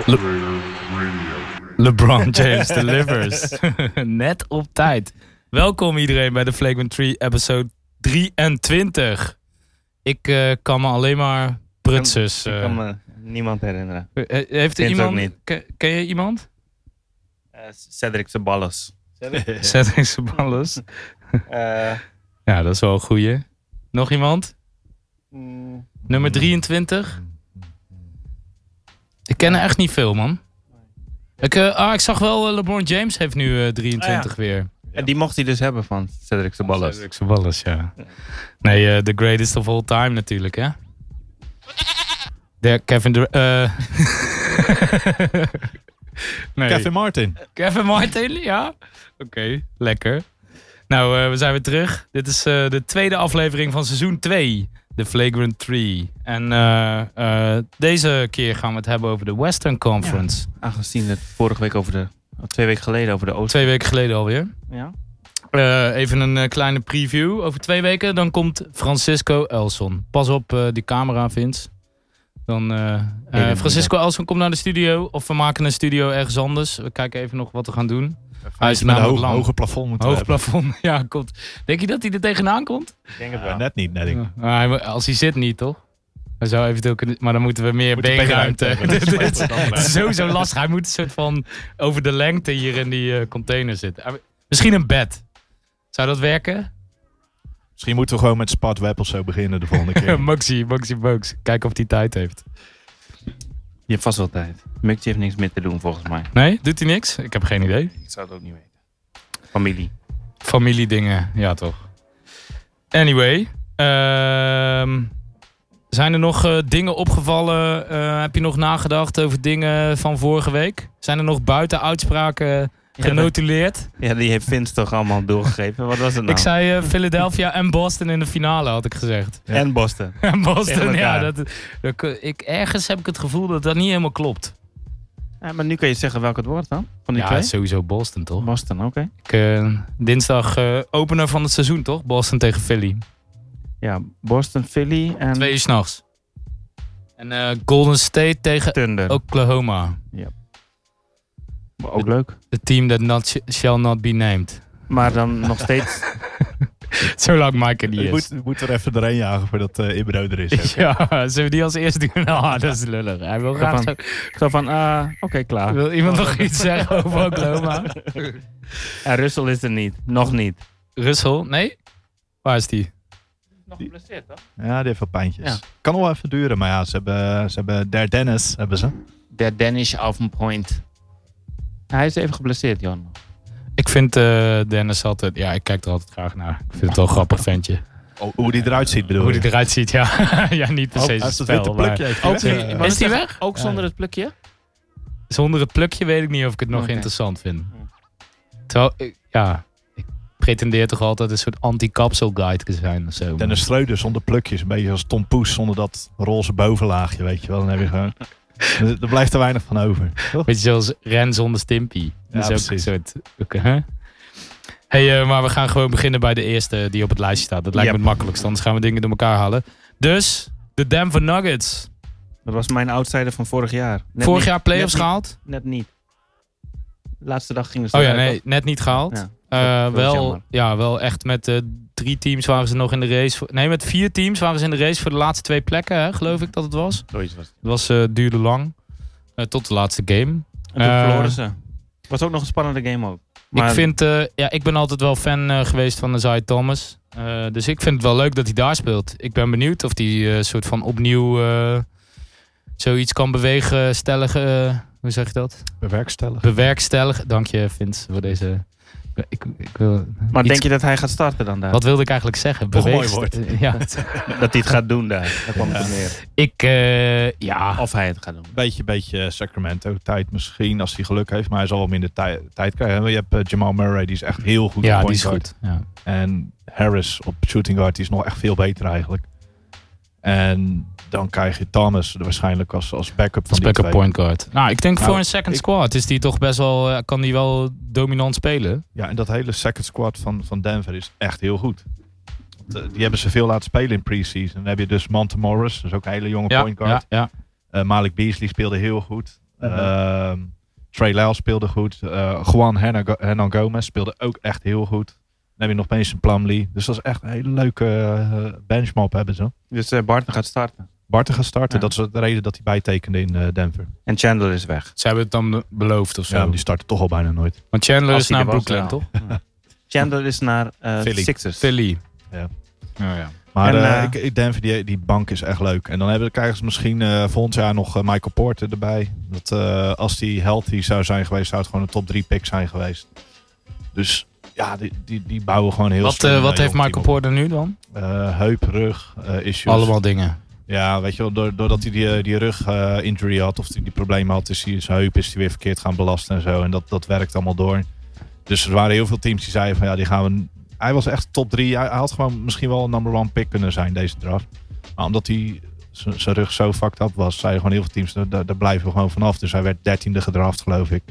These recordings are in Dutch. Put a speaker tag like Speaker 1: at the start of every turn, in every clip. Speaker 1: LeBron James delivers. Net op tijd. Welkom iedereen bij de Flagrant 3 episode 23. Ik eh, kan me alleen maar prutsers.
Speaker 2: Ik
Speaker 1: eh,
Speaker 2: kan me niemand herinneren.
Speaker 1: eh, Heeft er
Speaker 2: Vindt ook
Speaker 1: iemand...
Speaker 2: niet.
Speaker 1: Ken, ken je iemand?
Speaker 2: Eh, Cedric Ceballos. Cedric?
Speaker 1: Cedric Sabalas.
Speaker 2: Eh,
Speaker 1: Ja, dat is wel een goeie. Nog iemand?
Speaker 2: mm,
Speaker 1: Nummer 23? Ik ken er echt niet veel, man. Ik, eh, ah, ik zag wel, eh, LeBron James heeft nu eh, 23 weer.
Speaker 2: eh, Die mocht hij dus hebben van Cedric Ceballos.
Speaker 1: Cedric Sabalas, ja. Nee, eh, the greatest of all time natuurlijk, hè? De Kevin Dur- eh. nee.
Speaker 3: Kevin Martin.
Speaker 1: Kevin Martin, ja? Oké, lekker. Nou, eh, we zijn weer terug. Dit is eh, de tweede aflevering van seizoen 2, The Flagrant 3. En eh, eh, deze keer gaan we het hebben over de Western Conference.
Speaker 2: Aangezien het vorige week over de... of Twee weken geleden over de Oost...
Speaker 1: Twee weken geleden alweer.
Speaker 2: Ja?
Speaker 1: Eh, even een eh, kleine preview. Over twee weken dan komt Francisco Elson. Pas op eh, die camera, Vince. Dan, eh, eh,
Speaker 2: moeilijk.
Speaker 1: Francisco Elson komt naar de studio. Of we maken een studio ergens anders. We kijken even nog wat we gaan doen. Hij
Speaker 3: met
Speaker 1: is
Speaker 3: een
Speaker 1: namelijk
Speaker 3: hoog,
Speaker 1: lang.
Speaker 3: hoger plafond moeten
Speaker 1: Hoog
Speaker 3: hebben.
Speaker 1: plafond. Ja, komt. Denk je dat hij er tegenaan komt?
Speaker 2: Ik denk
Speaker 3: Ja, net niet, net ik.
Speaker 1: Ah, hij mo- als hij zit niet, toch? Hij zou eventueel kunnen... Maar dan moeten we meer
Speaker 3: Moet je
Speaker 1: beenruimte
Speaker 3: beenruimte hebben. Dat is
Speaker 1: Dit-
Speaker 3: wat
Speaker 1: dit is sowieso lastig. Hij moet een soort van over de lengte hier in die eh, container zitten. Hij- misschien een bed. Zou dat werken?
Speaker 3: Misschien moeten we gewoon met Spart Web of zo beginnen de volgende keer.
Speaker 1: Maxi, Maxi Box. Kijken of hij tijd heeft.
Speaker 2: Je hebt vast wel tijd. Mukje heeft niks meer te doen volgens mij.
Speaker 1: Nee? Doet hij niks? Ik heb geen idee.
Speaker 2: Ik zou het ook niet weten. Familie.
Speaker 1: Familiedingen. Ja, toch. Anyway. ehm, zijn er nog eh, dingen opgevallen? Eh, heb je nog nagedacht over dingen van vorige week? Zijn er nog buiten uitspraken genotuleerd?
Speaker 2: Ja, die heeft Vince toch allemaal doorgegeven. Wat was het nou?
Speaker 1: Ik zei eh, Philadelphia en Boston in de finale, had ik gezegd.
Speaker 2: En Boston.
Speaker 1: En Boston,
Speaker 2: Tegen
Speaker 1: ja.
Speaker 2: elkaar.
Speaker 1: Dat, dat- ik, ergens heb ik het gevoel dat dat niet helemaal klopt.
Speaker 2: Ja, Eh, maar nu kun je zeggen welk het woord dan? Van die
Speaker 1: Ja,
Speaker 2: twee?
Speaker 1: sowieso Boston, toch?
Speaker 2: Boston, oké.
Speaker 1: Ik, eh, dinsdag eh opener van het seizoen, toch? Boston tegen Philly.
Speaker 2: Ja, Boston, Philly en
Speaker 1: Twee uur s'nachts. En eh, Golden State tegen
Speaker 2: Thunder. Ook,
Speaker 1: Oklahoma.
Speaker 2: ook leuk.
Speaker 1: The team that not sh- shall not be named.
Speaker 2: Maar dan nog steeds
Speaker 1: Zolang Mike er niet
Speaker 3: Je
Speaker 1: is.
Speaker 3: moet, je moet er even doorheen jagen voordat eh Ibro er is. ook.
Speaker 1: Ja, zullen we die als eerste doen? Ah, dat is lullig. Hij wil graag...
Speaker 2: Daarvan.
Speaker 1: zo-
Speaker 2: Zo van, eh, oké, klaar.
Speaker 1: Wil iemand nog iets zeggen over Oklahoma?
Speaker 2: En Russell is er niet. Nog niet.
Speaker 1: Russell? Nee? Waar is die?
Speaker 2: Nog geblesseerd, toch?
Speaker 3: Ja, die heeft wel pijntjes.
Speaker 2: Ja.
Speaker 3: Kan nog wel even duren, maar ja, ze hebben, ze hebben Der Dennis, hebben ze.
Speaker 2: Der Danish off een point. Hij is even geblesseerd, Jan.
Speaker 1: Ik vind eh, Dennis altijd... Ja, ik kijk er altijd graag naar. Ik vind het wel een grappig ventje.
Speaker 3: Oh, hoe die eruit ziet bedoel
Speaker 1: Hoe
Speaker 3: je?
Speaker 1: hij eruit ziet, ja. ja, niet per
Speaker 3: Oh,
Speaker 1: se
Speaker 3: hij
Speaker 1: zijn
Speaker 3: heeft het
Speaker 1: spel,
Speaker 3: witte
Speaker 1: maar-
Speaker 3: plukje. heeft hij,
Speaker 2: Ook
Speaker 3: hè?
Speaker 2: niet. Maar
Speaker 1: Is die
Speaker 2: dat-
Speaker 1: weg?
Speaker 2: Ook zonder het plukje?
Speaker 1: Zonder het plukje weet ik niet of ik het nog
Speaker 2: Oké.
Speaker 1: interessant vind. Terwijl, ik- ja, ik pretendeer toch altijd een soort anti-capsule guide te zijn of zo.
Speaker 3: Dennis Schreuder zonder plukjes. Een beetje als Tom Poes zonder dat roze bovenlaagje, weet je wel. Dan heb je gewoon... Er er blijft er weinig van over. Toch?
Speaker 1: Beetje zoals Ren zonder Stimpy. Dat
Speaker 3: Ja,
Speaker 1: is ook een
Speaker 3: precies.
Speaker 1: soort... oké, hè? hey, eh, maar we gaan gewoon beginnen bij de eerste die op het lijstje staat. Dat lijkt
Speaker 2: Yep.
Speaker 1: me het makkelijkst, anders gaan we dingen door elkaar halen. Dus, de Denver Nuggets.
Speaker 2: Dat was mijn outsider van vorig jaar. Net
Speaker 1: Vorig
Speaker 2: niet.
Speaker 1: jaar playoffs
Speaker 2: net niet.
Speaker 1: gehaald.
Speaker 2: Net niet. De laatste dag gingen ze
Speaker 1: Oh ja,
Speaker 2: eruit,
Speaker 1: nee, net niet gehaald.
Speaker 2: Ja,
Speaker 1: Eh,
Speaker 2: dat is
Speaker 1: wel,
Speaker 2: jammer.
Speaker 1: ja, wel echt met eh, drie teams waren ze nog in de race. Voor, nee, met vier teams waren ze in de race voor de laatste twee plekken, hè, geloof ik dat het was.
Speaker 2: toch? Zoiets was het.
Speaker 1: Het was, eh, duurde lang. Eh, tot de laatste game.
Speaker 2: En toen
Speaker 1: Eh,
Speaker 2: verloren ze. Was ook nog een spannende game ook. Maar
Speaker 1: ik, vind, eh, ja, ik ben altijd wel fan eh, geweest van Isaiah Thomas. Eh, dus ik vind het wel leuk dat hij daar speelt. Ik ben benieuwd of hij eh, soort van opnieuw eh, zoiets kan bewegen, stelligen. eh, hoe zeg je dat?
Speaker 3: Bewerkstelligen.
Speaker 1: Bewerkstelligen. Dank je, Vince, voor deze. Ik, ik wil,
Speaker 2: maar
Speaker 1: iets-
Speaker 2: denk je dat hij gaat starten dan daar?
Speaker 1: Wat wilde ik eigenlijk zeggen?
Speaker 3: Toch een mooi
Speaker 1: Beweegst- Ja, het-
Speaker 2: Dat hij het gaat doen daar. Daar kwam het op neer.
Speaker 1: ik, eh, ja.
Speaker 2: Of hij het gaat doen.
Speaker 3: Beetje, beetje Sacramento-tijd misschien, als hij geluk heeft. Maar hij zal wel minder tij- tijd krijgen. Je hebt eh, Jamal Murray, die is echt heel goed op
Speaker 1: Ja, die
Speaker 3: point
Speaker 1: is
Speaker 3: guard.
Speaker 1: goed. Ja.
Speaker 3: En Harris op shooting guard die is nog echt veel beter eigenlijk. En dan krijg je Thomas waarschijnlijk als, als backup van
Speaker 1: Als
Speaker 3: die
Speaker 1: backup
Speaker 3: twee.
Speaker 1: point guard. Nou, ik denk
Speaker 3: Nou,
Speaker 1: voor een second
Speaker 3: ik-
Speaker 1: squad is die toch best wel, eh, kan die wel dominant spelen.
Speaker 3: Ja, en dat hele second squad van, van Denver is echt heel goed. Want, eh, die hebben ze veel laten spelen in preseason. Dan heb je dus Monte Morris, dat is ook een hele jonge
Speaker 1: Ja,
Speaker 3: point guard.
Speaker 1: ja, ja.
Speaker 3: Eh, Malik Beasley speelde heel goed. Ehm, Trey Lyles speelde goed. Eh, Juan Hernan Hernan Gomez speelde ook echt heel goed. Dan heb je nog Mason Plumlee. Dus dat is echt een hele leuke eh, benchmap hebben ze.
Speaker 2: Dus eh Barton gaat starten.
Speaker 3: Barton gaat starten.
Speaker 2: Ja.
Speaker 3: Dat is de reden dat hij bijtekende in eh, Denver.
Speaker 2: En Chandler is weg.
Speaker 1: Ze hebben het dan beloofd of zo.
Speaker 3: Ja, maar die starten toch al bijna nooit.
Speaker 1: Want Chandler
Speaker 2: Als
Speaker 1: is
Speaker 2: hij
Speaker 1: naar
Speaker 2: er was,
Speaker 1: Brooklyn,
Speaker 2: ja.
Speaker 1: toch?
Speaker 2: Ja. Chandler is naar eh
Speaker 3: Philly.
Speaker 2: Sixers.
Speaker 1: Philly.
Speaker 3: Ja.
Speaker 1: Oh, ja.
Speaker 3: Maar
Speaker 2: En,
Speaker 3: eh,
Speaker 2: eh,
Speaker 3: ik, ik- Denver, die, die bank is echt leuk. En dan hebben, krijgen ze misschien eh, volgend jaar nog eh, Michael Porter erbij. Dat, eh, als die healthy zou zijn geweest, zou het gewoon een top 3 pick zijn geweest. Dus ja, die, die, die bouwen gewoon heel
Speaker 1: Wat,
Speaker 3: slim,
Speaker 1: eh,
Speaker 3: eh,
Speaker 1: wat
Speaker 3: jong
Speaker 1: heeft Michael
Speaker 3: team op.
Speaker 1: Porter nu dan?
Speaker 3: Eh, heup, rug, eh, issues.
Speaker 1: Allemaal dingen.
Speaker 3: Ja, weet je wel, door- doordat hij die, eh, die rug eh, injury had of die, die problemen had, is hij zijn heup is hij weer verkeerd gaan belasten en zo. En dat, dat werkt allemaal door. Dus er waren heel veel teams die zeiden van ja, die gaan we. Hij was echt top 3. Hij, hij had gewoon misschien wel een number one pick kunnen zijn deze draft. Maar omdat hij z- zijn rug zo fucked up was, zeiden gewoon heel veel teams, daar- daar, daar blijven we gewoon vanaf. Dus hij werd dertiende gedraft, geloof ik.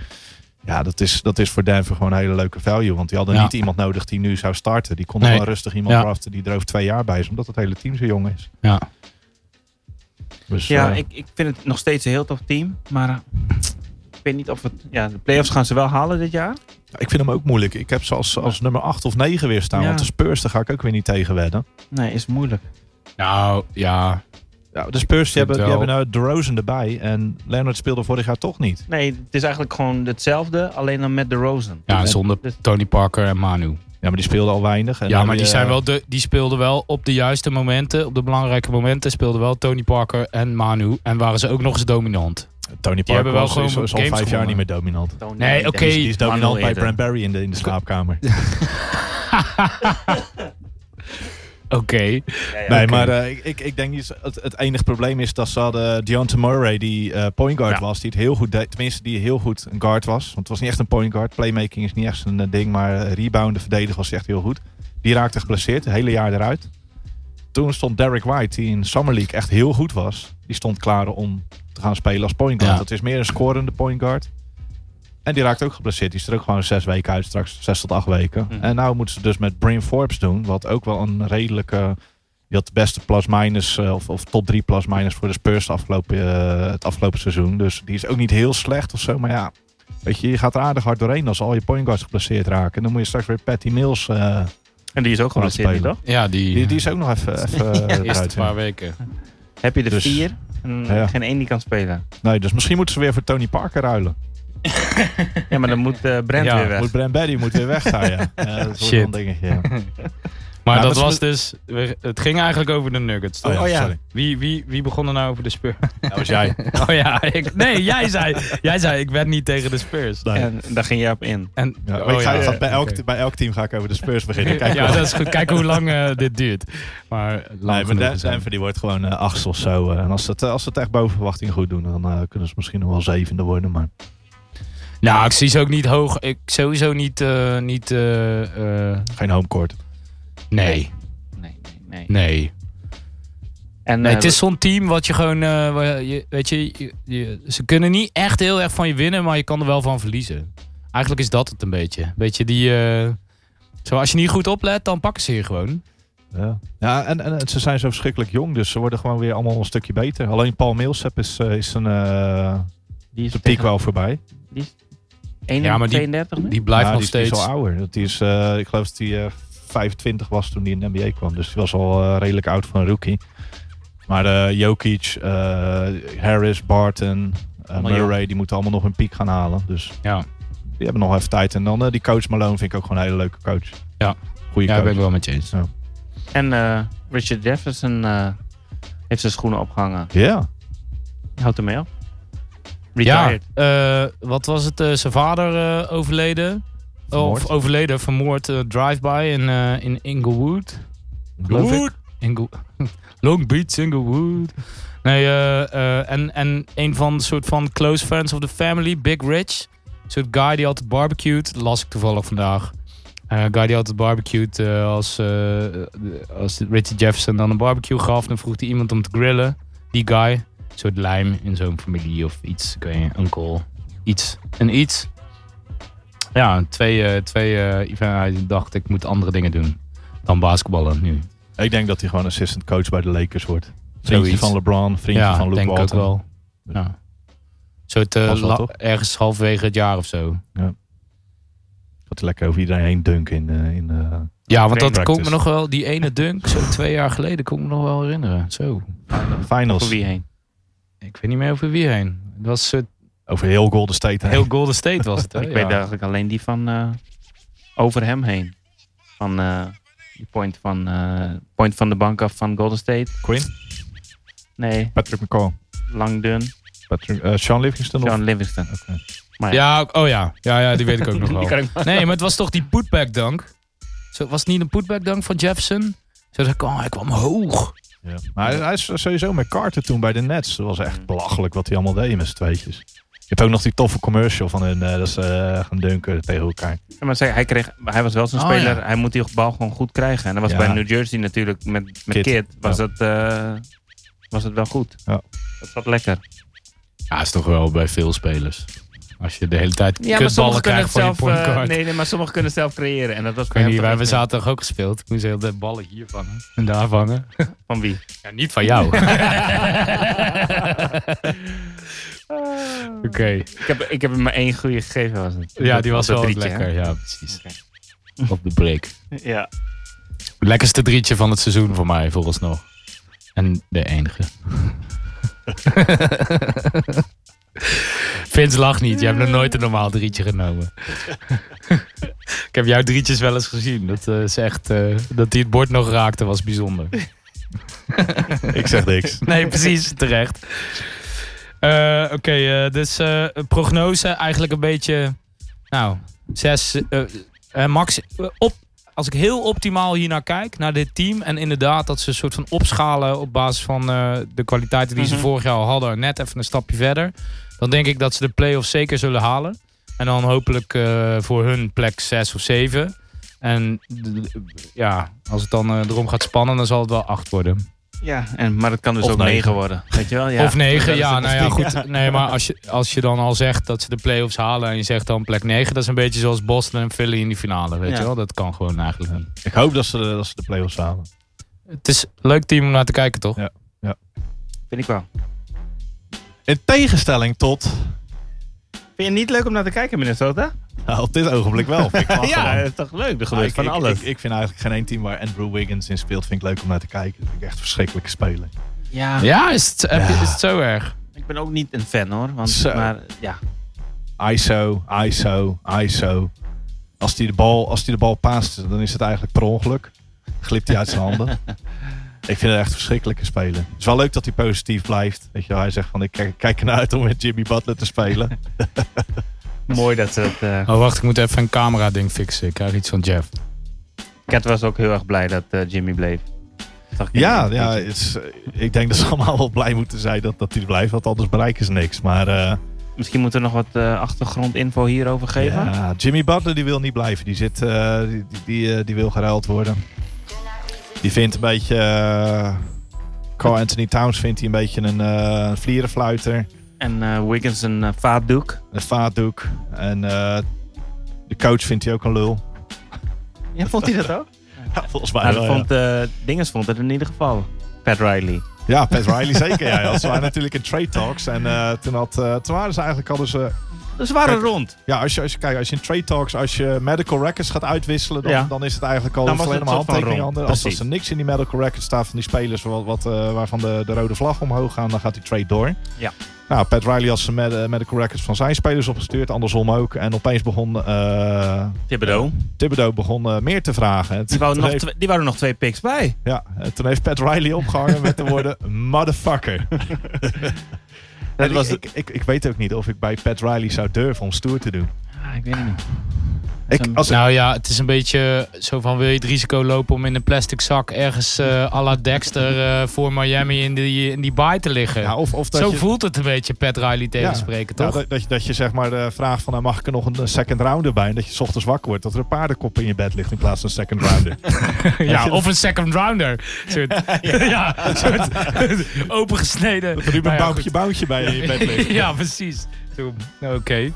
Speaker 3: Ja, dat is, dat is voor Denver gewoon een hele leuke value. Want die hadden
Speaker 1: Ja.
Speaker 3: niet iemand nodig die nu zou starten. Die konden
Speaker 1: Nee.
Speaker 3: wel rustig iemand
Speaker 1: Ja.
Speaker 3: draften die er over twee jaar bij is. Omdat het hele team zo jong is.
Speaker 1: Ja.
Speaker 3: Dus,
Speaker 2: Ja,
Speaker 3: eh,
Speaker 2: ik, ik vind het nog steeds een heel tof team. Maar eh, ik weet niet of het... Ja, de playoffs gaan ze wel halen dit jaar.
Speaker 3: Ja, Ik vind hem ook moeilijk. Ik heb ze als, als nummer 8 of 9 weer staan.
Speaker 2: Ja.
Speaker 3: Want de Spurs, daar ga ik ook weer niet tegen wedden.
Speaker 2: Nee, is moeilijk.
Speaker 1: Nou, ja.
Speaker 3: Ja, de Spurs die hebben, die
Speaker 1: wel-
Speaker 3: hebben nou DeRozan erbij. En Leonard speelde vorig jaar toch niet.
Speaker 2: Nee, het is eigenlijk gewoon hetzelfde. Alleen dan met de Rosen.
Speaker 1: ja, zonder
Speaker 2: Dus-
Speaker 1: Tony Parker en Manu.
Speaker 3: Ja, maar die speelde al weinig. En
Speaker 1: Ja,
Speaker 3: dan
Speaker 1: maar
Speaker 3: heb
Speaker 1: die,
Speaker 3: je-
Speaker 1: zijn wel de, die speelden wel op de juiste momenten, op de belangrijke momenten, speelden wel Tony Parker en Manu. En waren ze ook nog eens dominant.
Speaker 3: eh, Tony Parker
Speaker 1: hebben wel
Speaker 3: was-
Speaker 1: gewoon
Speaker 3: is, is al
Speaker 1: games
Speaker 3: vijf jaar niet
Speaker 1: gewonnen.
Speaker 3: meer dominant.
Speaker 2: Tony
Speaker 1: Nee,
Speaker 2: Dennis.
Speaker 1: oké.
Speaker 3: Die is
Speaker 2: Manuel
Speaker 3: dominant bij
Speaker 2: eerder.
Speaker 3: Brent Barry in de, in de slaapkamer.
Speaker 1: Oké.
Speaker 2: Ja, ja.
Speaker 3: Nee,
Speaker 1: Oké.
Speaker 3: maar eh, ik- ik, ik denk niet. Het, het enige probleem is dat ze hadden Deontay Murray, die eh point guard
Speaker 1: Ja.
Speaker 3: was, die het heel goed deed. Tenminste, die heel goed een guard was. Want het was niet echt een point guard. Playmaking is niet echt een ding, maar eh, rebounden, verdedigen was echt heel goed. Die raakte geblesseerd, het hele jaar eruit. Toen stond Derek White, die in Summer League echt heel goed was. Die stond klaar om te gaan spelen als point guard.
Speaker 1: Ja.
Speaker 3: Dat is meer een scorende point guard. En die raakt ook geblesseerd. Die is er ook gewoon zes weken uit, straks zes tot acht weken.
Speaker 2: Mhm.
Speaker 3: En nou moeten ze dus met Brain Forbes doen. Wat ook wel een redelijke... Die had de beste plus-minus eh, of, of top 3 plus-minus voor de Spurs de afgelopen, eh, het afgelopen seizoen. Dus die is ook niet heel slecht of zo. Maar ja, weet je, je gaat er aardig hard doorheen als al je point guards geblesseerd raken. En dan moet je straks weer Patty Mills. eh,
Speaker 2: En die is ook geblesseerd, niet,
Speaker 3: spelen.
Speaker 2: toch?
Speaker 1: Ja, die,
Speaker 3: die, die is ook nog even, even
Speaker 1: de eerste
Speaker 3: eruit. Nou,
Speaker 1: paar weken.
Speaker 2: Heb je de
Speaker 3: Dus-
Speaker 2: vier en
Speaker 3: Ja.
Speaker 2: geen één die kan spelen.
Speaker 3: Nee, dus misschien moeten ze weer voor Tony Parker ruilen.
Speaker 2: Ja, maar dan moet eh Brent
Speaker 1: Ja,
Speaker 2: weer weg.
Speaker 3: Moet Brand Barry moet weer weg gaan, ja. ja dat wordt
Speaker 1: Shit.
Speaker 3: wel een dingetje. ja.
Speaker 1: Maar
Speaker 3: Ja,
Speaker 1: dat
Speaker 3: maar
Speaker 1: was
Speaker 3: ze-
Speaker 1: dus, we- het ging eigenlijk over de Nuggets. toch?
Speaker 3: Oh ja, sorry.
Speaker 1: Wie, wie, wie begon er nou over de Spurs?
Speaker 3: Dat was jij.
Speaker 1: Oh ja, ik, nee, jij zei, jij zei ik ben niet tegen de Spurs.
Speaker 3: Nee.
Speaker 2: En daar ging jij op in.
Speaker 1: En,
Speaker 3: Ja, maar
Speaker 1: oh
Speaker 3: ik ga,
Speaker 1: ja,
Speaker 3: ik ga bij,
Speaker 1: oké.
Speaker 3: elk, bij elk team ga ik over de Spurs beginnen. Kijk
Speaker 1: ja,
Speaker 3: wel.
Speaker 1: dat is goed. Kijk hoe lang eh, dit duurt. Maar
Speaker 3: Nee,
Speaker 1: lang
Speaker 3: maar
Speaker 1: genoeg
Speaker 3: Den-
Speaker 1: is het.
Speaker 3: Denver die wordt gewoon eh achtste of zo. eh. en als ze het, als ze het echt boven verwachting goed doen, dan eh, kunnen ze misschien nog wel zevende worden. Maar
Speaker 1: Nou, ik zie ze ook niet hoog. Ik sowieso niet. eh, niet eh, eh,
Speaker 3: geen homecourt.
Speaker 1: nee,
Speaker 2: Nee, nee, nee.
Speaker 1: nee.
Speaker 2: En,
Speaker 1: Nee,
Speaker 2: eh,
Speaker 1: het is zo'n team wat je gewoon. eh, waar je, weet je, je- je- ze kunnen niet echt heel erg van je winnen, maar je kan er wel van verliezen. Eigenlijk is dat het een beetje. Weet je, die. eh, zo, als je niet goed oplet, dan pakken ze je gewoon.
Speaker 3: Ja, ja en, en ze zijn zo verschrikkelijk jong, dus ze worden gewoon weer allemaal een stukje beter. Alleen Paul Millsap is, eh, is zijn eh
Speaker 2: die is
Speaker 3: zijn piek
Speaker 2: tegen-
Speaker 3: wel voorbij.
Speaker 2: Die is 1
Speaker 1: Ja, maar die-
Speaker 2: 32 nu?
Speaker 1: Die blijft
Speaker 3: Ja,
Speaker 1: nog
Speaker 3: die, is-
Speaker 1: steeds.
Speaker 3: Die is al ouder. Dat die is, eh, ik geloof dat hij 25 was toen hij in de NBA kwam. Dus die was al eh, redelijk oud voor een rookie. Maar eh, Jokic, eh, Harris, Barton, eh,
Speaker 2: Allemaal
Speaker 3: Murray, die moeten allemaal nog hun piek gaan halen. Dus
Speaker 1: ja,
Speaker 3: die hebben nog even tijd. En dan eh, die coach Malone vind ik ook gewoon een hele leuke coach.
Speaker 1: Ja.
Speaker 3: Goeie
Speaker 1: ja,
Speaker 3: coach.
Speaker 1: ben ik wel met je eens.
Speaker 2: En eh, Richard Jefferson eh, heeft zijn schoenen opgehangen.
Speaker 3: Ja.
Speaker 2: Houdt ermee op.
Speaker 1: Ja,
Speaker 2: Retired.
Speaker 1: eh, wat was het? eh, zijn vader eh, overleden.
Speaker 3: Vermoord.
Speaker 1: Of overleden, vermoord, eh, drive-by in, eh in Inglewood. Geloof ik. Inglewood. Long Beach, Inglewood. Nee, eh, eh, en, en een van de soort van close friends of the family, Big Rich. Een soort guy die altijd barbecued, las ik toevallig vandaag. Eh guy die altijd barbecued eh, als, eh, de- als Richard Jefferson dan een barbecue gaf. Dan vroeg hij iemand om te grillen. Die guy. Een soort lijm in zo'n familie of iets. Ik weet niet, uncle. Iets. Een iets. Ja, twee, eh, twee eh, Ivan, hij dacht ik moet andere dingen doen dan basketballen nu.
Speaker 3: Ik denk dat hij gewoon assistant coach bij de Lakers wordt. Vriendje
Speaker 1: Zoiets.
Speaker 3: van LeBron, vriendje
Speaker 1: ja,
Speaker 3: van Luke
Speaker 1: denk ik
Speaker 3: Walton.
Speaker 1: ook wel. Ja. soort Dus eh,
Speaker 3: Was wel,
Speaker 1: la-
Speaker 3: toch?
Speaker 1: ergens halverwege het jaar of zo.
Speaker 3: Gaat lekker over iedereen heen dunken in, eh, in eh,
Speaker 1: Ja, want dat
Speaker 3: Train
Speaker 1: kon ik me
Speaker 3: practice.
Speaker 1: nog wel, die ene dunk, zo twee jaar geleden, kon ik me nog wel herinneren. Zo,
Speaker 3: finals.
Speaker 2: Voor wie heen?
Speaker 1: ik weet niet meer over wie heen. Het was een soort
Speaker 3: Over heel Golden State heen.
Speaker 1: heel Golden State was het. Hè?
Speaker 2: Ik
Speaker 1: Eh, Ja.
Speaker 2: weet eigenlijk alleen die van eh, over hem heen. Van eh, die point van, eh, point van de bank af van Golden State.
Speaker 3: Quinn?
Speaker 2: Nee,
Speaker 3: Patrick McCall.
Speaker 2: Langdon.
Speaker 3: Patrick, eh, Sean Livingston? Of?
Speaker 2: John Livingston.
Speaker 3: Oké.
Speaker 1: Ja, ook- oh ja. ja, ja, die weet ik ook nog
Speaker 2: Die
Speaker 1: wel.
Speaker 2: kan ik-
Speaker 1: Nee, maar het was toch die putback dunk? Zo, was het niet een putback dunk van Jefferson? Zo, hij, kwam, hij kwam hoog.
Speaker 3: Ja. Maar hij, hij is sowieso met Carter toen bij de Nets. Dat was echt belachelijk wat hij allemaal deed met z'n tweetjes. Je hebt ook nog die toffe commercial van hun. eh, dat ze eh, gaan dunken tegen elkaar.
Speaker 2: Ja, maar zeg, hij, kreeg, hij was wel zo'n
Speaker 1: Oh,
Speaker 2: speler.
Speaker 1: ja.
Speaker 2: Hij moet die bal gewoon goed krijgen. En dat was
Speaker 3: Ja.
Speaker 2: bij New Jersey natuurlijk met, met
Speaker 3: Kid.
Speaker 2: Kid. was, het, eh, was het wel goed.
Speaker 3: Ja.
Speaker 2: Dat zat lekker.
Speaker 1: Ja, is toch wel bij veel spelers. Als je de hele tijd
Speaker 2: Ja, maar
Speaker 1: kutballen
Speaker 2: sommigen kunnen het
Speaker 1: krijgt van je
Speaker 2: zelf. eh,
Speaker 1: pointguard.
Speaker 2: nee, maar sommigen kunnen zelf creëren. En dat was
Speaker 1: Ik weet niet, wij hebben zaterdag ook gespeeld. Ik moest heel de ballen hier vangen en daar vangen.
Speaker 2: Van wie?
Speaker 1: Ja, niet van jou. Oké.
Speaker 2: Ik heb, ik heb hem maar één goede gegeven was het.
Speaker 1: Ja, die
Speaker 2: Op
Speaker 1: was
Speaker 2: dat
Speaker 1: wel wat
Speaker 2: drietje, hè?
Speaker 1: lekker. Ja, precies. Op de break.
Speaker 2: Ja.
Speaker 1: Lekkerste drietje van het seizoen voor mij, vooralsnog. En de enige. Vince lacht niet. Je hebt nog nooit een normaal drietje genomen. Ik heb jouw drietjes wel eens gezien. Dat, eh, is echt, eh, dat die het bord nog raakte was bijzonder.
Speaker 3: Ik zeg niks.
Speaker 1: Nee, precies, terecht. Eh, Oké, eh, dus eh, prognose eigenlijk een beetje, nou, zes, eh, eh, max, eh, op, als ik heel optimaal hiernaar kijk, naar dit team. En inderdaad dat ze een soort van opschalen op basis van eh, de kwaliteiten die
Speaker 2: Mhm.
Speaker 1: ze vorig jaar al hadden. Net even een stapje verder. Dan denk ik dat ze de play-offs zeker zullen halen. En dan hopelijk eh, voor hun plek 6 of 7. En d- d- ja, als het dan eh, erom gaat spannen, dan zal het wel 8 worden.
Speaker 2: Ja, en, maar het kan dus
Speaker 3: Of
Speaker 2: ook
Speaker 3: negen.
Speaker 2: 9 worden. Weet je wel? Ja.
Speaker 1: of negen, ja,
Speaker 2: Dat is
Speaker 1: nou
Speaker 2: het
Speaker 1: ja,
Speaker 2: ding.
Speaker 1: goed. Nee, maar als je, als je dan al zegt dat ze de play-offs halen en je zegt dan plek 9, dat is een beetje zoals Boston en Philly in die finale, weet
Speaker 2: Ja.
Speaker 1: je wel? Dat kan gewoon eigenlijk niet.
Speaker 3: Ik hoop dat ze, dat ze de play-offs halen.
Speaker 1: Het is een leuk team om naar te kijken, toch?
Speaker 3: Ja.
Speaker 2: Vind ik wel.
Speaker 3: In tegenstelling tot...
Speaker 2: Vind je het niet leuk om naar te kijken, Minnesota?
Speaker 3: Nou, op dit ogenblik wel. Vind ik wel
Speaker 2: ja,
Speaker 3: gewoon.
Speaker 2: dat is toch leuk? Er
Speaker 3: Maar
Speaker 2: gebeurt
Speaker 3: ik,
Speaker 2: van
Speaker 3: ik-
Speaker 2: alles.
Speaker 3: Ik, ik vind eigenlijk geen één team waar Andrew Wiggins in speelt, vind ik leuk om naar te kijken. Dat vind ik echt verschrikkelijke spelen.
Speaker 2: ja,
Speaker 1: Ja, is het, heb je-
Speaker 3: Ja.
Speaker 1: Is het zo erg?
Speaker 2: ik ben ook niet een fan hoor. Want,
Speaker 3: Zo.
Speaker 2: Maar ja,
Speaker 3: ISO, ISO, ISO. Als hij de bal, als die de bal paast, dan is het eigenlijk per ongeluk. Glipt hij uit zijn handen. Ik vind het echt verschrikkelijke spelen. Het is wel leuk dat hij positief blijft. Weet je, wel, hij zegt van ik kijk, kijk ernaar uit om met Jimmy Butler te spelen.
Speaker 2: mooi dat ze het... eh,
Speaker 1: Oh, wacht, ik moet even een camera-ding fixen. Ik krijg iets van Jeff.
Speaker 2: Cat was ook heel erg blij dat eh, Jimmy bleef. Zag ik
Speaker 3: Ja,
Speaker 2: in de
Speaker 3: ja
Speaker 2: tweetje.
Speaker 3: het is, eh, ik denk dat ze allemaal wel blij moeten zijn dat, dat hij blijft. Want anders bereiken ze niks. Maar eh,
Speaker 2: Misschien moeten we nog wat eh, achtergrondinfo hierover geven.
Speaker 3: ja, Jimmy Butler die wil niet blijven. Die, zit, eh, die, die, eh, die wil geruild worden. Die vindt een beetje... eh, Carl Anthony Towns vindt hij een beetje een eh vlierenfluiter.
Speaker 2: En eh, Wiggins een eh, vaatdoek.
Speaker 3: Een vaatdoek. En eh, de coach vindt hij ook een lul.
Speaker 2: Ja, vond hij dat ook?
Speaker 3: volgens
Speaker 2: Nou,
Speaker 3: mij
Speaker 2: dat
Speaker 3: wel, ja.
Speaker 2: vond, eh Dinges vond het in ieder geval. Pat Riley.
Speaker 3: Ja, Pat Riley zeker. Ja, ja. Ze waren natuurlijk in trade talks. En eh, toen, had, eh, toen waren ze eigenlijk hadden ze...
Speaker 2: Dus ze waren
Speaker 3: Kijk,
Speaker 2: rond.
Speaker 3: Ja, als je, als je, kijk, als je in trade talks, als je medical records gaat uitwisselen, dan,
Speaker 2: Ja.
Speaker 3: dan is het eigenlijk al
Speaker 2: Dan
Speaker 3: hoeft
Speaker 2: was
Speaker 3: alleen
Speaker 2: het
Speaker 3: maar
Speaker 2: een soort van
Speaker 3: handtekeningen
Speaker 2: rond.
Speaker 3: anders. Als, als
Speaker 2: Precies.
Speaker 3: er niks in die medical records staat van die spelers wat, wat, eh, waarvan de, de rode vlag omhoog gaan, dan gaat die trade door.
Speaker 2: Ja.
Speaker 3: Nou, Pat Riley had zijn med- eh, medical records van zijn spelers opgestuurd, andersom ook. En opeens begon eh
Speaker 2: Thibodeau.
Speaker 3: Thibodeau begon, eh, meer te vragen. En
Speaker 2: Die,
Speaker 3: toen
Speaker 2: wou nog
Speaker 3: heeft-
Speaker 2: twee- die waren nog twee picks bij.
Speaker 3: Ja, en toen heeft Pat Riley opgehangen met de woorden motherfucker.
Speaker 2: Dat was
Speaker 3: ik, ik, ik weet ook niet of ik bij Pat Riley zou durven om stoer te doen.
Speaker 2: Ah, ik weet het niet.
Speaker 3: Ik,
Speaker 2: Zo'n-
Speaker 3: als,
Speaker 1: Nou ja, het is een beetje zo van wil je het risico lopen om in een plastic zak ergens eh à la Dexter eh, voor Miami in die, in die baai te liggen.
Speaker 3: ja, of, of dat
Speaker 1: zo
Speaker 3: Nou, je,
Speaker 1: voelt het een beetje Pat Riley tegenspreken,
Speaker 3: ja, Nou,
Speaker 1: toch?
Speaker 3: dat, dat, je- dat je zeg maar de vraag van nou, mag ik er nog een eh, second rounder bij? En dat je 's ochtends wakker wordt dat er een paardenkop in je bed ligt in plaats van een second rounder.
Speaker 1: Ja, of een second rounder. Een soort, ja. een soort opengesneden.
Speaker 3: dat er nu
Speaker 1: Nou
Speaker 3: een
Speaker 1: ja,
Speaker 3: bouwtje
Speaker 1: goed.
Speaker 3: bouwtje bij je in je bed ligt.
Speaker 1: ja, precies. Zo, Oké.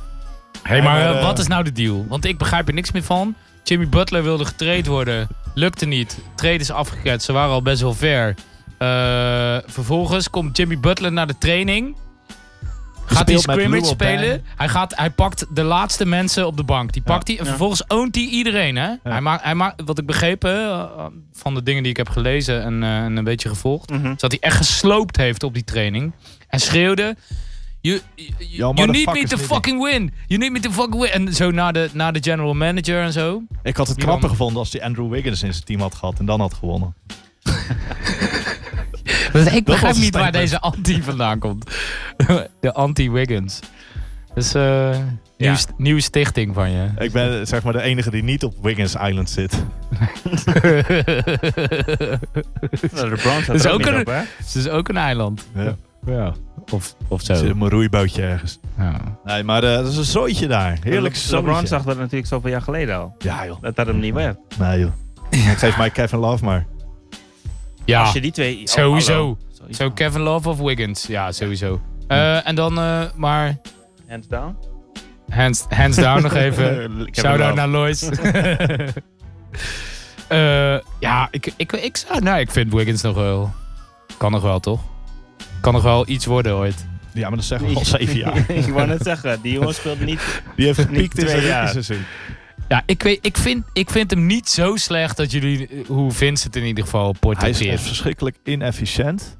Speaker 1: Hey,
Speaker 3: Ja,
Speaker 1: maar
Speaker 3: maar,
Speaker 1: eh,
Speaker 3: eh,
Speaker 1: wat is nou de deal? Want ik begrijp er niks meer van. Jimmy Butler wilde getraind worden. Lukte niet. Trade is afgeket. Ze waren al best wel ver. Eh, vervolgens komt Jimmy Butler naar de training. Gaat hij
Speaker 3: speelt met
Speaker 1: scrimmage
Speaker 3: Lou op, hè?
Speaker 1: spelen? Hij, gaat, hij pakt de laatste mensen op de bank. Die
Speaker 3: Ja.
Speaker 1: pakt hij en
Speaker 2: Ja.
Speaker 1: vervolgens oont hij iedereen. Hè? Hij maakt, hij maakt, wat ik begrepen eh, van de dingen die ik heb gelezen en, eh, en een beetje gevolgd.
Speaker 3: Mhm.
Speaker 1: Is dat hij echt gesloopt heeft op die training. En schreeuwde... You, you, you need me
Speaker 3: motherfuckers
Speaker 1: to
Speaker 3: niet.
Speaker 1: fucking win. You need me to fucking win. En zo naar de, naar de general manager en zo.
Speaker 3: Ik had het
Speaker 1: Die
Speaker 3: knapper
Speaker 1: dan-
Speaker 3: gevonden als die Andrew Wiggins in zijn team had gehad en dan had gewonnen.
Speaker 1: ik begrijp
Speaker 3: was een
Speaker 1: niet waar
Speaker 3: statement.
Speaker 1: deze anti vandaan komt. De anti-Wiggins. Dus eh nieuw,
Speaker 2: Ja.
Speaker 1: st- nieuwe stichting van je.
Speaker 3: Ik ben eh, zeg maar de enige die niet op Wiggins Island zit.
Speaker 2: Nou, de
Speaker 1: Dus
Speaker 2: Browns hadden ook
Speaker 1: ook
Speaker 2: niet
Speaker 1: een-
Speaker 2: op, hè?
Speaker 1: Het is ook een eiland.
Speaker 3: Ja.
Speaker 1: Ja. Of, of
Speaker 3: Zit
Speaker 1: zo.
Speaker 3: op een roeibootje ergens.
Speaker 1: Ja.
Speaker 3: Nee, maar eh, dat is een zooitje daar. Heerlijk
Speaker 2: Le- LeBron
Speaker 3: zooitje.
Speaker 2: zag dat natuurlijk zoveel jaar geleden al.
Speaker 3: Ja joh.
Speaker 2: Dat dat hem niet
Speaker 1: Ah.
Speaker 2: werd.
Speaker 3: Nee joh. Ik geef mij Kevin Love maar.
Speaker 1: Ja,
Speaker 2: Als je die twee... oh,
Speaker 1: sowieso.
Speaker 2: hallo.
Speaker 1: Zo Kevin Love of Wiggins. Ja, sowieso. Eh, en dan eh, maar
Speaker 2: Hands down.
Speaker 1: hands, hands down nog
Speaker 3: Eh,
Speaker 1: even.
Speaker 3: Kevin
Speaker 1: Shout-out
Speaker 3: Love.
Speaker 1: naar Lois. Eh, ja, ik, ik, ik zou... Nou, ik vind Wiggins nog wel... Kan nog wel, toch? Kan nog wel iets worden ooit.
Speaker 3: Ja, maar dat zeggen we al zeven jaar.
Speaker 2: ik wou net zeggen, die jongen speelt niet...
Speaker 3: Die heeft gepiekt in
Speaker 2: twee
Speaker 3: zijn
Speaker 2: jaar.
Speaker 3: rookieseizoen.
Speaker 1: Ja, ik, weet, ik, vind, ik vind hem niet zo slecht dat jullie... Hoe Vincent in ieder geval
Speaker 3: Hij is
Speaker 1: portretteert.
Speaker 3: verschrikkelijk inefficiënt.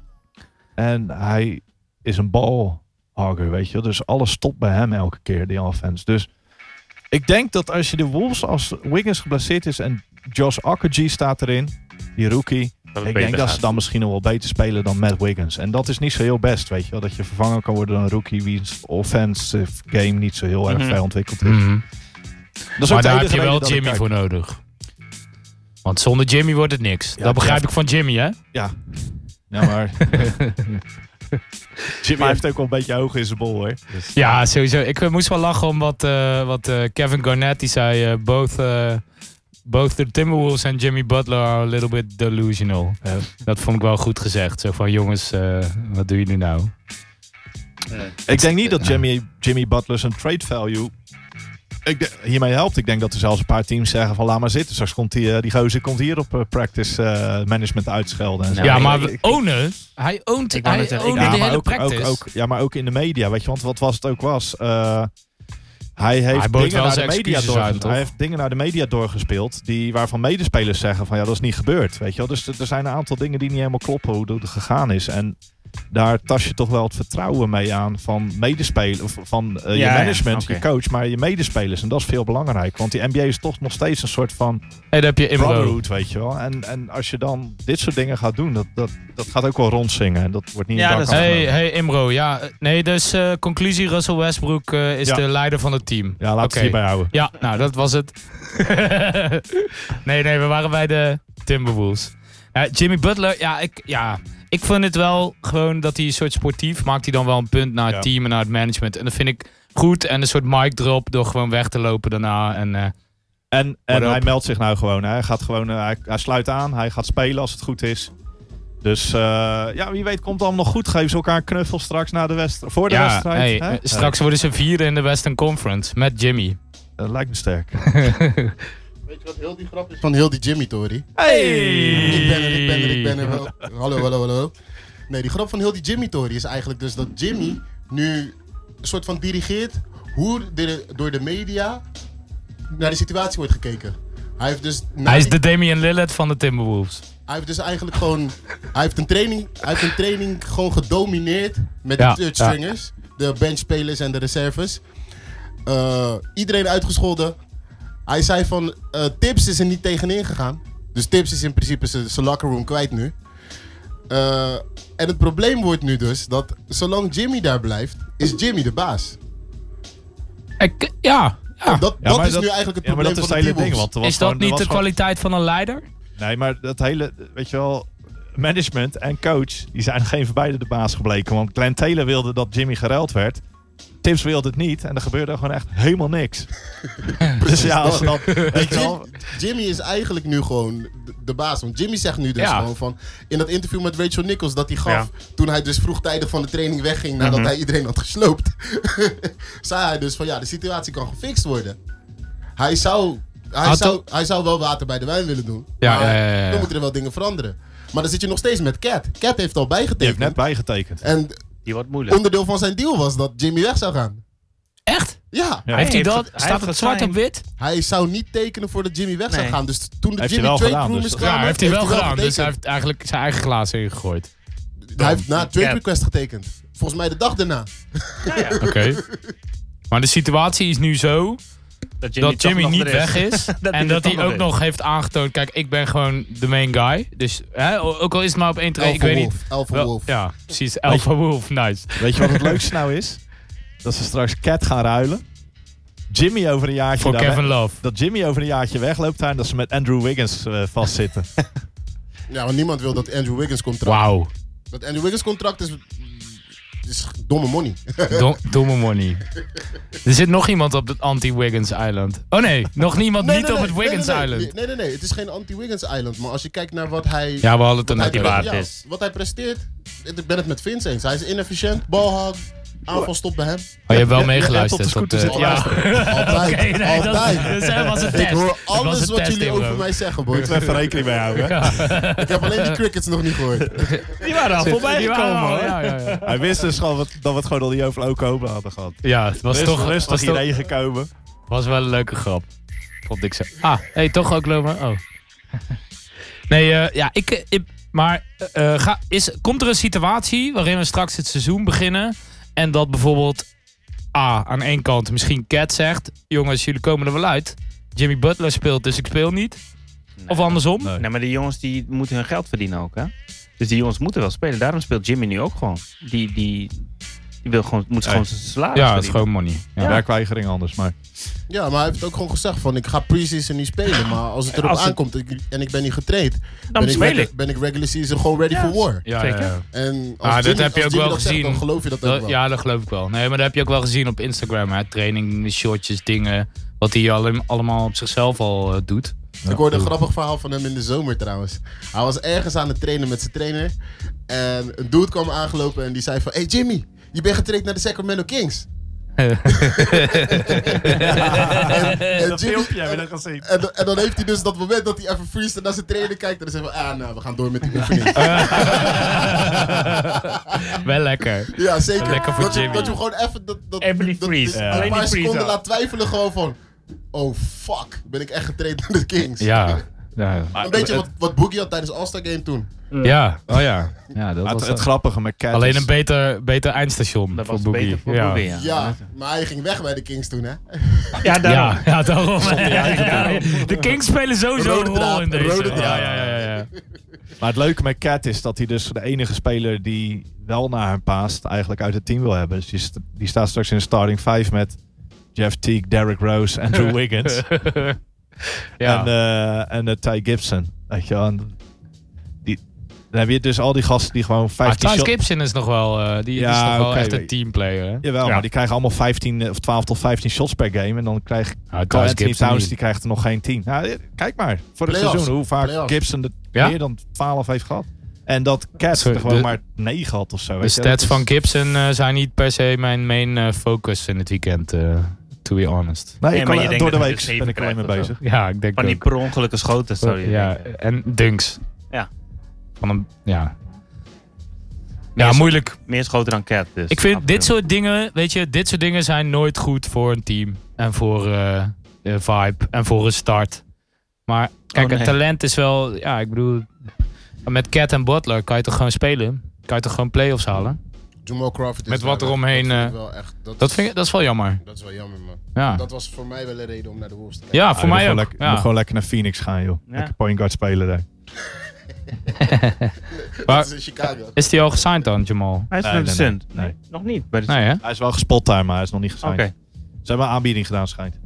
Speaker 3: En hij is een balhugger, weet je. wel. Dus alles stopt bij hem elke keer, die offense. Dus ik denk dat als je de Wolves, als Wiggins geblesseerd is en Josh Okogie staat erin, die rookie. Ik denk dat ze dan misschien nog wel beter spelen dan Matt Wiggins. En dat is niet zo heel best, weet je. wel. Dat je vervangen kan worden door een rookie wiens offensive game niet zo heel erg
Speaker 2: Mhm.
Speaker 3: ver ontwikkeld is.
Speaker 1: Mhm.
Speaker 3: Dat is ook de
Speaker 1: Maar daar heb
Speaker 3: enige
Speaker 1: je
Speaker 3: reden
Speaker 1: wel
Speaker 3: dat ik
Speaker 1: Jimmy
Speaker 3: kijk.
Speaker 1: voor nodig. Want zonder Jimmy wordt het niks.
Speaker 3: Ja,
Speaker 1: dat begrijp
Speaker 3: ja.
Speaker 1: ik van Jimmy, hè?
Speaker 3: Ja, maar... Jimmy heeft ook wel een beetje hoog in zijn bol, hoor. Dus-
Speaker 1: Ja, sowieso. Ik eh, moest wel lachen om wat, eh, wat eh, Kevin Garnett die zei. eh, both, eh, both the Timberwolves en Jimmy Butler are a little bit delusional.
Speaker 3: Ja.
Speaker 1: Dat vond ik wel goed gezegd. Zo van, jongens, eh, wat doen jullie nou?
Speaker 3: Ik denk niet dat Jimmy, Jimmy Butler zijn trade value ik de- hiermee helpt. Ik denk dat er zelfs een paar teams zeggen van laat maar zitten. Straks komt die, eh, die gozer komt hier op eh, practice eh, management uitschelden. En zo.
Speaker 2: Nou,
Speaker 1: ja,
Speaker 2: ik-
Speaker 1: maar
Speaker 2: ik-
Speaker 1: we ownen. Hij oont
Speaker 2: Ik wou
Speaker 1: hij
Speaker 2: net zeggen, ik-
Speaker 1: ownen
Speaker 3: Ja,
Speaker 1: de
Speaker 3: maar
Speaker 1: hele
Speaker 3: ook,
Speaker 1: practice.
Speaker 3: ook, ook- ja, maar ook in de media. Weet je, want wat was het ook was. eh, hij heeft,
Speaker 1: Hij bood
Speaker 3: dingen
Speaker 1: wel
Speaker 3: naar de
Speaker 1: zijn
Speaker 3: media
Speaker 1: excuses
Speaker 3: door,
Speaker 1: uit, toch?
Speaker 3: hij heeft dingen naar de media doorgespeeld. Die, waarvan medespelers zeggen: van ja, dat is niet gebeurd. Weet je wel? Dus er er zijn een aantal dingen die niet helemaal kloppen hoe dat gegaan is. En daar tas je toch wel het vertrouwen mee aan van medespelers. Of van eh,
Speaker 2: Ja,
Speaker 3: je
Speaker 2: ja,
Speaker 3: management,
Speaker 2: oké.
Speaker 3: je coach, maar je medespelers. En dat is veel belangrijk. Want die NBA is toch nog steeds een soort van
Speaker 1: Hey, daar heb je Imro.
Speaker 3: brotherhood, weet je wel. En, en als je dan dit soort dingen gaat doen, dat, dat, dat gaat ook wel rondzingen. En dat wordt niet
Speaker 2: Ja,
Speaker 3: in
Speaker 2: dat
Speaker 3: dank
Speaker 2: is-
Speaker 1: Hey,
Speaker 3: afgenomen.
Speaker 1: hey Imro, ja. eh, Nee, dus eh, conclusie, Russell Westbrook eh, is
Speaker 3: Ja.
Speaker 1: de leider van het team.
Speaker 3: Ja, laat het
Speaker 1: Oké.
Speaker 3: hierbij houden.
Speaker 1: Ja, nou, dat was het. nee, nee, we waren bij de Timberwolves. Eh, Jimmy Butler, ja ik, ja, ik vind het wel gewoon dat hij een soort sportief maakt. Hij dan wel een punt naar het
Speaker 3: Ja.
Speaker 1: team en naar het management. En dat vind ik goed. En een soort mic drop door gewoon weg te lopen daarna. En, eh,
Speaker 3: En, en
Speaker 1: Word
Speaker 3: hij
Speaker 1: up.
Speaker 3: meldt zich nou gewoon. hè. Hij, gaat gewoon eh, hij, hij sluit aan. Hij gaat spelen als het goed is. Dus eh, ja, wie weet komt het allemaal nog goed. Geven ze elkaar een knuffel straks na de wedst- voor de
Speaker 1: ja,
Speaker 3: wedstrijd.
Speaker 1: hey,
Speaker 3: hè?
Speaker 1: eh, straks worden ze vierde in de Western Conference met Jimmy.
Speaker 3: Eh, dat lijkt me sterk.
Speaker 4: Weet je wat heel die grap is van heel die Jimmy Tory? Ik ben er, ik ben er, ik ben er. wel. Hallo, hallo, hallo. Nee, die grap van heel die Jimmy Tory is eigenlijk dus dat Jimmy nu een soort van dirigeert hoe de, door de media naar de situatie wordt gekeken. Hij heeft dus, na
Speaker 1: Hij is
Speaker 4: die-
Speaker 1: de Damian Lillard van de Timberwolves.
Speaker 4: hij heeft dus eigenlijk gewoon, hij heeft een training, hij heeft een training gewoon gedomineerd met
Speaker 1: Ja,
Speaker 4: de third-stringers, de benchspelers en de reserves. Eh, iedereen uitgescholden. Hij zei van, eh, Tips is er niet tegenin gegaan. Dus Tips is in principe zijn zijn locker room kwijt nu. Eh, en het probleem wordt nu dus dat zolang Jimmy daar blijft, is Jimmy de baas.
Speaker 1: Ik, ja, ja.
Speaker 4: Dat,
Speaker 3: Ja,
Speaker 4: dat
Speaker 3: maar Oh,
Speaker 4: is
Speaker 3: dat-
Speaker 4: nu eigenlijk
Speaker 3: Ja, maar
Speaker 4: het probleem
Speaker 3: dat is het
Speaker 4: van
Speaker 3: hele ding.
Speaker 4: de Timberwolves.
Speaker 3: Want er was
Speaker 1: is dat
Speaker 3: gewoon- er
Speaker 1: niet
Speaker 3: was
Speaker 1: de
Speaker 3: gewoon-
Speaker 1: kwaliteit van een leider?
Speaker 3: Nee, maar dat hele, weet je wel, management en coach, die zijn geen van beide de baas gebleken. Want Glenn Taylor wilde dat Jimmy geruild werd. Tips wilde het niet en er gebeurde gewoon echt helemaal niks. dus ja, als je dan, weet je wel,
Speaker 4: Jim- Jimmy is eigenlijk nu gewoon de, de baas. Want Jimmy zegt nu dus
Speaker 1: Ja.
Speaker 4: gewoon van... In dat interview met Rachel Nichols dat hij gaf...
Speaker 2: Ja.
Speaker 4: toen hij dus vroegtijdig van de training wegging... nadat
Speaker 1: Mhm.
Speaker 4: hij iedereen had gesloopt... zei hij dus van ja, de situatie kan gefixt worden. Hij zou, hij
Speaker 1: Had
Speaker 4: zou, hij zou wel water bij de wijn willen doen.
Speaker 1: Ja,
Speaker 4: maar
Speaker 1: ja, ja, ja, ja.
Speaker 4: dan moeten er wel dingen veranderen. Maar dan zit je nog steeds met Cat. Cat heeft al
Speaker 3: die heeft
Speaker 4: bijgetekend.
Speaker 3: net bijgetekend.
Speaker 4: En
Speaker 2: Die wordt moeilijk.
Speaker 4: Onderdeel van zijn deal was dat Jimmy weg zou gaan.
Speaker 1: Echt?
Speaker 4: Ja,
Speaker 3: Ja.
Speaker 1: heeft hij
Speaker 2: heeft
Speaker 1: dat?
Speaker 2: het- hij
Speaker 1: Staat
Speaker 2: heeft
Speaker 1: het
Speaker 2: het
Speaker 1: zwart
Speaker 2: zijn.
Speaker 1: op wit?
Speaker 4: hij zou niet tekenen voordat Jimmy weg zou
Speaker 2: Nee.
Speaker 4: gaan. Dus toen de
Speaker 3: Heeft hij
Speaker 4: Jimmy
Speaker 3: wel
Speaker 4: trade
Speaker 3: gedaan,
Speaker 4: room
Speaker 3: dus
Speaker 4: is
Speaker 3: dat-
Speaker 4: klaar,
Speaker 1: Ja, heeft hij wel gedaan. Dus hij
Speaker 4: getekend.
Speaker 1: heeft eigenlijk zijn eigen glazen ingegooid.
Speaker 4: Hij heeft na een trade
Speaker 2: Ja.
Speaker 4: request getekend. Volgens mij de dag daarna.
Speaker 1: Oké. Maar de situatie is nu zo
Speaker 2: Dat Jimmy,
Speaker 1: dat Jimmy
Speaker 2: toch nog
Speaker 1: niet
Speaker 2: er
Speaker 1: weg is. en
Speaker 2: hij
Speaker 1: dat
Speaker 2: toch
Speaker 1: hij
Speaker 2: nog
Speaker 1: ook
Speaker 2: is.
Speaker 1: nog heeft aangetoond, kijk, ik ben gewoon de main guy. Dus hè, o- ook al is het maar op één trade, ik weet niet.
Speaker 4: Wolf. Alpha
Speaker 1: Wel,
Speaker 4: Wolf.
Speaker 1: ja, precies. Alpha Wolf, nice.
Speaker 3: Weet je wat het leukste nou is? Dat ze straks Cat gaan ruilen. Jimmy over een jaartje...
Speaker 1: Voor
Speaker 3: daar weg-
Speaker 1: Kevin Love.
Speaker 3: dat Jimmy over een jaartje wegloopt daar en dat ze met Andrew Wiggins eh, vastzitten.
Speaker 4: Ja, want niemand wil dat Andrew Wiggins contract.
Speaker 1: Wauw.
Speaker 4: Dat Andrew Wiggins contract is, is domme money.
Speaker 1: Dom- Domme money. Er zit nog iemand op het anti-Wiggins Island. Oh nee, nog niemand niet op het Wiggins
Speaker 4: nee, nee,
Speaker 1: Island.
Speaker 4: Nee, nee, nee. Het is geen anti-Wiggins Island. Maar als je kijkt naar wat hij...
Speaker 1: Ja, we hadden het er
Speaker 4: hij
Speaker 1: net
Speaker 2: waard
Speaker 1: over.
Speaker 4: pre-
Speaker 2: is.
Speaker 4: Wat hij presteert. Ik ben het met Vince eens. Hij is inefficiënt. Balhag. Aanval stopt bij hem.
Speaker 1: Oh, je hebt wel
Speaker 3: Ja, ja, op
Speaker 1: meegeluisterd.
Speaker 3: de scooter
Speaker 1: dat, eh,
Speaker 3: zitten
Speaker 1: ja.
Speaker 4: Altijd.
Speaker 1: Oké, nee, dat,
Speaker 4: altijd.
Speaker 1: dat was een test.
Speaker 4: Ik hoor
Speaker 1: Dat was
Speaker 4: alles
Speaker 1: een
Speaker 4: wat
Speaker 1: test,
Speaker 4: jullie
Speaker 1: Imro.
Speaker 4: over mij zeggen, boys.
Speaker 3: Moeten we even rekening mee houden. hè?
Speaker 4: Ik heb alleen die crickets nog niet gehoord.
Speaker 2: Die waren al voorbij
Speaker 1: Die
Speaker 2: gekomen
Speaker 1: waren al,
Speaker 2: hoor.
Speaker 1: Ja, ja, ja.
Speaker 3: Hij wist dus gewoon wat, dat we het gewoon al die over Oklahoma hadden gehad.
Speaker 1: ja, het was
Speaker 3: Rust-
Speaker 1: toch
Speaker 3: rustig
Speaker 1: was, toch-
Speaker 3: hierheen gekomen.
Speaker 1: was wel een leuke grap. Vond ik zo. Ah, hey, toch ook lopen. Oh. Nee, eh, ja, ik, eh, ik- maar eh, ga, is, komt er een situatie waarin we straks het seizoen beginnen en dat bijvoorbeeld A, aan één kant misschien Cat zegt, jongens, jullie komen er wel uit. Jimmy Butler speelt, dus ik speel niet. Of andersom.
Speaker 3: Nee.
Speaker 2: Nee, maar die jongens die moeten hun geld verdienen ook, hè? Dus die jongens moeten wel spelen. Daarom speelt Jimmy nu ook gewoon. Die, die, die wil gewoon, moet
Speaker 3: Ja.
Speaker 2: gewoon zijn salaris
Speaker 1: Ja, het is
Speaker 2: verdienen.
Speaker 1: gewoon money.
Speaker 3: Ja. Werkweigering anders, maar
Speaker 4: Ja, maar hij heeft ook gewoon gezegd van ik ga pre-season niet spelen. Maar als het erop
Speaker 2: Als het-
Speaker 4: aankomt ik- en ik ben niet getraind,
Speaker 2: Dan
Speaker 4: ben ik,
Speaker 2: speel
Speaker 4: regu-
Speaker 2: ik.
Speaker 4: ben ik regular season gewoon ready for war.
Speaker 1: Ja,
Speaker 2: Zeker.
Speaker 1: ja, ja.
Speaker 4: En als
Speaker 1: Ah, dat
Speaker 4: Jimmy-
Speaker 1: heb
Speaker 4: als
Speaker 1: je ook
Speaker 4: Jimmy
Speaker 1: wel
Speaker 4: dat zegt,
Speaker 1: gezien.
Speaker 4: dan geloof je dat ook
Speaker 1: Dat-
Speaker 4: wel.
Speaker 1: ja, dat geloof ik wel. Nee, maar dat heb je ook wel gezien op Instagram. Hè? Training, shortjes, dingen. Wat hij alle- allemaal op zichzelf al eh, doet.
Speaker 4: Ik hoorde een
Speaker 1: Oeh.
Speaker 4: grappig verhaal van hem in de zomer trouwens. Hij was ergens aan het trainen met zijn trainer. En een dude kwam aangelopen en die zei van... Hey Jimmy, je bent getraind naar de Sacramento Kings. en, en Jimmy,
Speaker 3: hebben we dat gezien.
Speaker 4: en, dan- en dan heeft hij dus dat moment dat hij even freest en naar zijn trainer kijkt. En dan zegt hij van... Ah, nou, we gaan door met die oefening.
Speaker 1: wel lekker.
Speaker 4: Ja, zeker.
Speaker 1: Lekker voor
Speaker 4: dat, je,
Speaker 1: Jimmy.
Speaker 4: dat je hem gewoon even... Dat, dat,
Speaker 2: Even die
Speaker 4: dat-
Speaker 2: freeze.
Speaker 4: dat-
Speaker 3: Ja.
Speaker 4: dat
Speaker 2: Alleen
Speaker 4: Een
Speaker 2: die
Speaker 4: paar
Speaker 2: freeze
Speaker 4: seconden
Speaker 2: al.
Speaker 4: laat twijfelen gewoon van... Oh, fuck. Ben ik echt getraind naar de Kings?
Speaker 1: Ja. Ja.
Speaker 4: Een beetje wat, wat Boogie had tijdens All-Star Game toen.
Speaker 1: ja. Oh ja. ja dat
Speaker 3: Het,
Speaker 1: was
Speaker 3: het,
Speaker 1: dat.
Speaker 3: grappige met Cat
Speaker 1: Alleen
Speaker 3: is-
Speaker 1: een beter, beter eindstation
Speaker 2: Dat
Speaker 1: voor
Speaker 2: was
Speaker 1: Boogie.
Speaker 2: beter voor
Speaker 1: ja.
Speaker 2: Boogie, ja.
Speaker 4: Ja, maar hij ging weg bij de Kings toen, hè?
Speaker 2: Ja, daarom.
Speaker 1: Ja, ja, daarom. Ja, de Kings spelen sowieso
Speaker 4: Rode
Speaker 1: een
Speaker 4: draad,
Speaker 1: rol in deze.
Speaker 4: rode
Speaker 1: ja,
Speaker 4: draad.
Speaker 1: ja, ja, ja, ja.
Speaker 3: Maar het leuke met Cat is dat hij dus de enige speler die wel naar hem paast, eigenlijk uit het team wil hebben. Dus die, st- die staat straks in de starting 5 met Jeff Teague, Derrick Rose, Andrew Wiggins
Speaker 1: Ja.
Speaker 3: en, eh, en eh, Ty Gibson. Weet je wel. En Die, dan heb je dus al die gasten die gewoon
Speaker 1: maar
Speaker 3: 15
Speaker 1: Taj
Speaker 3: shots...
Speaker 1: Gibson is nog wel, eh, die, die is
Speaker 3: Ja,
Speaker 1: nog wel
Speaker 3: oké,
Speaker 1: echt een
Speaker 3: weet-
Speaker 1: teamplayer. Hè?
Speaker 3: Jawel,
Speaker 1: Ja.
Speaker 3: maar die krijgen allemaal 15 of 12 tot 15 shots per game. En dan krijgt
Speaker 1: Nou,
Speaker 3: Carl
Speaker 1: Taj
Speaker 3: Anthony
Speaker 1: Gibson
Speaker 3: Towns
Speaker 1: niet.
Speaker 3: die krijgt er nog geen 10. Nou, eh, kijk maar, voor het
Speaker 4: Playoffs.
Speaker 3: seizoen hoe vaak
Speaker 4: Playoffs.
Speaker 3: Gibson er
Speaker 1: Ja.
Speaker 3: meer dan 12 heeft gehad. En dat Cat
Speaker 1: Sorry,
Speaker 3: er gewoon
Speaker 1: de-
Speaker 3: maar 9 had of zo.
Speaker 1: De
Speaker 3: weet je. Dus- Dat
Speaker 1: stats
Speaker 3: is-
Speaker 1: van Gibson eh, zijn niet per se mijn main eh, focus in het weekend, eh, to be honest.
Speaker 3: Nee,
Speaker 2: Nee,
Speaker 3: ik
Speaker 2: maar
Speaker 3: kan-
Speaker 2: je denkt
Speaker 3: door de
Speaker 2: dat je
Speaker 3: week
Speaker 2: er
Speaker 3: ben
Speaker 2: zeven
Speaker 3: ik alleen mee
Speaker 2: krijgt of
Speaker 3: bezig.
Speaker 1: Ja, ik denk
Speaker 2: Van die
Speaker 1: ook.
Speaker 2: per ongelukke schoten, zou je
Speaker 1: ja,
Speaker 2: denken.
Speaker 1: en dunks.
Speaker 2: Ja.
Speaker 1: Van een, ja.
Speaker 2: Meer
Speaker 1: Ja,
Speaker 2: is-
Speaker 1: moeilijk.
Speaker 2: Meer schoten dan Cat dus.
Speaker 1: Ik vind dit
Speaker 2: Absoluut.
Speaker 1: soort dingen, weet je, dit soort dingen zijn nooit goed voor een team. En voor eh, de vibe en voor een start. Maar kijk,
Speaker 2: Oh, nee.
Speaker 1: een talent is wel, ja, ik bedoel, met Cat en Butler kan je toch gewoon spelen? Kan je toch gewoon play-offs halen?
Speaker 4: Jamal Crawford is
Speaker 1: Met wat
Speaker 4: daar-
Speaker 1: eromheen,
Speaker 4: Dat, vind ik
Speaker 1: eh,
Speaker 4: wel echt, dat,
Speaker 1: Dat, vind ik, dat is wel jammer.
Speaker 4: dat is wel jammer, man.
Speaker 1: Ja,
Speaker 4: Dat was voor mij wel een reden om naar de Wolves te kijken.
Speaker 1: ja
Speaker 3: Ja,
Speaker 1: Ah, voor
Speaker 3: je moet
Speaker 1: mij
Speaker 3: gewoon
Speaker 1: ook.
Speaker 3: lekker- je
Speaker 1: Ja.
Speaker 3: moet gewoon lekker naar Phoenix gaan, joh.
Speaker 2: Ja.
Speaker 3: Lekker point guard spelen daar.
Speaker 1: Maar
Speaker 4: Dat is in Chicago.
Speaker 1: is die al gesigned dan, Jamal?
Speaker 2: Hij is
Speaker 3: Nee,
Speaker 2: naar de
Speaker 3: nee, nee,
Speaker 2: Suns.
Speaker 3: nee.
Speaker 2: Nee, Nog niet. Bij de
Speaker 1: Nee, hè?
Speaker 3: Hij is wel gespot daar, maar hij is nog niet
Speaker 2: Suns. Oké.
Speaker 3: gesigned. Ze hebben een aanbieding gedaan, schijnt.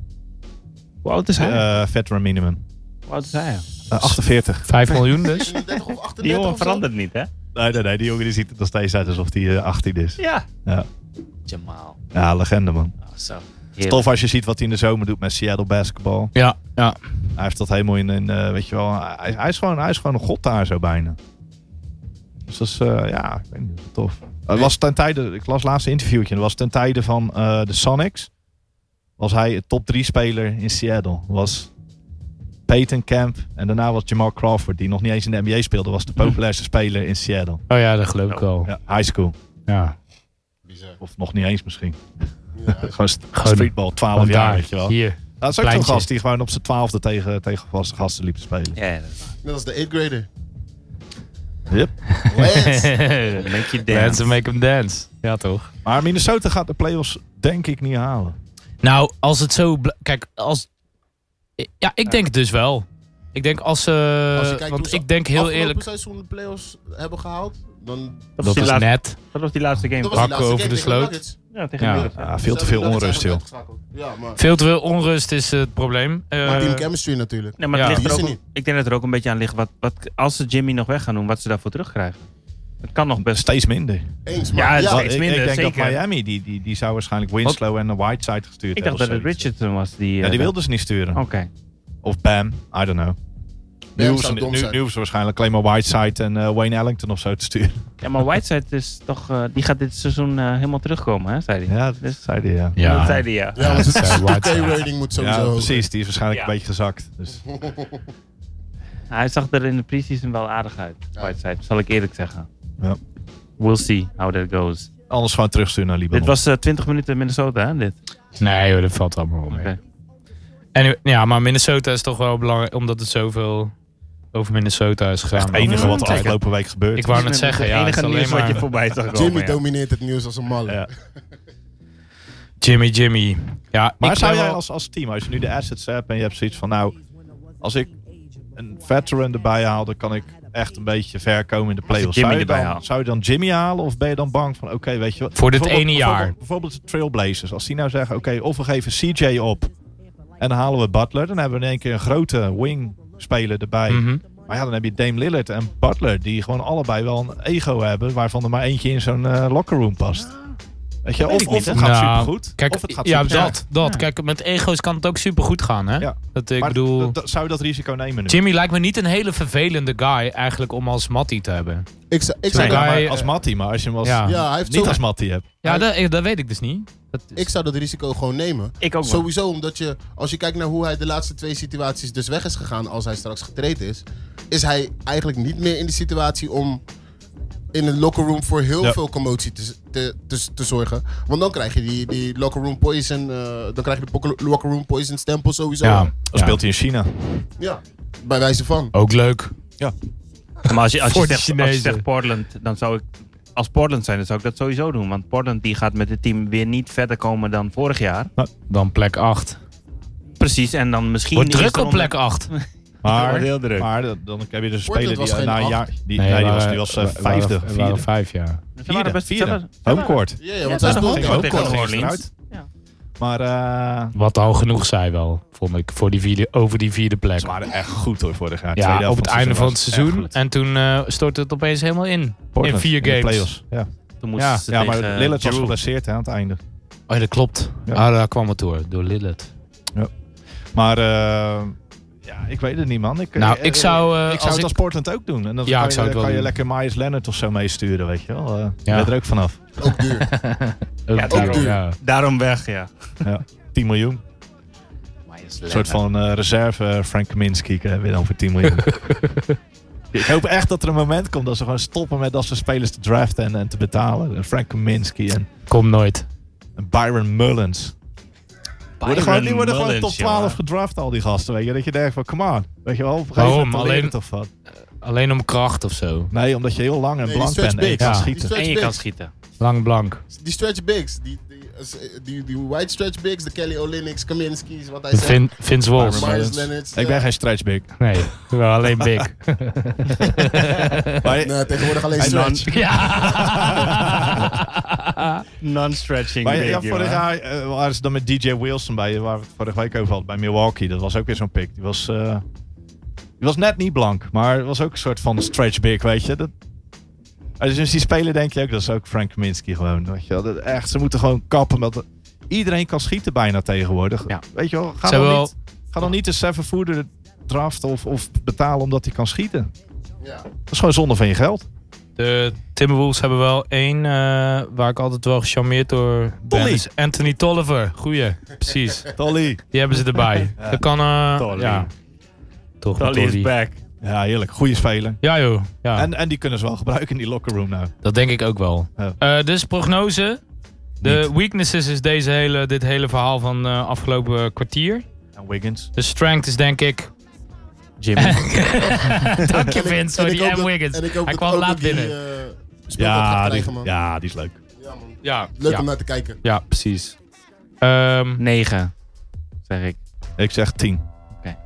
Speaker 2: Hoe oud is hij?
Speaker 3: Eh veteran minimum.
Speaker 2: Hoe oud is hij? ja?
Speaker 3: Eh, 48.
Speaker 1: 5 miljoen dus.
Speaker 4: 30 of 38
Speaker 2: Die jongen
Speaker 4: of zo.
Speaker 2: verandert niet, hè?
Speaker 3: Nee, nee, nee. Die jongen die ziet het nog steeds uit alsof hij eh, 18 is. Ah,
Speaker 2: Ja.
Speaker 3: Ja.
Speaker 2: Jamal.
Speaker 3: ja, legende, man.
Speaker 2: Oh, zo.
Speaker 3: Tof als je ziet wat hij in de zomer doet met Seattle basketbal.
Speaker 1: Ja, ja.
Speaker 3: Hij heeft dat helemaal in, in, eh, weet je wel, hij, hij is gewoon, hij is gewoon een god daar zo bijna. Dus dat is, eh, ja, ik weet niet, tof. Het was ten tijde, ik las het laatste interviewtje, dat was ten tijde van eh, de Sonics, was hij het top drie speler in Seattle. Was Peyton Camp en daarna was Jamal Crawford, die nog niet eens in de NBA speelde, was de populairste speler in Seattle.
Speaker 1: Oh Hm. ja, dat geloof ik wel.
Speaker 3: Ja, high school.
Speaker 1: Ja.
Speaker 4: Bizar.
Speaker 3: Of nog niet eens misschien.
Speaker 4: Ja,
Speaker 3: Gewoon st-
Speaker 1: Gewoon-
Speaker 3: streetball, 12
Speaker 1: Want
Speaker 3: jaar,
Speaker 1: daar,
Speaker 3: weet je wel.
Speaker 1: Hier.
Speaker 3: Dat is ook zo'n
Speaker 1: Kleintje.
Speaker 3: gast die gewoon op zijn twaalfde tegen, tegen vaste gasten liep te spelen.
Speaker 2: Ja, dat is waar.
Speaker 4: Net als de 8th grader.
Speaker 3: Yep.
Speaker 4: Let's.
Speaker 2: Make you dance.
Speaker 1: Dance and make them dance. Ja, toch?
Speaker 3: Maar Minnesota gaat de playoffs denk ik niet halen.
Speaker 1: Nou, als het zo... bl- Kijk, als... Ja, ik denk het dus wel. Ik denk als ze...
Speaker 4: Als je kijkt hoe
Speaker 1: want
Speaker 4: ze
Speaker 1: ik denk heel
Speaker 4: Afgelopen
Speaker 1: eerlijk...
Speaker 4: seizoen de playoffs hebben gehaald, dan...
Speaker 2: Dat was
Speaker 1: Dat
Speaker 2: die
Speaker 1: is
Speaker 2: laatste-
Speaker 1: net.
Speaker 2: dat was die laatste game.
Speaker 4: Dat was
Speaker 1: Hakken
Speaker 4: de laatste
Speaker 1: over
Speaker 4: game
Speaker 1: de
Speaker 4: tegen
Speaker 1: sloot.
Speaker 4: Nuggets.
Speaker 2: Ja, tegen
Speaker 1: Ja.
Speaker 2: Nuggets,
Speaker 3: Ah, veel te
Speaker 4: Ze
Speaker 3: veel
Speaker 4: hebben de
Speaker 3: onrust, joh.
Speaker 4: Nuggets eigenlijk uitgeschakeld. Ja, maar...
Speaker 1: Veel te veel onrust is eh, het probleem.
Speaker 4: Maar
Speaker 1: Eh,
Speaker 4: team chemistry natuurlijk.
Speaker 2: Nee, maar het
Speaker 1: Ja.
Speaker 2: ligt er
Speaker 4: Die
Speaker 2: ook,
Speaker 4: is er
Speaker 2: ik denk dat er ook een beetje aan ligt wat, wat als ze Jimmy nog weg gaan doen, wat ze daarvoor terugkrijgen. Het kan nog best.
Speaker 3: Steeds minder.
Speaker 4: Eens,
Speaker 2: Ja,
Speaker 4: maar...
Speaker 2: het
Speaker 4: Ja,
Speaker 2: zal-
Speaker 3: ik,
Speaker 2: Steeds
Speaker 3: ik
Speaker 2: minder,
Speaker 3: denk dat
Speaker 2: zeker.
Speaker 3: Miami, die, die, die zou waarschijnlijk Winslow en Whiteside gestuurd
Speaker 2: Ik
Speaker 3: hebben. of
Speaker 2: dacht dat het
Speaker 3: zoiets.
Speaker 2: Richardson was die. eh,
Speaker 3: Ja, die
Speaker 2: dat-
Speaker 3: wilden ze niet sturen.
Speaker 2: Oké.
Speaker 3: Of Bam, I don't know. Nu
Speaker 4: zou
Speaker 3: hoeven ze,
Speaker 4: dom
Speaker 3: nu, nu
Speaker 4: zijn.
Speaker 3: hoeven ze waarschijnlijk alleen maar Whiteside en eh, Wayne Ellington of zo te sturen.
Speaker 2: Ja, maar Whiteside is toch, eh, die gaat dit seizoen eh, helemaal terugkomen, hè, zei hij.
Speaker 3: Ja, dat
Speaker 2: Dus-
Speaker 3: zei hij, ja.
Speaker 1: Ja.
Speaker 2: Dat zei hij, ja.
Speaker 4: Ja, want
Speaker 1: Ja,
Speaker 4: de
Speaker 1: Whiteside.
Speaker 4: K-rating moet sowieso
Speaker 3: eh,
Speaker 4: Mhm.
Speaker 3: Ja,
Speaker 4: hoog.
Speaker 3: precies. Die is waarschijnlijk
Speaker 2: Ja.
Speaker 3: een beetje gezakt. Dus.
Speaker 2: Hij zag er in de pre-season wel aardig uit,
Speaker 4: Ja.
Speaker 2: Whiteside, zal ik eerlijk zeggen.
Speaker 3: Ja.
Speaker 2: We'll see how that goes.
Speaker 3: Anders gewoon terugsturen naar Libanon.
Speaker 2: Dit was eh, 20 minuten Minnesota, hè, dit?
Speaker 1: Nee joh, dat valt allemaal wel mee.
Speaker 2: Oké.
Speaker 1: Anyway, ja, maar Minnesota is toch wel belangrijk, omdat het zoveel over Minnesota is gegaan.
Speaker 3: het enige wat de
Speaker 2: Kijk,
Speaker 3: afgelopen week gebeurd
Speaker 1: Ik
Speaker 3: is.
Speaker 1: wou net zeggen,
Speaker 2: Het
Speaker 1: ja, het
Speaker 2: enige
Speaker 1: is alleen
Speaker 2: nieuws wat
Speaker 1: maar
Speaker 2: je voorbij zag komen,
Speaker 4: Jimmy
Speaker 2: ja.
Speaker 4: domineert het nieuws als een malle.
Speaker 3: Ja.
Speaker 1: Jimmy, Jimmy. Ja,
Speaker 3: Maar
Speaker 1: ik
Speaker 3: zou
Speaker 1: ben
Speaker 3: jij
Speaker 1: wel-
Speaker 3: als, als team, als je nu de assets hebt en je hebt zoiets van, nou, als ik een veteran erbij haal, dan kan ik echt een beetje ver komen in de
Speaker 2: je
Speaker 3: playoffs.
Speaker 2: Jimmy
Speaker 3: zou, je
Speaker 2: erbij
Speaker 3: dan,
Speaker 2: haalt.
Speaker 3: zou je dan Jimmy halen of ben je dan bang van, oké, weet je wat.
Speaker 1: Voor dit
Speaker 3: bijvoorbeeld-
Speaker 1: ene jaar.
Speaker 3: Bijvoorbeeld, bijvoorbeeld de Trailblazers. Als die nou zeggen, oké, of we geven CJ op en dan halen we Butler, dan hebben we in één keer een grote wing speler erbij.
Speaker 1: Mhm.
Speaker 3: Maar ja, dan heb je Dame Lillard en Butler, die gewoon allebei wel een ego hebben, waarvan er maar eentje in zo'n eh, locker room past. Weet je,
Speaker 2: weet
Speaker 3: of,
Speaker 2: ik
Speaker 3: of
Speaker 2: niet, hè?
Speaker 3: het gaat
Speaker 1: Nou,
Speaker 3: supergoed,
Speaker 1: Kijk,
Speaker 3: of het gaat
Speaker 1: ja,
Speaker 3: superslecht.
Speaker 1: dat, dat.
Speaker 2: Ja.
Speaker 1: Kijk, met ego's kan het ook supergoed gaan, hè?
Speaker 3: Ja.
Speaker 1: Dat, ik
Speaker 3: Maar
Speaker 1: bedoel,
Speaker 3: d- d- zou je dat risico nemen nu?
Speaker 1: Jimmy lijkt me niet een hele vervelende guy eigenlijk om als mattie te hebben.
Speaker 4: Ik zou, ik,
Speaker 3: Nee,
Speaker 4: zou
Speaker 1: Sorry.
Speaker 4: dat,
Speaker 3: ja, maar
Speaker 1: Hij,
Speaker 3: als
Speaker 1: eh,
Speaker 3: Matty, maar als je hem als,
Speaker 1: ja.
Speaker 4: ja, hij heeft
Speaker 3: niet
Speaker 4: zo,
Speaker 3: als Matty hebt.
Speaker 1: Ja,
Speaker 4: Hij-
Speaker 1: dat, eh, dat weet ik dus niet. Dat is-
Speaker 4: ik zou dat risico gewoon nemen.
Speaker 2: Ik
Speaker 3: Oh,
Speaker 2: ook wel.
Speaker 4: Sowieso, omdat je, als je kijkt naar hoe hij de laatste twee situaties dus weg is gegaan als hij straks getraind is, is hij eigenlijk niet meer in de situatie om in een locker room voor heel
Speaker 3: Ja.
Speaker 4: veel commotie te, te, te, te zorgen. Want dan krijg je die, die locker room poison, eh, dan krijg je de pok- locker room poison stempel sowieso.
Speaker 1: ja,
Speaker 3: Dan speelt hij in China.
Speaker 4: Ja, bij wijze van.
Speaker 1: ook leuk.
Speaker 2: Maar als je, als, je
Speaker 1: Voor de
Speaker 2: zegt, als je
Speaker 1: Chinezen.
Speaker 2: zegt Portland, dan zou ik... Als Portland zijn, dan zou ik dat sowieso doen. Want Portland die gaat met het team weer niet verder komen dan vorig jaar.
Speaker 1: Dan plek 8.
Speaker 2: Precies, en dan misschien...
Speaker 1: Wordt
Speaker 2: is
Speaker 1: druk
Speaker 2: er
Speaker 1: op
Speaker 2: onder-
Speaker 1: plek 8.
Speaker 3: Maar,
Speaker 2: wordt heel druk.
Speaker 3: maar dat- dan heb je dus een
Speaker 4: Portland
Speaker 3: speler
Speaker 4: was
Speaker 3: die eh,
Speaker 4: geen
Speaker 3: na een
Speaker 4: acht.
Speaker 3: jaar... Die, nee, die was, die was eh, vijfde, vierde.
Speaker 1: vijf, ja.
Speaker 2: Ze waren
Speaker 3: Vierde,
Speaker 2: best- ze
Speaker 3: vierde.
Speaker 2: waren- ze waren-
Speaker 3: Homecourt.
Speaker 4: Ja, ja want
Speaker 2: dat
Speaker 4: zij
Speaker 2: is een
Speaker 4: speelt
Speaker 2: hoop.
Speaker 4: tegen
Speaker 2: Ja,
Speaker 4: elkaar.
Speaker 2: tegen
Speaker 3: Homecourt
Speaker 2: New
Speaker 3: ging
Speaker 2: Orleans.
Speaker 3: eruit.
Speaker 2: Ja.
Speaker 3: Maar eh,
Speaker 1: Wat al genoeg zei wel, vond ik, voor die vierde, over die vierde plek.
Speaker 3: ze waren echt goed hoor vorig jaar. Tweede
Speaker 1: Ja,
Speaker 3: helft
Speaker 1: op het einde van het
Speaker 3: was echt
Speaker 1: seizoen.
Speaker 3: goed.
Speaker 1: En toen eh, stortte het opeens helemaal in.
Speaker 3: Portland
Speaker 1: in vier
Speaker 3: de
Speaker 1: games.
Speaker 3: playoffs, Ja,
Speaker 2: Toen moesten
Speaker 1: Ja.
Speaker 2: ze
Speaker 3: ja maar
Speaker 2: tegen eh,
Speaker 3: Lillard was
Speaker 2: Giroud.
Speaker 3: geblesseerd hè, aan het einde.
Speaker 1: Oh, ja, dat klopt.
Speaker 3: Ja.
Speaker 1: Ah, daar kwam het door, door Lillet.
Speaker 3: Maar eh, ja, ik weet het niet man. Ik,
Speaker 1: Nou,
Speaker 3: eh,
Speaker 1: ik zou, eh,
Speaker 3: ik
Speaker 1: als
Speaker 3: zou het
Speaker 1: ik-
Speaker 3: als Portland ook doen. En dan
Speaker 1: Ja,
Speaker 3: kan,
Speaker 1: ik zou
Speaker 3: je,
Speaker 1: het wel
Speaker 3: kan je
Speaker 1: doen.
Speaker 3: lekker Myers Leonard of zo meesturen, weet je wel. Eh, Je
Speaker 1: Ja.
Speaker 3: bent er ook vanaf.
Speaker 4: Ook duur.
Speaker 1: Ook
Speaker 2: ook
Speaker 1: daarom,
Speaker 4: duur.
Speaker 1: ja.
Speaker 2: Daarom weg, ja.
Speaker 3: Ja, 10 miljoen. Een soort van eh, reserve eh, Frank Kaminsky hebben we dan voor 10 miljoen. Ik hoop echt dat er een moment komt dat ze gewoon stoppen met dat ze spelers te draften en, en te betalen. Een Frank Kaminsky en
Speaker 1: Kom nooit.
Speaker 3: een Byron Mullins. Worden gewoon, die worden gewoon top 12 gedraft, al die gasten. Weet je? Dat je denkt van, come on. Weet je wel, op een gegeven
Speaker 1: Waarom?
Speaker 3: moment dan leer je
Speaker 1: Alleen-
Speaker 3: het toch van.
Speaker 1: Alleen om kracht of zo.
Speaker 3: Nee, omdat je heel lang en
Speaker 4: Nee, die
Speaker 3: blank
Speaker 4: stretch
Speaker 3: bent en je
Speaker 4: bigs.
Speaker 3: kan
Speaker 1: Ja.
Speaker 3: schieten.
Speaker 4: Die
Speaker 2: En je
Speaker 4: stretch
Speaker 2: kan
Speaker 4: bigs.
Speaker 2: schieten.
Speaker 1: Lang blank.
Speaker 4: Die stretch bigs, die, die, die, die white stretch bigs, de Kelly Olynyks, Kaminski's, wat hij
Speaker 1: De
Speaker 4: zegt. eh,
Speaker 1: Vin, Vince Wolves.
Speaker 3: Byron
Speaker 4: Myers
Speaker 3: Mullins.
Speaker 4: Leonard.
Speaker 3: Ik ben geen stretch big.
Speaker 1: Nee, wel alleen big.
Speaker 3: Maar,
Speaker 4: Nee, tegenwoordig alleen
Speaker 3: En dan-
Speaker 4: stretch.
Speaker 1: ja.
Speaker 2: Non-stretching.
Speaker 3: Maar ja, ja, vorig jaar eh, waren ze dan met DJ Wilson bij, waar we het vorige week over hadden, bij Milwaukee. Dat was ook weer zo'n pick. Die was, eh, die was net niet blank, maar het was ook een soort van stretch big, weet je. Dat, als je die spelen, denk je ook, dat is ook Frank Kaminsky gewoon. Weet je wel. Dat, echt, ze moeten gewoon kappen. Met, iedereen kan schieten bijna tegenwoordig.
Speaker 2: Ja.
Speaker 3: Weet je wel, ga
Speaker 1: Ze
Speaker 3: dan,
Speaker 1: hebben
Speaker 3: niet, ga dan niet een seven fooder draften of, of betalen omdat hij kan schieten.
Speaker 4: Ja.
Speaker 3: Dat is gewoon zonde van je geld.
Speaker 1: De Timberwolves hebben wel één eh, waar ik altijd wel gecharmeerd door ben.
Speaker 3: Tolly.
Speaker 1: is Anthony Tolliver. Goeie, precies.
Speaker 3: Tolly.
Speaker 1: Die hebben ze erbij.
Speaker 3: Ja.
Speaker 1: Dat kan... eh,
Speaker 3: Tolly.
Speaker 1: Ja. Toch een
Speaker 2: Tally is
Speaker 1: Tolly.
Speaker 2: back.
Speaker 3: Ja, heerlijk. Goeie speler.
Speaker 1: Ja joh. Ja.
Speaker 3: En, en die kunnen ze wel gebruiken in die locker room nou.
Speaker 1: Dat denk ik ook wel.
Speaker 3: Ja.
Speaker 1: Eh, dus prognose. De weaknesses is deze hele, dit hele verhaal van eh, afgelopen kwartier.
Speaker 3: En Wiggins.
Speaker 1: De strength is denk ik...
Speaker 2: Jimmy.
Speaker 1: Dank je
Speaker 4: En ik-
Speaker 1: Vince voor
Speaker 4: en
Speaker 1: die
Speaker 4: ik hoop
Speaker 1: M.
Speaker 4: dat-
Speaker 1: Wiggins.
Speaker 4: en ik hoop
Speaker 1: Hij
Speaker 4: dat
Speaker 1: kwam
Speaker 4: ook
Speaker 1: laat
Speaker 4: dat die,
Speaker 1: binnen.
Speaker 4: eh, speeltijd gaat
Speaker 3: Ja die,
Speaker 4: krijgen, man.
Speaker 3: ja, die is leuk.
Speaker 4: Ja, man.
Speaker 1: Ja,
Speaker 4: Leuk
Speaker 1: ja,
Speaker 4: om naar te kijken.
Speaker 1: ja, precies. Ehm,
Speaker 2: 9, zeg ik.
Speaker 3: Ik zeg 10.
Speaker 2: Oké.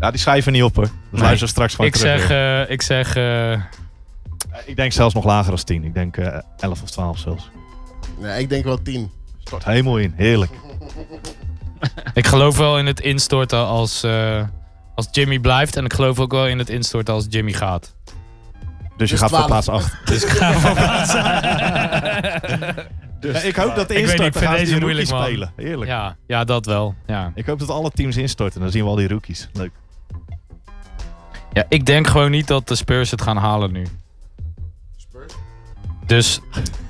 Speaker 3: Ja, die schrijven niet op hoor. Dus
Speaker 2: Nee.
Speaker 3: luister straks gewoon
Speaker 1: ik,
Speaker 3: terug
Speaker 1: zeg,
Speaker 3: weer.
Speaker 1: eh, ik zeg... eh,
Speaker 3: Eh, Ik denk zelfs nog lager dan 10. Ik denk eh 11 of 12 zelfs.
Speaker 4: Nee, ik denk wel 10.
Speaker 3: Stort helemaal in. Heerlijk.
Speaker 1: Ik geloof wel in het instorten als, eh, als Jimmy blijft. En ik geloof ook wel in het instorten als Jimmy gaat.
Speaker 3: Dus je
Speaker 4: Dus
Speaker 3: gaat voor
Speaker 4: 12.
Speaker 3: plaats 8.
Speaker 1: Dus ik ga voor plaats.
Speaker 3: Ja, ik hoop dat de
Speaker 1: Ik weet niet,
Speaker 3: instorten
Speaker 1: ik vind
Speaker 3: gaan
Speaker 1: deze
Speaker 3: die
Speaker 1: moeilijk,
Speaker 3: rookies
Speaker 1: man.
Speaker 3: spelen. Heerlijk.
Speaker 1: ja, ja, dat wel. Ja.
Speaker 3: Ik hoop dat alle teams instorten. Dan zien we al die rookies. Leuk.
Speaker 1: ja, ik denk gewoon niet dat de Spurs het gaan halen nu.
Speaker 4: Spurs?
Speaker 1: Dus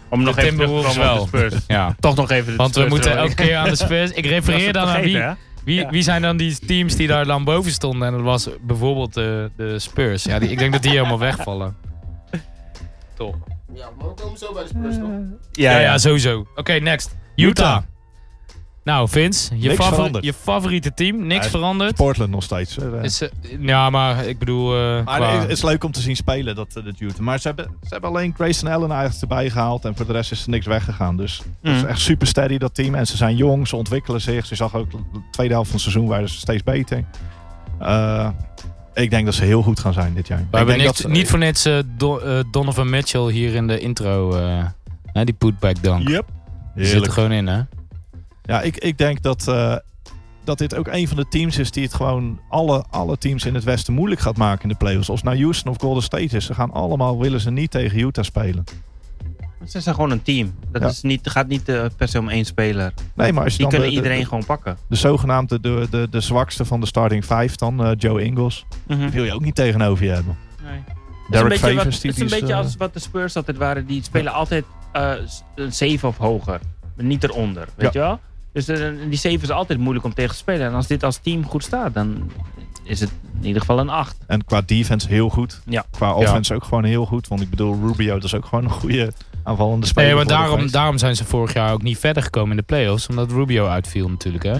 Speaker 2: Om nog
Speaker 1: De
Speaker 2: even terug te
Speaker 1: Timberwolves
Speaker 2: komen op de
Speaker 1: wel.
Speaker 2: Spurs.
Speaker 1: ja.
Speaker 2: Toch nog even de
Speaker 1: Want we
Speaker 2: Spurs
Speaker 1: moeten
Speaker 2: erover.
Speaker 1: elke keer aan de Spurs. Ik
Speaker 2: Ik was
Speaker 1: refereer
Speaker 2: het
Speaker 1: dan aan
Speaker 2: vergeten,
Speaker 1: wie.
Speaker 2: hè?
Speaker 1: Wie,
Speaker 2: Ja.
Speaker 1: wie zijn dan die teams die daar dan boven stonden? En dat was bijvoorbeeld de, de Spurs. Ja, die, ik denk dat die helemaal wegvallen. Toch?
Speaker 4: Ja, maar we komen zo bij de Spurs, toch?
Speaker 1: Ja, ja, sowieso. Oké, next. Utah.
Speaker 3: Utah.
Speaker 1: Nou, Vince, je,
Speaker 3: Niks
Speaker 1: favori-
Speaker 3: veranderd.
Speaker 1: je favoriete team. Niks
Speaker 3: Ja,
Speaker 1: veranderd.
Speaker 3: Portland nog steeds. eh, eh.
Speaker 1: Is, eh, ja, maar ik bedoel... eh,
Speaker 3: Maar
Speaker 1: qua-
Speaker 3: het is leuk om te zien spelen, dat, eh, dat Utah. Maar ze hebben, ze hebben alleen Grayson Allen eigenlijk erbij gehaald. En voor de rest is er niks weggegaan. Dus
Speaker 2: Mm.
Speaker 3: het is echt super steady, dat team. En ze zijn jong, ze ontwikkelen zich. Ze zag ook de tweede helft van het seizoen waren ze steeds beter. Eh, ik denk dat ze heel goed gaan zijn dit jaar.
Speaker 1: we
Speaker 3: ik
Speaker 1: hebben
Speaker 3: denk
Speaker 1: niks,
Speaker 3: dat ze-
Speaker 1: niet voor niets eh, Do- eh, Donovan Mitchell hier in de intro. eh, hè, die putback
Speaker 3: Yep.
Speaker 1: dunk. Die zit er
Speaker 3: Heerlijk.
Speaker 1: gewoon in, hè?
Speaker 3: Ja, ik, ik denk dat, eh, dat dit ook een van de teams is die het gewoon alle, alle teams in het Westen moeilijk gaat maken in de playoffs. Of het nou Houston of Golden State is. Ze gaan allemaal, willen ze niet tegen Utah spelen.
Speaker 2: Ze zijn gewoon een team. Dat
Speaker 3: Ja.
Speaker 2: is niet, gaat niet eh, per se om één speler.
Speaker 3: Nee, maar als je dan
Speaker 2: Die kunnen
Speaker 3: de- de-
Speaker 2: iedereen
Speaker 3: de-
Speaker 2: gewoon pakken.
Speaker 3: de zogenaamde de, de, de zwakste van de starting 5 dan, eh, Joe Ingles. Wil je ook niet tegenover je hebben.
Speaker 2: Nee. Het is een
Speaker 3: Derek
Speaker 2: beetje, wat,
Speaker 3: Favors,
Speaker 2: het
Speaker 3: die
Speaker 2: is een beetje
Speaker 3: eh,
Speaker 2: als wat de Spurs altijd waren. Die spelen altijd eh, s- een 7 of hoger. Maar niet eronder, weet je wel? Dus eh, die 7 is altijd moeilijk om tegen te spelen. En als dit als team goed staat, dan is het in ieder geval een 8.
Speaker 3: En qua defense heel goed.
Speaker 2: Ja.
Speaker 3: Qua offense ook gewoon heel goed. Want ik bedoel, Rubio dat is ook gewoon een goede aanvallende speler.
Speaker 1: Nee, want
Speaker 3: voor de
Speaker 1: daarom,
Speaker 3: Grizzlies.
Speaker 1: daarom zijn ze vorig jaar ook niet verder gekomen in de playoffs. Omdat Rubio uitviel natuurlijk, hè?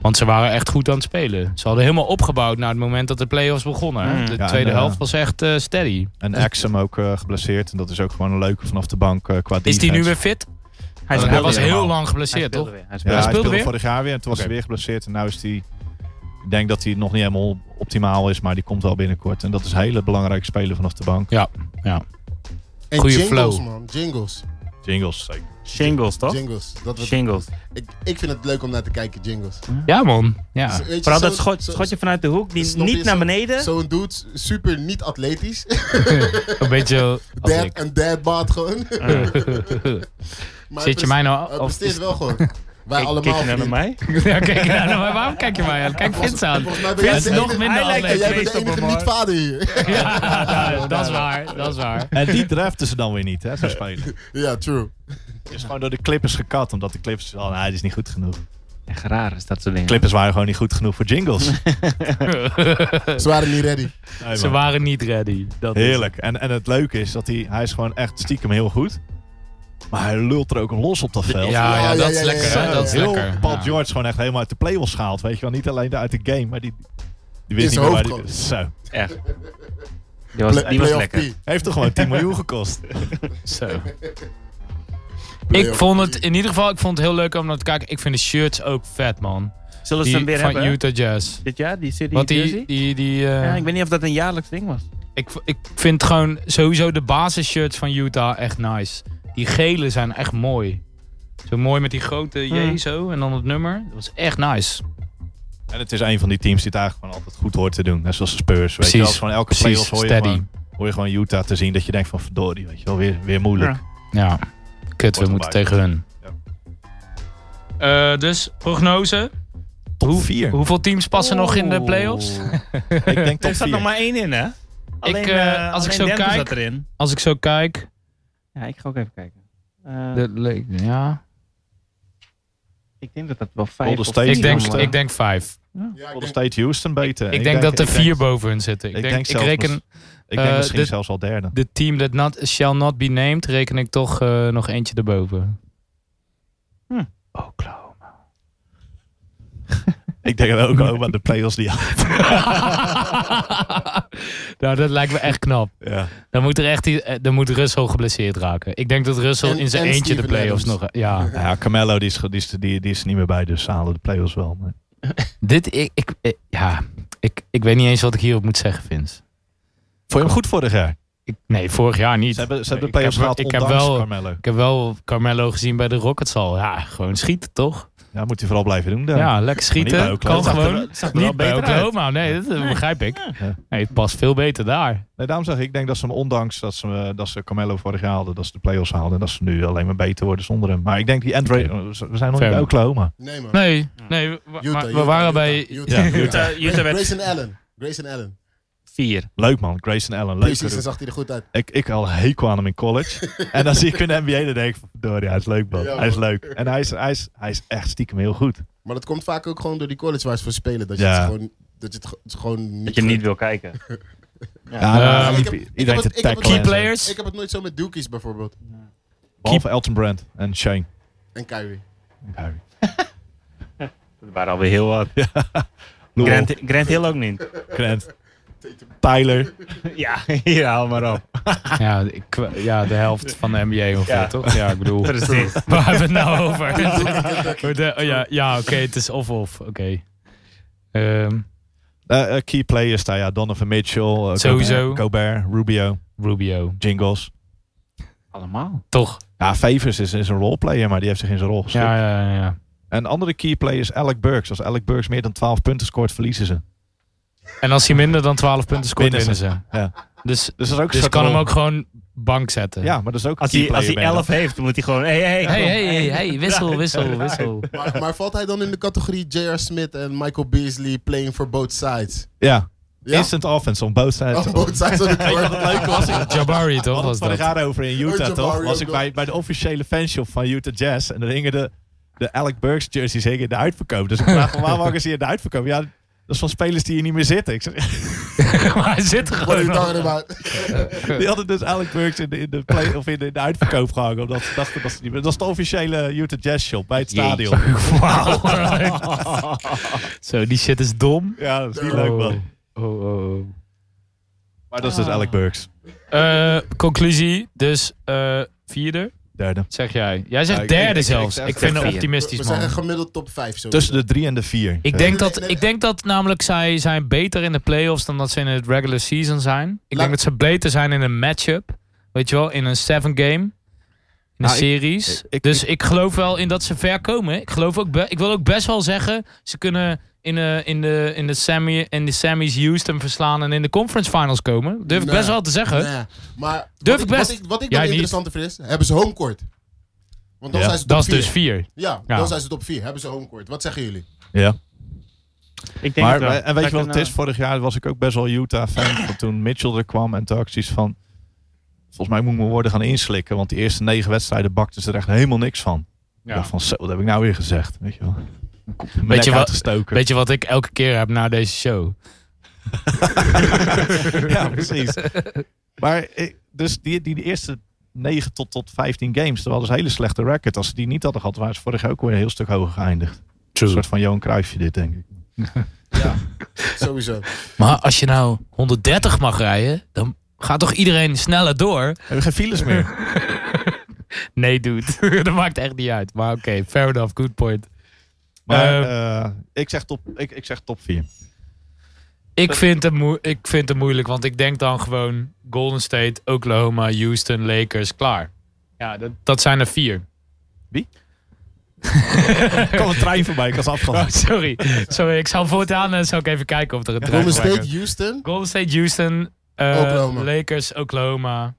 Speaker 1: Want ze waren echt goed aan het spelen. Ze hadden helemaal opgebouwd na het moment dat de playoffs begonnen. hè.
Speaker 2: Mm.
Speaker 1: De
Speaker 3: Ja, en,
Speaker 1: tweede
Speaker 3: eh,
Speaker 1: helft was echt eh, steady.
Speaker 3: En Axum ook eh, geblesseerd. En dat is ook gewoon een leuke vanaf de bank eh, qua defense.
Speaker 1: Is die nu weer fit?
Speaker 2: Hij,
Speaker 1: Want
Speaker 2: speelde
Speaker 1: hij was
Speaker 2: weer.
Speaker 1: heel lang
Speaker 2: Hij
Speaker 1: geblesseerd, toch?
Speaker 2: speelde weer. Hij
Speaker 3: Ja,
Speaker 2: speelde
Speaker 3: hij
Speaker 1: speelde
Speaker 3: speelde,
Speaker 1: weer?
Speaker 3: vorig jaar weer. En toen was
Speaker 1: Oké.
Speaker 3: hij weer geblesseerd. En nu is hij... Ik denk dat hij nog niet helemaal optimaal is. Maar die komt wel binnenkort. En dat is een hele belangrijke speler vanaf de bank.
Speaker 4: En
Speaker 1: Goeie
Speaker 4: jingles,
Speaker 1: flow.
Speaker 4: man. Jingles.
Speaker 3: Jingles zeker.
Speaker 2: Shingles, toch?
Speaker 4: Jingles. Dat was,
Speaker 2: Shingles.
Speaker 4: ik, ik vind het leuk om naar te kijken, jingles.
Speaker 1: Ja, man. Ja.
Speaker 4: Zo- weet je,
Speaker 2: Vooral dat
Speaker 4: zo'n-
Speaker 2: schot,
Speaker 4: zo-
Speaker 2: schotje vanuit de hoek, die
Speaker 4: Snap je?
Speaker 2: niet naar beneden.
Speaker 4: Zo'n dude, super niet atletisch.
Speaker 1: Een beetje als
Speaker 4: Dad,
Speaker 1: ik.
Speaker 4: een dadbaat gewoon.
Speaker 2: Eh,
Speaker 4: Maar
Speaker 1: Zit je mij nou...
Speaker 4: Hij
Speaker 1: af- Of
Speaker 4: presteert wel gewoon. Wij
Speaker 2: kijk-
Speaker 4: allemaal.
Speaker 2: Kijk je nou naar
Speaker 4: vriend.
Speaker 2: mij?
Speaker 1: ja, kijk je nou naar mij? Waarom kijk je mij aan? Kijk Vince aan.
Speaker 4: Volgens mij ben jij
Speaker 1: Vince
Speaker 4: de
Speaker 1: is nog
Speaker 4: enige,
Speaker 1: minder
Speaker 2: Hij lijkt-
Speaker 4: en
Speaker 1: atleet.
Speaker 4: jij
Speaker 2: Wees
Speaker 4: bent de
Speaker 2: toch
Speaker 4: enige
Speaker 2: maar.
Speaker 4: niet-vader hier.
Speaker 1: Ja, dat is waar. Dat is waar.
Speaker 3: En die draften ze dan weer niet, hè, zo'n speler.
Speaker 4: ja, true.
Speaker 3: Het is gewoon door de Clippers gekat. Omdat de Clippers... Oh, nee, dit is niet goed genoeg.
Speaker 2: Echt raar is dat soort dingen.
Speaker 3: Clippers waren gewoon niet goed genoeg voor jingles. Nee,
Speaker 4: Ze waren niet ready.
Speaker 3: man.
Speaker 1: Ze waren niet ready. Dat is-
Speaker 3: Heerlijk. En, en het leuke is dat hij, hij is gewoon echt stiekem heel goed. Maar hij lult er ook los op dat veld.
Speaker 1: Ja, ja,
Speaker 4: Ja,
Speaker 1: dat
Speaker 4: ja,
Speaker 1: is
Speaker 4: ja,
Speaker 1: lekker.
Speaker 4: ja,
Speaker 1: hè?
Speaker 4: ja.
Speaker 1: Dat is
Speaker 3: heel
Speaker 1: lekker.
Speaker 3: Paul
Speaker 1: Ja.
Speaker 3: George gewoon echt helemaal uit de playoffs gehaald. Weet je wel, niet alleen uit de game, maar die, die
Speaker 4: In
Speaker 3: wist niet
Speaker 4: zijn
Speaker 3: meer waar
Speaker 4: hoofd
Speaker 3: die, Zo.
Speaker 2: Echt. Die was, die was
Speaker 4: Playoff
Speaker 2: lekker.
Speaker 4: P.
Speaker 3: Heeft toch gewoon 10 miljoen gekost.
Speaker 1: Zo. Ik
Speaker 4: Playoff
Speaker 1: vond het
Speaker 4: P.
Speaker 1: in ieder geval ik vond het heel leuk om naar te kijken. Ik vind de shirts ook vet, man.
Speaker 2: Zullen ze
Speaker 1: Die
Speaker 2: hem weer
Speaker 1: van
Speaker 2: hebben?
Speaker 1: Utah Jazz.
Speaker 2: Dit jaar, die serie
Speaker 1: Want die,
Speaker 2: jersey?
Speaker 1: die, die, eh,
Speaker 2: ja, ik
Speaker 1: ik,
Speaker 2: weet niet of dat een jaarlijks ding was.
Speaker 1: ik, vind gewoon sowieso de basisshirts van Utah echt nice. Die gele zijn echt mooi. Zo mooi met die grote J
Speaker 2: Hmm.
Speaker 1: zo en dan het nummer. Dat was echt nice.
Speaker 3: En het is een van die teams die het eigenlijk gewoon altijd goed hoort te doen. Net zoals de Spurs. Weet je
Speaker 1: Precies.
Speaker 3: wel, gewoon elke
Speaker 1: Precies,
Speaker 3: playoffs hoor je,
Speaker 1: steady.
Speaker 3: gewoon, hoor je gewoon Utah te zien. Dat je denkt van verdorie, weet je wel, weer, weer moeilijk.
Speaker 2: Ja.
Speaker 1: Ja, kut, we
Speaker 3: Wordt
Speaker 1: moeten
Speaker 3: erbij.
Speaker 1: tegen hun. Eh, dus, prognose.
Speaker 3: Top 4.
Speaker 1: Hoeveel teams passen nog in de playoffs?
Speaker 3: Ik denk top
Speaker 2: Er zat nog
Speaker 3: 4.
Speaker 2: maar één in, hè? Alleen,
Speaker 1: Ik, eh,
Speaker 2: eh,
Speaker 1: als ik
Speaker 2: alleen
Speaker 1: zo
Speaker 2: Denver
Speaker 1: kijk-
Speaker 2: zat erin.
Speaker 1: Als ik zo kijk.
Speaker 2: Ja, ik ga ook even kijken. Eh,
Speaker 1: dat leek- ja.
Speaker 2: ik denk dat dat wel vijf
Speaker 3: Golden
Speaker 2: of
Speaker 3: State
Speaker 2: zes
Speaker 1: Ik denk,
Speaker 2: is, maar-
Speaker 1: ik denk vijf.
Speaker 4: Ja, ik
Speaker 3: Golden
Speaker 4: denk-
Speaker 3: State Houston beter.
Speaker 1: Ik denk dat er
Speaker 3: ik denk-
Speaker 1: vier boven hun zitten. Ik,
Speaker 3: ik
Speaker 1: denk,
Speaker 3: denk
Speaker 1: ik
Speaker 3: zelfs
Speaker 1: reken
Speaker 3: mis- Ik denk
Speaker 1: Eh,
Speaker 3: misschien
Speaker 1: dit-
Speaker 3: zelfs al derde.
Speaker 1: De team that not, shall not be named reken ik toch eh, nog eentje erboven.
Speaker 2: Hm.
Speaker 1: Oklahoma.
Speaker 3: Ik denk dat ook Oklahoma de playoffs die
Speaker 1: nou, dat lijkt me echt knap.
Speaker 3: ja.
Speaker 1: Dan moet, er echt, i- eh, dan moet Russell geblesseerd raken. Ik denk dat Russell
Speaker 4: En-
Speaker 1: in zijn
Speaker 4: en
Speaker 1: eentje de
Speaker 4: Steven
Speaker 1: playoffs
Speaker 4: Adams.
Speaker 1: nog... Ja.
Speaker 3: Nou ja, Carmelo die is, ge- die, is, die, die is er niet meer bij, dus ze halen de playoffs wel. Maar
Speaker 1: Dit, ik, ik, eh, ja, ik, ik weet niet eens wat ik hierop moet zeggen, Vince.
Speaker 3: Vond je hem goed vorig jaar?
Speaker 1: Ik, nee, vorig jaar niet.
Speaker 3: Ze hebben, ze
Speaker 1: Ik
Speaker 3: hebben
Speaker 1: heb
Speaker 3: de playoffs
Speaker 1: wel-
Speaker 3: gehad
Speaker 1: ik heb
Speaker 3: ondanks
Speaker 1: wel-
Speaker 3: Carmelo.
Speaker 1: Ik heb wel Carmelo gezien bij de Rockets al. Ja, gewoon schieten, toch?
Speaker 3: Ja, moet hij vooral blijven doen
Speaker 1: Ja,
Speaker 3: daar.
Speaker 1: lekker
Speaker 3: Maar
Speaker 1: schieten.
Speaker 3: niet bij Oklahoma.
Speaker 1: Kan
Speaker 3: Het zag er
Speaker 1: gewoon. Niet bij Oklahoma, nee, dat eh, begrijp ik.
Speaker 3: Ja.
Speaker 1: Nee, het past veel beter daar.
Speaker 3: Nee, daarom zeg ik, ik denk dat ze hem ondanks dat ze, eh, dat ze Carmelo vorig jaar haalden, dat ze de playoffs haalden. En dat ze nu alleen maar beter worden zonder hem. Maar ik denk die Andre, we zijn nog
Speaker 1: Fair.
Speaker 3: niet bij Oklahoma.
Speaker 4: Nee, man.
Speaker 1: Nee, nee we,
Speaker 4: Utah,
Speaker 1: maar we
Speaker 4: Utah,
Speaker 1: waren
Speaker 4: Utah,
Speaker 1: bij...
Speaker 4: Utah,
Speaker 3: Ja,
Speaker 2: Utah, Utah werd-
Speaker 4: Grayson Allen. Grayson Allen.
Speaker 2: Vier.
Speaker 3: Leuk man, Grayson Allen. Leuk.
Speaker 4: Precies, dan zag hij er goed uit.
Speaker 3: Ik, ik al hekel aan hem in college. en dan zie ik in de NBA en denk ik, verdorie, hij is leuk man.
Speaker 4: Ja,
Speaker 3: hij is
Speaker 4: man.
Speaker 3: leuk. En hij is, hij, is, hij is echt stiekem heel goed.
Speaker 4: Maar dat komt vaak ook gewoon door die college waar ze voor spelen. Dat je,
Speaker 3: Ja.
Speaker 4: het, gewoon, dat je het ge- het gewoon niet...
Speaker 2: Dat je niet wil kijken.
Speaker 3: Ja,
Speaker 1: Ja,
Speaker 3: dan
Speaker 4: ik
Speaker 3: liep
Speaker 4: heb- ik
Speaker 3: iedereen
Speaker 4: heb
Speaker 3: te
Speaker 4: het- ik heb het-
Speaker 3: tackelen.
Speaker 1: Ehm, Key
Speaker 3: en zo.
Speaker 1: players.
Speaker 4: Ik heb het nooit zo met Dookies bijvoorbeeld.
Speaker 3: Behalve Elton Brand en Shane.
Speaker 4: En Kyrie.
Speaker 3: Harry.
Speaker 2: Dat waren alweer heel wat.
Speaker 3: Lou
Speaker 2: Grant, Grant Hill ook niet.
Speaker 3: Grant. Tyler.
Speaker 2: ja, hier, haal maar op.
Speaker 1: Ja, ik, ja, de helft van de NBA ongeveer,
Speaker 2: Ja.
Speaker 1: toch? Ja, ik bedoel...
Speaker 2: Precies.
Speaker 1: Waar hebben we het nou over? De- oh ja, ja oké, het is of-of. Oké. Ehm,
Speaker 3: Eh, eh, key players daar, ja. Donovan Mitchell. eh, Gobert-
Speaker 1: Sowieso.
Speaker 3: Gobert, Rubio,
Speaker 1: Rubio,
Speaker 3: Jingles.
Speaker 2: Allemaal.
Speaker 1: toch?
Speaker 3: Ja, Favors is, is een roleplayer, maar die heeft zich in zijn rol geschikt.
Speaker 1: Ja, ja, ja, ja.
Speaker 3: En andere key players, Alec Burks. Als Alec Burks meer dan 12 punten scoort, verliezen ze.
Speaker 1: En als hij minder dan 12 punten scoort, winnen
Speaker 3: Winnen
Speaker 1: ze.
Speaker 3: Ja.
Speaker 1: Dus,
Speaker 3: Dus dat is ook
Speaker 1: dus
Speaker 3: een
Speaker 1: kan hem
Speaker 3: rol-
Speaker 1: ook gewoon bank zetten.
Speaker 3: Ja, maar dat is ook
Speaker 2: Als
Speaker 3: een
Speaker 2: hij,
Speaker 3: key
Speaker 2: als hij
Speaker 3: player, ben je
Speaker 2: 11 heeft, moet hij gewoon. Hey, hey,
Speaker 1: Hey,
Speaker 2: kom.
Speaker 1: hey, hey, hey, wissel, wissel, wissel.
Speaker 4: Maar, maar valt hij dan in de categorie J.R. Smith en Michael Beasley playing for both sides?
Speaker 3: dan. Ja.
Speaker 4: Ja?
Speaker 3: Instant offense on both sides.
Speaker 4: Oh, both sides of the court.
Speaker 3: Leuk was ik.
Speaker 1: Jabari,
Speaker 3: We
Speaker 1: toch?
Speaker 3: hadden
Speaker 1: Was
Speaker 3: het vorig
Speaker 1: dat?
Speaker 3: jaar over in
Speaker 4: Oh,
Speaker 3: Utah,
Speaker 4: Jabari
Speaker 3: toch?
Speaker 4: ook
Speaker 3: Was ik bij, bij de officiële fanshop van Utah Jazz. En dan hingen de, de Alec Burks jerseys hingen in de uitverkoop. Dus ik vraag me, waarom hangen ze hier in de uitverkoop? Ja, dat is van spelers die hier niet meer zitten. Ik zeg,
Speaker 1: maar hij zit er
Speaker 4: What are
Speaker 1: gewoon
Speaker 4: you
Speaker 1: nog.
Speaker 4: talking about?
Speaker 3: die hadden dus Alec Burks in de, in de, play, of in de, in de uitverkoop gehangen. Omdat ze dachten dat ze niet meer... Dat is de officiële Utah Jazz shop bij het
Speaker 2: Jeetje.
Speaker 3: stadion.
Speaker 1: Wauw. Zo, die shit is dom.
Speaker 3: Ja, dat is niet leuk, man.
Speaker 1: Oh, oh, oh, oh.
Speaker 3: Maar dat is dus Alec Burks.
Speaker 1: Eh, conclusie, dus eh, vierde,
Speaker 3: Derde.
Speaker 1: zeg jij. Jij
Speaker 3: Ja,
Speaker 1: zegt
Speaker 3: ik- ik-
Speaker 1: derde
Speaker 3: ik-
Speaker 1: zelfs.
Speaker 3: ik-
Speaker 1: Ik,
Speaker 3: ik-
Speaker 1: vind het
Speaker 2: vier.
Speaker 1: optimistisch,
Speaker 4: We
Speaker 1: man.
Speaker 4: zeggen gemiddeld top 5 zo.
Speaker 3: Tussen de drie en de vier.
Speaker 1: Ik
Speaker 3: Ja.
Speaker 4: Nee,
Speaker 1: denk, dat,
Speaker 4: nee,
Speaker 1: ik denk dat namelijk zij zijn beter in de playoffs dan dat ze in het regular season zijn. Ik
Speaker 4: Laat-
Speaker 1: denk dat ze beter zijn in een matchup. Weet je wel, in een seven game. In een
Speaker 3: Nou, ik-
Speaker 1: series.
Speaker 3: ik- ik-
Speaker 1: dus ik, geloof wel in dat ze ver komen. Ik, geloof ook be- ik wil ook best wel zeggen, ze kunnen in, de in, de, in, de semi, in de semis Houston verslaan en in de conference finals komen. Durf ik
Speaker 3: Nou
Speaker 4: Nee.
Speaker 1: best wel te zeggen.
Speaker 4: Nee, maar
Speaker 1: Durf
Speaker 4: wat
Speaker 1: ik
Speaker 4: ik,
Speaker 1: best.
Speaker 4: Wat ik, wat ik dan
Speaker 1: Jij niet.
Speaker 4: interessanter vind is, hebben ze homecourt? Want dan
Speaker 3: Ja.
Speaker 4: zijn ze top
Speaker 1: Dat is
Speaker 4: 4.
Speaker 1: dus vier.
Speaker 4: ja,
Speaker 1: Ja.
Speaker 4: dan zijn ze top 4. Hebben ze homecourt? Wat zeggen jullie?
Speaker 3: Ja.
Speaker 2: Ik denk
Speaker 3: Maar,
Speaker 2: het wel.
Speaker 3: en weet je wat
Speaker 2: Dat
Speaker 3: het eh,
Speaker 2: kan,
Speaker 3: is? Vorig jaar was ik ook best wel Utah-fan. Want toen Mitchell er kwam en toen had ik zoiets van... Volgens mij moet ik mijn woorden gaan inslikken. Want die eerste negen wedstrijden bakten ze er echt helemaal niks van. Ik dacht van, zo, wat heb ik nou weer gezegd? Weet je wel. Mijn
Speaker 1: Weet
Speaker 3: nek
Speaker 1: je wat-
Speaker 3: uitgestoken.
Speaker 1: Weet je wat ik elke keer heb na deze show?
Speaker 3: ja, precies. Maar ik- dus die, die, die eerste 9 tot, tot 15 games, dat was een hele slechte record. Als ze die niet hadden gehad, waren ze vorig jaar ook weer een heel stuk hoger geëindigd. Een soort van Johan Cruijffje dit, denk ik.
Speaker 4: Ja, sowieso.
Speaker 1: Maar als je nou 130 mag rijden, dan gaat toch iedereen sneller door?
Speaker 3: Hebben we geen files meer?
Speaker 1: Nee, dude. dat maakt echt niet uit. Maar oké, fair enough. Good point.
Speaker 3: Maar
Speaker 1: Eh,
Speaker 3: eh, ik, zeg top, ik, ik zeg top 4.
Speaker 1: Ik vind, het moe- ik vind het moeilijk, want ik denk dan gewoon Golden State, Oklahoma, Houston, Lakers, klaar. Ja, dat, dat zijn er vier.
Speaker 3: Er kwam een trein voorbij, ik was
Speaker 1: Oh,
Speaker 3: afgehaald.
Speaker 1: sorry. Sorry, ik zal voortaan eh, zal ik even kijken of er een trein
Speaker 4: Golden
Speaker 1: voorbij
Speaker 4: State,
Speaker 1: komt.
Speaker 4: Houston.
Speaker 1: Golden State, Houston, eh,
Speaker 4: Oklahoma.
Speaker 1: Lakers, Oklahoma.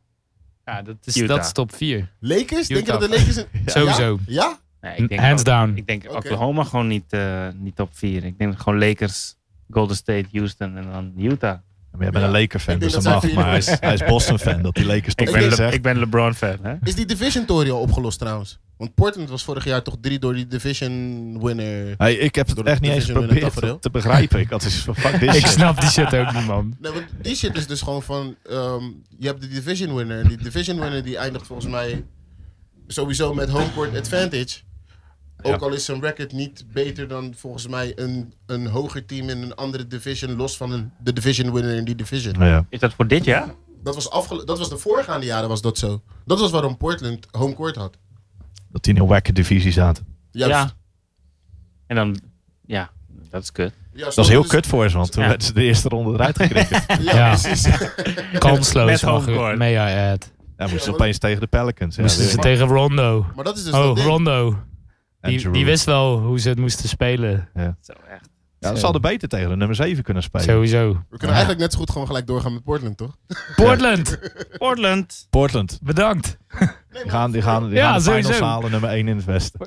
Speaker 1: Ja, dat is,
Speaker 2: Utah.
Speaker 1: dat is top vier.
Speaker 4: Lakers? Denk je
Speaker 1: Utah.
Speaker 4: dat de Lakers... een- Ja?
Speaker 1: Sowieso.
Speaker 4: Ja?
Speaker 2: eh, nee, ik denk
Speaker 1: Hands
Speaker 2: wel-
Speaker 1: down.
Speaker 2: Ik denk
Speaker 4: Oké.
Speaker 2: Oklahoma gewoon niet, eh, niet top 4. Ik denk gewoon Lakers, Golden State, Houston en dan Utah.
Speaker 3: Maar jij bent
Speaker 4: Ja.
Speaker 3: een Laker-fan,
Speaker 4: Ik denk
Speaker 3: dus dat
Speaker 4: dat zij
Speaker 3: mag.
Speaker 4: voor
Speaker 3: Maar hij is, hij is Boston-fan, dat die Lakers
Speaker 2: Ik
Speaker 3: toch
Speaker 4: ben
Speaker 2: ben,
Speaker 3: weer
Speaker 4: Le-
Speaker 3: zegt.
Speaker 2: ik ben LeBron fan. Hè?
Speaker 4: Is die division tory al opgelost trouwens? Want Portland was vorig jaar toch drie door die division winner.
Speaker 3: Hey, ik heb het
Speaker 4: Door de
Speaker 3: echt niet eens
Speaker 4: division winnen
Speaker 3: geprobeerd
Speaker 4: tafereel.
Speaker 3: te begrijpen. Ik had dus van fuck this
Speaker 1: Ik
Speaker 3: shit.
Speaker 1: snap die shit ook niet, man.
Speaker 4: Nee, want die shit is dus gewoon van, ehm, je hebt de division winner. En die division winner die eindigt volgens mij sowieso met home court advantage. Ook
Speaker 3: Ja.
Speaker 4: al is zijn record niet beter dan volgens mij een, een hoger team in een andere division, los van een, de division winner in die division.
Speaker 3: Nou Ja.
Speaker 2: Is dat voor dit jaar?
Speaker 4: Dat was, afgel- dat was de voorgaande jaren was dat zo. Dat was waarom Portland home court had.
Speaker 3: Dat die in een wakke divisie zaten.
Speaker 4: Juist.
Speaker 2: Ja. En dan, ja, dat is kut.
Speaker 4: Juist,
Speaker 3: Dat is heel
Speaker 4: dus-
Speaker 3: kut voor ze, want toen
Speaker 2: Ja.
Speaker 3: werden ze de eerste ronde eruit geknikkerd.
Speaker 4: Ja,
Speaker 1: Ja.
Speaker 4: precies.
Speaker 1: Kansloos,
Speaker 2: Met
Speaker 1: mag
Speaker 2: homecourt.
Speaker 1: ik. Mea Ed.
Speaker 3: Ja, moesten ze opeens tegen de Pelicans. Ja,
Speaker 1: Moesten
Speaker 3: weer
Speaker 1: ze
Speaker 3: niet.
Speaker 1: tegen Rondo.
Speaker 4: Maar dat is dus dat
Speaker 1: Oh,
Speaker 4: ding.
Speaker 1: Rondo.
Speaker 3: En
Speaker 1: Die,
Speaker 3: Giroud.
Speaker 1: die wist wel hoe ze het moesten spelen.
Speaker 2: Zo echt.
Speaker 3: Ja, ze hadden beter tegen de nummer 7 kunnen spelen.
Speaker 1: Sowieso.
Speaker 4: We kunnen eigenlijk net zo goed gewoon gelijk doorgaan met Portland, toch?
Speaker 1: Portland,
Speaker 2: Portland.
Speaker 3: Portland.
Speaker 1: bedankt.
Speaker 4: Nee,
Speaker 3: Die gaan, die gaan, die
Speaker 1: Ja,
Speaker 3: gaan de finals
Speaker 1: sowieso.
Speaker 3: halen, nummer 1 in het westen.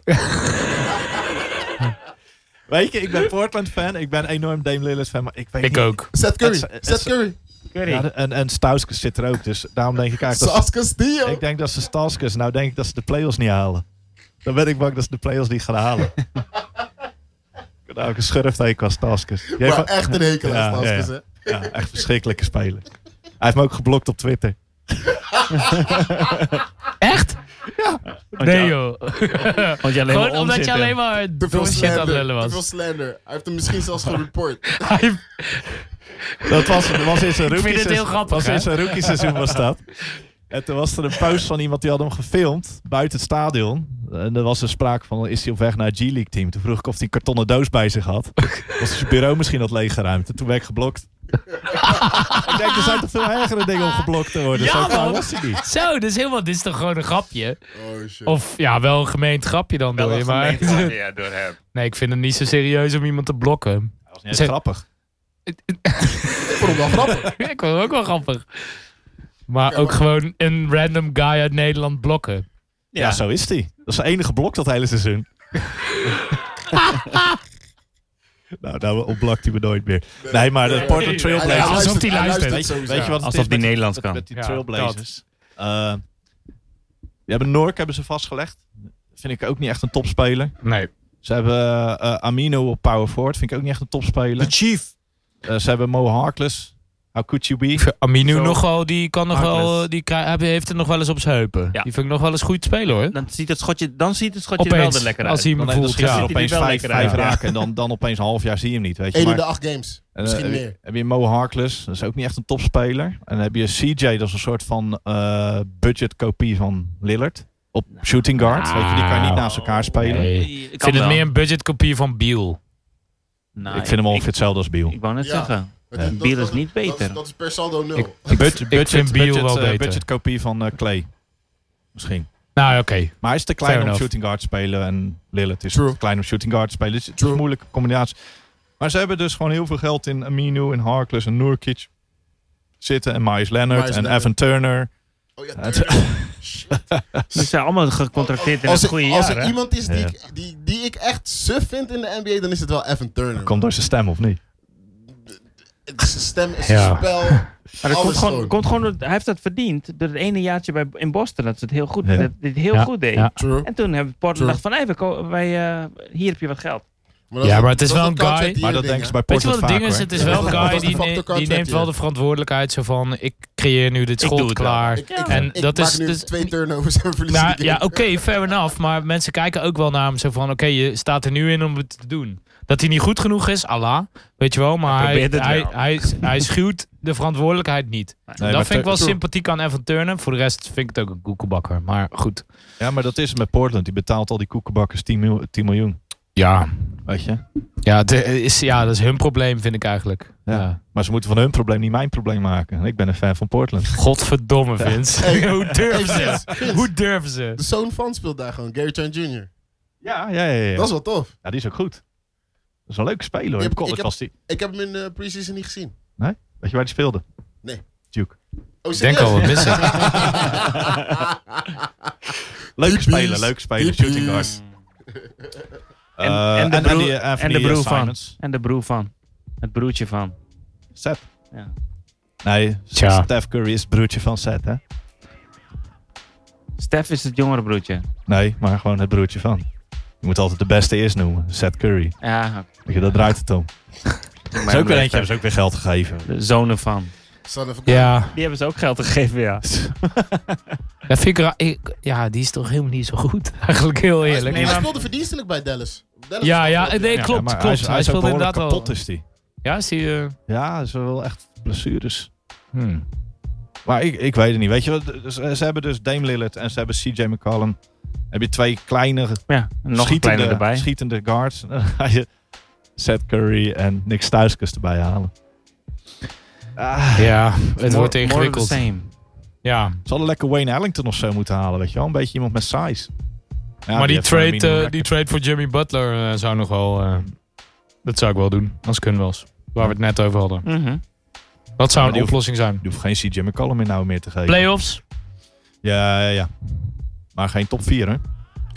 Speaker 3: weet je, ik ben Portland-fan. Ik ben enorm Dame Lillard-fan. Maar ik weet
Speaker 1: Ik
Speaker 3: niet-
Speaker 1: ook.
Speaker 4: Seth Curry.
Speaker 3: Het- het-
Speaker 4: Seth Curry.
Speaker 2: Curry.
Speaker 3: Ja, de- en, en Stauskas zit er ook. Dus daarom denk ik eigenlijk... Dat
Speaker 4: Sas Castillo.
Speaker 3: ze, ik denk dat ze Stauskas... Nou denk ik dat ze de play-offs niet halen. Dan ben ik bang dat ze de play-offs niet gaan halen. ik heb nou ook een schurftekel aan Stauskas. Die heeft
Speaker 4: maar
Speaker 3: wel-
Speaker 4: echt een hekel aan
Speaker 3: Ja,
Speaker 4: Sas
Speaker 3: ja, ja.
Speaker 4: Castillo.
Speaker 3: Ja, echt verschrikkelijke speler. Hij heeft me ook geblokt op Twitter.
Speaker 1: Echt?
Speaker 2: Want
Speaker 1: Nee
Speaker 2: je-
Speaker 1: joh.
Speaker 2: Want je alleen
Speaker 1: Gewoon
Speaker 2: maar
Speaker 1: omdat je
Speaker 2: onzin
Speaker 1: alleen
Speaker 2: bent.
Speaker 1: maar
Speaker 4: Te veel
Speaker 1: domme shit aan het
Speaker 4: slander.
Speaker 1: lullen
Speaker 4: Te veel
Speaker 1: was.
Speaker 4: slander. Hij heeft hem misschien zelfs gereport.
Speaker 1: Hij-
Speaker 3: Dat was, dat was in zijn
Speaker 1: vind
Speaker 3: rookie
Speaker 1: het heel grappig,
Speaker 3: was in
Speaker 1: hè?
Speaker 3: zijn rookie seizoen was dat. En toen was er een post van iemand die had hem gefilmd buiten het stadion. En er was er sprake van, is hij op weg naar het G-League team? Toen vroeg ik of hij een kartonnen doos bij zich had. Was zijn bureau misschien had leeggeruimd. En toen werd ik geblokt. ik denk, er zijn toch veel ergere dingen om geblokt te worden.
Speaker 1: Ja,
Speaker 3: Zo klaar
Speaker 1: man.
Speaker 3: was hij niet.
Speaker 1: Zo, dit is helemaal, dit is toch gewoon een grapje?
Speaker 4: Oh shit.
Speaker 1: Of ja, wel een gemeend grapje dan
Speaker 2: Wel
Speaker 1: door
Speaker 2: een
Speaker 1: je, maar...
Speaker 2: gemeenschap, ja, door hem.
Speaker 1: Nee, ik vind het niet zo serieus om iemand te blokken.
Speaker 3: Dat was niet eens
Speaker 1: Zeg-
Speaker 3: grappig.
Speaker 4: Ik vond hem wel grappig.
Speaker 1: ik vond het ook wel grappig. Maar
Speaker 4: Ja,
Speaker 1: ook
Speaker 4: maar-
Speaker 1: gewoon een random guy uit Nederland blokken.
Speaker 3: Ja, zo is hij. Dat is zijn enige blok dat hele seizoen. nou, nou ontblokt hij me nooit meer. Nee, maar de Portland Trail
Speaker 1: Ja,
Speaker 3: Blazers.
Speaker 1: alsof die luistert.
Speaker 3: Weet je, weet je wat het
Speaker 2: Alsof
Speaker 3: is
Speaker 2: die
Speaker 3: met,
Speaker 2: Nederlands
Speaker 3: met,
Speaker 2: kan.
Speaker 3: met die
Speaker 1: Ja,
Speaker 3: Trailblazers? Eh, die hebben Nork hebben ze vastgelegd. Vind ik ook niet echt een topspeler.
Speaker 1: Nee.
Speaker 3: Ze hebben eh, Amino op power forward. Vind ik ook niet echt een topspeler.
Speaker 1: Chief.
Speaker 3: Eh, ze hebben Mo Harkless. How could you be?
Speaker 1: Ik vind Aminu
Speaker 2: Zo.
Speaker 1: nog wel, die kan nog wel,
Speaker 2: Harkless.
Speaker 1: die kan- hij heeft het nog wel eens op zijn heupen.
Speaker 2: Ja.
Speaker 1: Die vind ik nog wel eens goed spelen hoor.
Speaker 2: Dan ziet het schotje, dan ziet het schotje er
Speaker 1: Opeens,
Speaker 2: wel er lekker uit.
Speaker 1: als hij
Speaker 3: Dan,
Speaker 1: hem
Speaker 3: dan
Speaker 1: voelt,
Speaker 3: schiet je er
Speaker 1: ja.
Speaker 2: Ziet hij
Speaker 3: opeens
Speaker 2: er wel
Speaker 3: vijf,
Speaker 2: lekker
Speaker 3: vijf
Speaker 2: uit, ja.
Speaker 3: raken. En dan, dan opeens een half jaar zie je hem niet. Weet je.
Speaker 4: Eén in
Speaker 3: Maar-
Speaker 4: de acht games.
Speaker 3: En, eh,
Speaker 4: Misschien
Speaker 3: heb je-
Speaker 4: meer.
Speaker 3: Heb je Mo Harkless, dat is ook niet echt een topspeler. En dan heb je CJ, dat is een soort van eh budget kopie van Lillard. Op
Speaker 2: Nou,
Speaker 3: shooting guard, weet je, die kan je niet naast elkaar spelen.
Speaker 1: Nee. Ik vind het meer een budgetkopie van Biel.
Speaker 2: Nou,
Speaker 3: Nou, ik vind hem ongeveer hetzelfde als Biel.
Speaker 2: Ik wou net
Speaker 4: Ja.
Speaker 2: zeggen.
Speaker 4: Dat-
Speaker 3: eh,
Speaker 4: dat-
Speaker 2: Biel
Speaker 4: dat-
Speaker 2: is niet
Speaker 4: dat
Speaker 2: beter.
Speaker 4: Dat is per saldo nul.
Speaker 1: Ik-
Speaker 3: Budget,
Speaker 1: vind Beal wel
Speaker 3: eh,
Speaker 1: beter.
Speaker 3: budget kopie van eh, Clay. Misschien.
Speaker 1: Nou oké.
Speaker 3: Maar hij is te
Speaker 1: Fair
Speaker 3: klein om
Speaker 1: enough.
Speaker 3: shooting guard te spelen. En Lillard is
Speaker 4: True.
Speaker 3: te klein om shooting guard te spelen. Dus het is
Speaker 4: True.
Speaker 3: een moeilijke combinatie. Maar ze hebben dus gewoon heel veel geld in Aminu en Harkless en Nurkic zitten. En Myers Leonard
Speaker 4: Myles
Speaker 3: en
Speaker 4: Leonard.
Speaker 3: Evan Turner.
Speaker 4: Oh ja,
Speaker 3: Het-
Speaker 4: tuurlijk.
Speaker 2: Ze zijn Dus, eh, allemaal gecontracteerd in
Speaker 4: Als
Speaker 2: het
Speaker 4: er-
Speaker 2: goede
Speaker 4: Als
Speaker 2: jaar.
Speaker 4: er
Speaker 2: hè?
Speaker 4: iemand is die,
Speaker 3: Ja.
Speaker 4: ik, die, die ik echt suf vind in de NBA, dan is het wel Evan Turner.
Speaker 3: Komt door zijn stem of niet?
Speaker 4: Het is zijn stem, het is
Speaker 1: Ja.
Speaker 4: zijn spel.
Speaker 2: Maar dat komt
Speaker 4: alles
Speaker 2: gewoon,
Speaker 4: gewoon.
Speaker 2: komt gewoon, door- hij heeft dat verdiend door het ene jaartje bij, in Boston dat ze het heel goed,
Speaker 3: Ja.
Speaker 2: dat dit heel
Speaker 1: Ja,
Speaker 2: goed deed.
Speaker 1: ja.
Speaker 4: True.
Speaker 2: En toen hebben Portland gedacht van, hey, we ko- wij, eh, hier heb je wat geld.
Speaker 4: dat
Speaker 1: Ja,
Speaker 4: is-
Speaker 1: maar het is
Speaker 4: dat
Speaker 1: wel een
Speaker 4: culture
Speaker 1: guy.
Speaker 4: die
Speaker 3: Maar dat
Speaker 4: ding,
Speaker 3: denken ze
Speaker 4: hè?
Speaker 3: bij
Speaker 1: Weet je
Speaker 3: Portland
Speaker 1: wat het
Speaker 3: vaak,
Speaker 1: ding is?
Speaker 3: hoor.
Speaker 1: Het is wel
Speaker 4: Ja,
Speaker 1: een
Speaker 4: dat
Speaker 1: guy
Speaker 4: was de
Speaker 1: die,
Speaker 4: factor
Speaker 1: ne- die
Speaker 4: contract
Speaker 1: neemt wel
Speaker 4: hier.
Speaker 1: de verantwoordelijkheid. Zo van, ik creëer nu dit
Speaker 2: Ik doe
Speaker 1: schot
Speaker 2: het wel.
Speaker 4: Ik,
Speaker 1: klaar.
Speaker 4: ik,
Speaker 2: Ja.
Speaker 4: en
Speaker 1: En
Speaker 4: ik
Speaker 1: dat
Speaker 4: maak
Speaker 1: is-
Speaker 4: nu
Speaker 1: dus-
Speaker 4: twee turnovers en verlies
Speaker 1: Nou
Speaker 4: die
Speaker 1: ja,
Speaker 4: game.
Speaker 1: oké, fair enough. Maar mensen kijken ook wel naar hem zo van... Oké, je staat er nu in om het te doen. Dat hij niet goed genoeg is, Allah. Weet je wel, maar
Speaker 2: Hij
Speaker 1: hij,
Speaker 2: probeert het
Speaker 1: hij,
Speaker 2: wel.
Speaker 1: hij, hij schuwt de verantwoordelijkheid niet.
Speaker 3: Nee, maar
Speaker 1: dat vind ik wel
Speaker 3: Tur-
Speaker 1: sympathiek aan Evan Turner. Voor de rest vind ik het ook een koekenbakker. Maar goed.
Speaker 3: Ja, maar dat is het met Portland. Die betaalt al die koekenbakkers 10, mil- 10 miljoen.
Speaker 1: Ja,
Speaker 3: Weet je?
Speaker 1: ja, het is, ja dat is hun probleem, vind ik eigenlijk.
Speaker 3: Ja.
Speaker 1: Ja.
Speaker 3: Maar ze moeten van hun probleem niet mijn probleem maken. Ik ben een fan van Portland.
Speaker 1: Godverdomme, Vince.
Speaker 4: Hey.
Speaker 1: Hoe durven
Speaker 4: Hey,
Speaker 1: ze?
Speaker 4: Vince, Vince. Dus-
Speaker 1: Hoe durven ze?
Speaker 4: De zoon van speelt daar gewoon, Gary Trent Jr.
Speaker 3: Ja, ja, ja. ja, ja.
Speaker 4: Dat is wel tof.
Speaker 3: Ja, die is ook goed. Dat is een leuke speler hoor.
Speaker 4: Ik heb-
Speaker 3: In college
Speaker 4: ik heb-
Speaker 3: was die.
Speaker 4: Ik heb hem in de preseason niet gezien.
Speaker 3: Weet je waar die speelde?
Speaker 4: Nee.
Speaker 3: Duke.
Speaker 4: Oh,
Speaker 1: Ik denk al wat missen.
Speaker 3: Leuke
Speaker 4: Typisch.
Speaker 3: speler, leuke speler. Shooting guard.
Speaker 2: En-
Speaker 3: Eh,
Speaker 2: en de broer-
Speaker 3: die, eh,
Speaker 2: en
Speaker 3: Anthony,
Speaker 2: de broer
Speaker 3: eh,
Speaker 2: van.
Speaker 3: Simons.
Speaker 2: En de broer van. Het broertje van.
Speaker 3: Seth.
Speaker 2: Ja.
Speaker 3: Nee,
Speaker 1: Tja.
Speaker 3: Steph Curry is het broertje van Seth hè.
Speaker 2: Stef is het jongere broertje.
Speaker 3: Nee, maar gewoon het broertje van. Je moet altijd de beste eerst noemen. Seth Curry.
Speaker 2: Ja, oké.
Speaker 3: Weet je, dat draait het om.
Speaker 2: Maar
Speaker 3: Is ook weer eentje, hebben
Speaker 2: de
Speaker 3: ze ook weer geld gegeven.
Speaker 2: zonen van.
Speaker 4: Son of a gun.
Speaker 1: Ja,
Speaker 2: Die hebben ze ook geld gegeven, ja.
Speaker 1: ja, vind ik ra- ik- ja, die is toch helemaal niet zo goed. Eigenlijk heel
Speaker 4: Hij speelde-
Speaker 1: eerlijk.
Speaker 4: Hij speelde verdienstelijk bij Dallas. Dallas
Speaker 1: Ja,
Speaker 4: was
Speaker 1: ja,
Speaker 4: goed,
Speaker 1: nee,
Speaker 3: Ja,
Speaker 1: klopt,
Speaker 3: maar
Speaker 1: klopt. Hij,
Speaker 3: is ook
Speaker 1: speelde
Speaker 3: behoorlijk
Speaker 1: inderdaad wel.
Speaker 3: kapot is die.
Speaker 1: Ja, is die... eh,
Speaker 3: Ja, ze wel echt blessures.
Speaker 1: hmm.
Speaker 3: Maar ik, ik weet het niet. Weet je, wat, ze, ze hebben dus Dame Lillard en ze hebben CJ McCollum. Heb je twee kleine
Speaker 2: ja en nog een
Speaker 3: schietende,
Speaker 2: kleine erbij.
Speaker 3: schietende guards. Dan ga je Seth Curry en Nick Stauskas erbij halen. Ah,
Speaker 1: Ja, het wordt
Speaker 2: More- more of the
Speaker 1: ingewikkeld.
Speaker 2: same.
Speaker 1: Ja,
Speaker 3: Ze hadden lekker Wayne Ellington of zo moeten halen, weet je wel. Een beetje iemand met size. Ja,
Speaker 1: maar die
Speaker 3: heeft gewoon een
Speaker 1: trade,
Speaker 3: minimum
Speaker 1: eh, die trade voor Jimmy Butler eh, zou nog wel... eh, dat zou ik wel doen, als kunnen was. Waar we het net over hadden.
Speaker 2: Mhm.
Speaker 1: Dat zou
Speaker 3: Maar
Speaker 1: een
Speaker 3: die hoeft-
Speaker 1: oplossing zijn.
Speaker 3: Je hoeft geen CJ McCollum meer nou meer te geven.
Speaker 1: Playoffs?
Speaker 3: Ja, ja, ja. Maar geen top 4, hè?
Speaker 4: Ik
Speaker 1: Nee,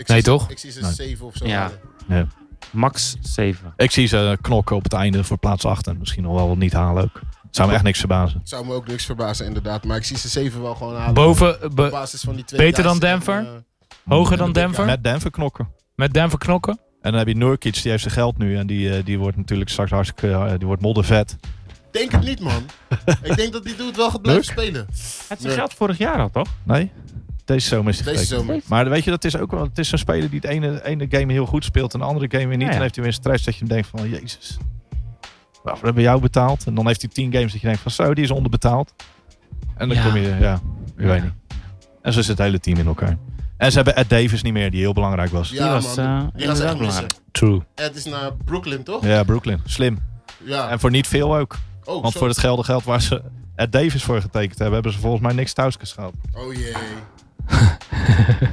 Speaker 4: zie ze-
Speaker 1: toch?
Speaker 4: Ik zie ze
Speaker 3: Nee.
Speaker 4: 7 of zo.
Speaker 2: Ja.
Speaker 4: halen.
Speaker 2: Max 7.
Speaker 3: Ik zie ze knokken op het einde voor plaats 8. En misschien nog wel wat niet halen ook. Het zou me echt niks verbazen.
Speaker 4: Zou me ook niks verbazen, inderdaad. Maar ik zie ze 7 wel gewoon halen.
Speaker 1: Boven,
Speaker 4: Op
Speaker 1: be-
Speaker 4: basis van die twee
Speaker 1: beter dan
Speaker 4: guys die
Speaker 1: Denver?
Speaker 4: hebben, eh,
Speaker 1: hoger dan Denver?
Speaker 3: Met Denver knokken.
Speaker 1: Met Denver knokken?
Speaker 3: En dan heb je Nurkic, die heeft zijn geld nu. En die, eh, die wordt natuurlijk straks hartstikke... eh, die wordt moddervet.
Speaker 4: denk het niet, man. ik denk dat die dude wel gaat blijven spelen.
Speaker 2: Het is
Speaker 4: Nee.
Speaker 2: geld vorig jaar al, toch?
Speaker 3: Nee? Deze zomer is hij
Speaker 4: Deze
Speaker 3: getekend.
Speaker 4: zomer.
Speaker 3: Maar weet je, dat is ook wel... Het is zo'n speler die het ene, ene game heel goed speelt... en de andere game weer niet.
Speaker 2: Ja, ja.
Speaker 3: En heeft hij weer stress dat je hem denkt van... Jezus, waarvoor hebben we jou betaald? En dan heeft hij 10 games dat je denkt van... Zo, die is onderbetaald. En dan
Speaker 1: Ja.
Speaker 3: kom je... Ja, ik weet
Speaker 2: Ja.
Speaker 3: niet. En zo zit het hele team in elkaar. En ze hebben Ed Davis niet meer, die heel belangrijk was. Ja,
Speaker 4: Ja,
Speaker 2: die was,
Speaker 4: man.
Speaker 2: eh,
Speaker 4: Die gaan ze echt missen.
Speaker 2: inderdaad belangrijk.
Speaker 1: True.
Speaker 4: Ed is naar Brooklyn, toch?
Speaker 3: Brooklyn. Slim.
Speaker 4: Ja.
Speaker 3: En voor niet veel ook.
Speaker 4: Oh,
Speaker 3: Want
Speaker 4: zo-
Speaker 3: voor het gelde geld waar ze Ed Davis voor getekend hebben... hebben ze volgens mij niks thuis geschaald.
Speaker 4: Oh jee.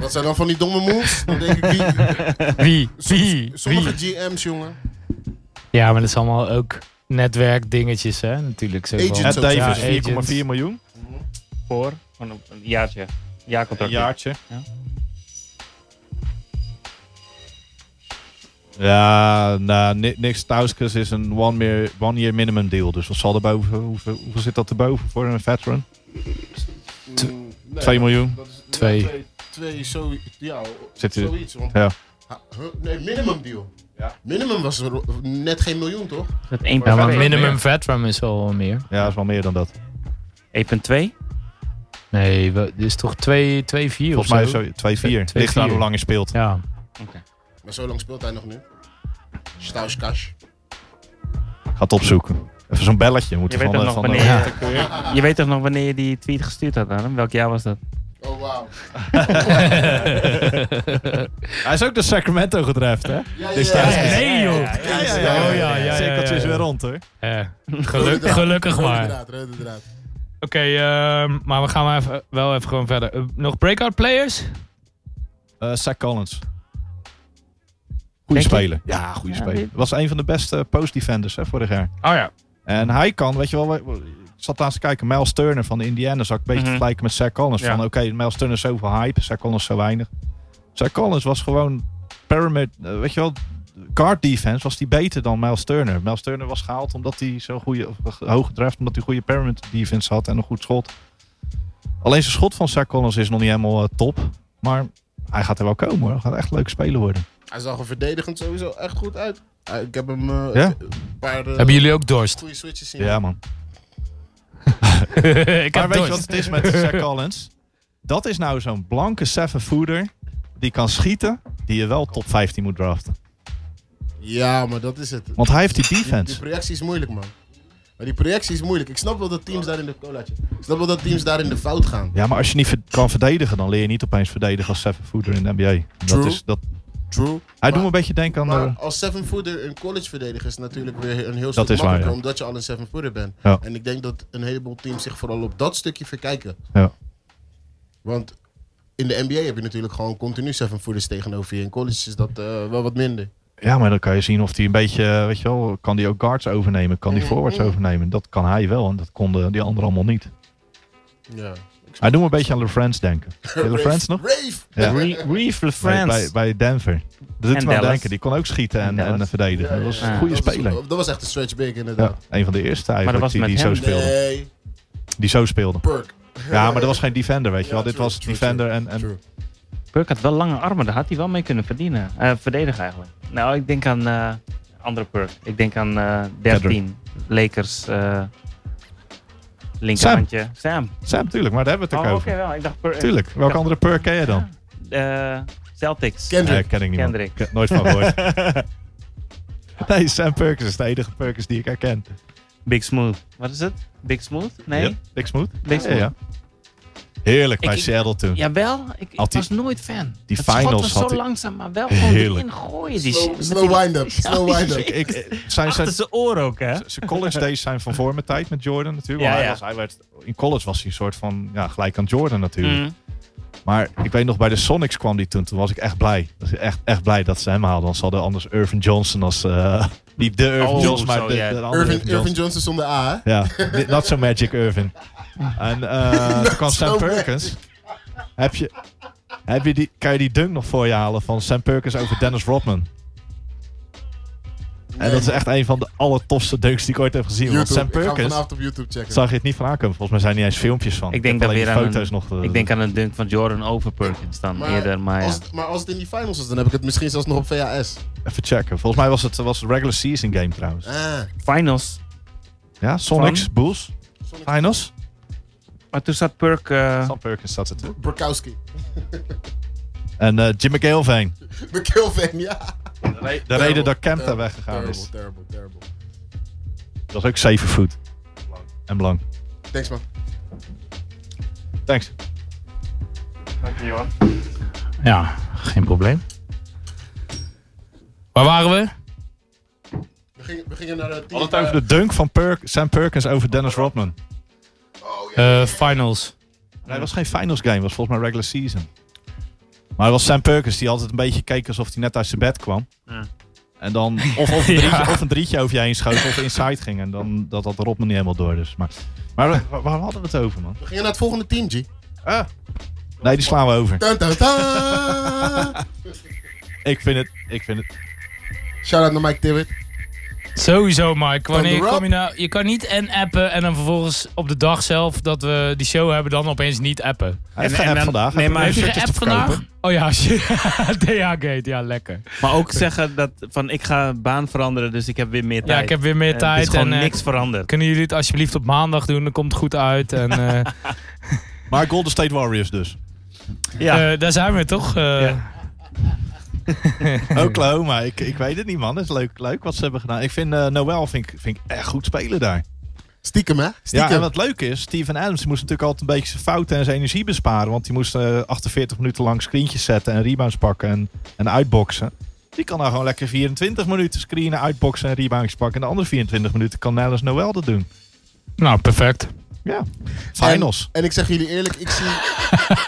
Speaker 4: Wat zijn dan van die domme moves? Dan denk ik, wie,
Speaker 1: Wie? Wie?
Speaker 4: soms-
Speaker 1: Wie?
Speaker 4: sommige GM's, jongen.
Speaker 1: Ja, maar dat is allemaal ook netwerkdingetjes, hè? Natuurlijk. Zo van-
Speaker 4: Agents.
Speaker 3: Ed
Speaker 4: Zo, ja,
Speaker 3: Davis,
Speaker 1: agents.
Speaker 3: 4,4 miljoen.
Speaker 2: Voor van een een jaartje.
Speaker 3: Een
Speaker 2: Jaarcontract.
Speaker 3: jaartje.
Speaker 2: Ja.
Speaker 3: Ja, nou, Ni- Nick Stauskas is een one-year one year minimum deal. Dus wat zal er boven, hoeveel, hoeveel zit dat erboven voor een veteran?
Speaker 4: Mm, nee,
Speaker 3: 2 miljoen.
Speaker 4: dat is-
Speaker 1: Twee.
Speaker 4: ja, twee. Twee, zo, ja,
Speaker 3: Zit u-
Speaker 4: zoiets. Want,
Speaker 3: Ja.
Speaker 4: Ha- huh? Nee, minimum deal.
Speaker 3: Ja.
Speaker 4: Minimum was er net geen miljoen, toch?
Speaker 2: Dat 1,2.
Speaker 1: Ja, maar minimum veteran is wel meer.
Speaker 3: ja, dat is wel meer dan dat.
Speaker 2: 1,2.
Speaker 1: Nee, we- dit is toch 2, 2, 4 of
Speaker 3: Volgens
Speaker 1: zo?
Speaker 3: mij zo 2-4.
Speaker 1: Twee-
Speaker 3: Ligt aan
Speaker 1: 2-4.
Speaker 3: hoe lang je speelt.
Speaker 1: Ja.
Speaker 4: Maar zo lang speelt hij nog nu. Staus cash.
Speaker 3: Gaat opzoeken. Even zo'n belletje. Moet
Speaker 2: Je
Speaker 3: er
Speaker 2: weet
Speaker 3: van,
Speaker 2: ook
Speaker 3: eh,
Speaker 2: nog
Speaker 3: van de-
Speaker 2: wanneer
Speaker 1: Ja.
Speaker 2: Je weet toch nog wanneer je die tweet gestuurd had aan hem? Welk jaar was dat?
Speaker 4: Oh, wauw.
Speaker 3: Hij is ook door Sacramento gedraft, hè?
Speaker 4: Ja,
Speaker 3: Dit
Speaker 4: ja,
Speaker 3: staat-
Speaker 4: ja, ja.
Speaker 1: Nee, joh.
Speaker 4: Ja, ja,
Speaker 1: ja,
Speaker 3: Oh
Speaker 1: ja, ja, ja,
Speaker 3: Cirkeltje is
Speaker 1: ja.
Speaker 3: weer rond, hoor.
Speaker 1: Eh, geluk- gelukkig
Speaker 4: Rode
Speaker 1: maar.
Speaker 4: draad, rode draad.
Speaker 1: Oké, ehm, maar we gaan maar even, wel even gewoon verder. Eh, nog breakout players?
Speaker 3: Eh Zach Collins.
Speaker 2: Denk
Speaker 3: Goeie
Speaker 2: je?
Speaker 3: speler. Ja, goede
Speaker 2: Ja,
Speaker 3: speler.
Speaker 2: dit-
Speaker 3: Was een van de beste post-defenders hè, vorig jaar.
Speaker 1: Oh ja.
Speaker 3: En hij kan, weet je wel, ik zat laatst te kijken, Miles Turner van de Indiana zou ik een beetje
Speaker 2: Mhm.
Speaker 3: vergelijken met Zach Collins.
Speaker 2: Ja.
Speaker 3: Van oké, Miles Turner is zoveel hype, Zach Collins zo weinig. Zach Collins was gewoon pyramid, eh, weet je wel, guard defense was die beter dan Miles Turner. Miles Turner was gehaald omdat hij zo'n goede, of hoge draft, omdat hij goede pyramid defense had en een goed schot. Alleen zijn schot van Zach Collins is nog niet helemaal eh, top, maar hij gaat er wel komen hoor. Hij gaat echt leuk spelen worden.
Speaker 4: Hij zag er verdedigend sowieso echt goed uit. Ah, Ik heb hem eh,
Speaker 3: Ja?
Speaker 4: een paar eh,
Speaker 1: Hebben jullie ook dorst?
Speaker 4: goede switches zien.
Speaker 3: Ja man.
Speaker 1: ik
Speaker 3: Maar
Speaker 1: heb
Speaker 3: weet je wat
Speaker 1: dorst.
Speaker 3: het is met Zach Collins? Dat is nou zo'n blanke seven-footer die kan schieten, die je wel top 15 moet draften.
Speaker 4: Ja, maar dat is het.
Speaker 3: Want hij heeft die
Speaker 4: Die, die
Speaker 3: defense.
Speaker 4: projectie is moeilijk, man. Maar die projectie is moeilijk. Ik snap wel dat teams daar in de colaatje. Ik snap wel dat teams daar in de fout gaan.
Speaker 3: Ja, maar als je niet ver- kan verdedigen, dan leer je niet opeens verdedigen als seven-footer in de NBA. Dat
Speaker 4: True.
Speaker 3: is, dat,
Speaker 4: True.
Speaker 3: hij
Speaker 4: Maar-
Speaker 3: doet me een beetje denken aan...
Speaker 4: Maar
Speaker 3: eh,
Speaker 4: als seven footer een college verdediger is natuurlijk weer een heel
Speaker 3: Dat
Speaker 4: stuk
Speaker 3: is waar,
Speaker 4: makkelijker,
Speaker 3: ja.
Speaker 4: omdat je al een seven footer bent.
Speaker 3: Ja.
Speaker 4: En ik denk dat een heleboel teams zich vooral op dat stukje verkijken.
Speaker 3: Ja.
Speaker 4: Want in de NBA heb je natuurlijk gewoon continu seven footers tegenover je. In college is dat eh, wel wat minder.
Speaker 3: ja, maar dan kan je zien of hij een beetje, eh, weet je wel, kan die ook guards overnemen, kan
Speaker 4: Mhm.
Speaker 3: die forwards overnemen. Dat kan hij wel en dat konden die anderen allemaal niet.
Speaker 4: Ja.
Speaker 3: Hij doet me een beetje aan LeFrance denken. Ken je LeFrance nog?
Speaker 4: Rave!
Speaker 3: Ja.
Speaker 2: Re- Reef
Speaker 3: Bij,
Speaker 2: LeFrance.
Speaker 3: bij, bij Denver. Dat doet
Speaker 2: En
Speaker 3: me aan
Speaker 2: Dallas.
Speaker 3: denken. Die kon ook schieten en,
Speaker 2: En
Speaker 3: en
Speaker 2: Dallas.
Speaker 3: verdedigen.
Speaker 4: Ja,
Speaker 3: Dat was
Speaker 2: ja,
Speaker 3: een
Speaker 2: ja.
Speaker 3: goede
Speaker 4: dat was-
Speaker 3: speler.
Speaker 4: dat was echt een stretch big
Speaker 3: Ja,
Speaker 4: inderdaad.
Speaker 3: een van de eerste eigenlijk
Speaker 2: was
Speaker 3: die,
Speaker 2: met
Speaker 3: die zo
Speaker 2: hem.
Speaker 3: speelde.
Speaker 4: Nee,
Speaker 3: Die zo speelde.
Speaker 4: perk.
Speaker 3: Ja, maar dat was geen defender, weet je
Speaker 4: Ja,
Speaker 3: wel. Dit
Speaker 4: true,
Speaker 3: was
Speaker 4: true,
Speaker 3: defender en, en
Speaker 4: True.
Speaker 2: Burke had wel lange armen, daar had hij wel mee kunnen verdienen. Eh, verdedigen eigenlijk. Nou, ik denk aan eh, andere Burke. Ik denk aan eh 13. Lakers. eh linkerhandje. Sam.
Speaker 3: Sam, tuurlijk, maar daar hebben we het ook
Speaker 2: Oh, oké
Speaker 3: over.
Speaker 2: wel. Ik dacht Burke.
Speaker 3: Tuurlijk. Welke
Speaker 2: Ja.
Speaker 3: andere perk ken je dan?
Speaker 2: Eh, Celtics.
Speaker 4: Kendrick.
Speaker 3: Nee, ken ik niet. man.
Speaker 2: Kendrick.
Speaker 3: Ik heb nooit van gehoord. nee, Sam Perkins is de enige Perkins die ik herken.
Speaker 2: Big Smooth. Wat is het? Big Smooth? Nee?
Speaker 3: Yep, Big Smooth.
Speaker 2: Big Smooth.
Speaker 3: Heerlijk bij
Speaker 2: ik-
Speaker 3: Seattle toen.
Speaker 2: Jawel, ik, ik
Speaker 3: Had die-
Speaker 2: was nooit fan.
Speaker 3: die
Speaker 2: Het schot
Speaker 3: finals
Speaker 2: was
Speaker 3: had
Speaker 2: zo
Speaker 3: die-
Speaker 2: langzaam, maar wel gewoon
Speaker 3: Heerlijk.
Speaker 2: erin gooien die shit.
Speaker 4: Slow,
Speaker 2: Met
Speaker 4: slow
Speaker 2: die-
Speaker 4: wind-up. Slow wind-up.
Speaker 3: Ik, ik- zijn, zijn,
Speaker 2: Achter zijn oor ook, hè?
Speaker 3: zijn college days zijn van voor mijn tijd met Jordan natuurlijk.
Speaker 2: Ja,
Speaker 3: want hij
Speaker 2: ja.
Speaker 3: was, hij werd, in college was hij een soort van ja, gelijk aan Jordan natuurlijk.
Speaker 2: Mm.
Speaker 3: Maar ik weet nog, bij de Sonics kwam die toen. Toen was ik echt blij. Was ik echt, echt blij dat ze hem haalden. Anders hadden anders Irvin Johnson als... eh, niet de Irvin
Speaker 2: Oh,
Speaker 3: Johnson, maar
Speaker 2: zo,
Speaker 3: de,
Speaker 2: ja.
Speaker 3: de andere
Speaker 4: Irvin,
Speaker 3: Irvin Johnson.
Speaker 4: Irvin Johnson zonder A, hè?
Speaker 3: Ja, di- not so magic, Irvin. En eh toen kwam Sam
Speaker 4: so
Speaker 3: Perkins. Heb je, heb je die, kan je die dunk nog voor je halen van Sam Perkins over Dennis Rodman? En
Speaker 4: Nee.
Speaker 3: dat is echt een van de allertofste dunks die ik ooit heb gezien.
Speaker 4: YouTube.
Speaker 3: Want Sam
Speaker 4: Ik ga hem
Speaker 3: Perkins,
Speaker 4: vanavond op YouTube checken.
Speaker 3: zag je het niet van aankomen. Volgens mij zijn er niet eens filmpjes van.
Speaker 2: Ik denk
Speaker 3: heb
Speaker 2: dat
Speaker 3: alleen
Speaker 2: weer
Speaker 3: die
Speaker 2: aan
Speaker 3: foto's
Speaker 2: een-
Speaker 3: nog. eh,
Speaker 2: Ik denk aan een dunk van Jordan over Perkins dan
Speaker 4: Maar
Speaker 2: eerder, maar ja.
Speaker 4: Als, het- maar als het in die finals is, dan heb ik het misschien zelfs nog op VHS.
Speaker 3: Even checken. Volgens mij was het, was het regular season game trouwens.
Speaker 4: Ah,
Speaker 2: Finals.
Speaker 3: Ja, Sonics, Bulls,
Speaker 4: Sonic
Speaker 3: Finals.
Speaker 2: Maar toen zat Perk... eh,
Speaker 3: Sam Perkins staat er toe.
Speaker 4: Brokowski.
Speaker 3: En eh, Jim McGillvain.
Speaker 4: McKilveen, ja.
Speaker 3: De reden dat Kemp daar weggegaan
Speaker 4: terrible,
Speaker 3: is.
Speaker 4: Terrible, terrible,
Speaker 3: Dat was ook 7 voet. En belang.
Speaker 4: Thanks, man.
Speaker 3: Thanks.
Speaker 1: Ja, geen probleem. Waar waren we?
Speaker 4: We gingen, we gingen naar de team.
Speaker 3: Had het over de dunk van Perk, Sam Perkins over Dennis Rodman.
Speaker 4: Oh, ja.
Speaker 1: Eh, finals.
Speaker 3: Nee, het was geen finals game, het was volgens mij regular season. Maar het was Sam Perkins die altijd een beetje keek alsof hij net uit zijn bed kwam.
Speaker 2: Ja.
Speaker 3: En dan of, of, een drietje,
Speaker 1: Ja.
Speaker 3: of een drietje over je heen schoot of inside ging. En dan dat had Rodman niet helemaal door. Dus. Maar, maar wa- waar, hadden we het over, man?
Speaker 4: We gingen naar het volgende team, G.
Speaker 3: Ah. Nee, die slaan we over.
Speaker 4: Dun, dun, dun.
Speaker 3: Ik vind het, ik vind het.
Speaker 4: Shout-out naar Mike Tibbet.
Speaker 1: Sowieso, Mike. Wanneer
Speaker 4: Thunder
Speaker 1: kom
Speaker 4: up.
Speaker 1: je nou... Je kan niet en appen en dan vervolgens op de dag zelf dat we die show hebben dan opeens niet appen.
Speaker 3: Hij heeft
Speaker 5: En- en
Speaker 3: geappt
Speaker 5: dan-
Speaker 3: vandaag.
Speaker 5: nee,
Speaker 3: Hij
Speaker 5: maar-
Speaker 3: heeft
Speaker 1: Heb je
Speaker 3: shirtjes
Speaker 1: geappt
Speaker 3: te verkopen.
Speaker 1: vandaag? Oh ja, shit. DH-gate. Ja, lekker.
Speaker 5: Maar ook zeggen dat van ik ga baan veranderen, dus ik heb weer meer tijd.
Speaker 1: Ja, ik heb weer meer
Speaker 5: En
Speaker 1: tijd.
Speaker 5: Het is gewoon
Speaker 1: en, eh,
Speaker 5: niks veranderd.
Speaker 1: Kunnen jullie het alsjeblieft op maandag doen? Dan komt het goed uit. En, eh,
Speaker 3: Maar Golden State Warriors dus.
Speaker 5: Ja.
Speaker 1: eh, daar zijn we toch? eh.
Speaker 5: Ja.
Speaker 3: Oklahoma, ik, ik weet het niet man. Het is leuk, leuk wat ze hebben gedaan. Ik vind eh, Noel vind, ik- vind ik echt goed spelen daar.
Speaker 4: Stiekem, hè?
Speaker 3: Ja,
Speaker 4: Stiekem.
Speaker 3: en wat leuk is, Steven Adams moest natuurlijk altijd een beetje zijn fouten en zijn energie besparen. Want die moest eh, 48 minuten lang screentjes zetten en rebounds pakken en, en uitboxen. Die kan nou gewoon lekker 24 minuten screenen, uitboxen en rebounds pakken. En de andere 24 minuten kan Nellis Noel dat doen.
Speaker 1: Nou, perfect.
Speaker 3: Ja, finals.
Speaker 4: En ik zeg jullie eerlijk, ik zie,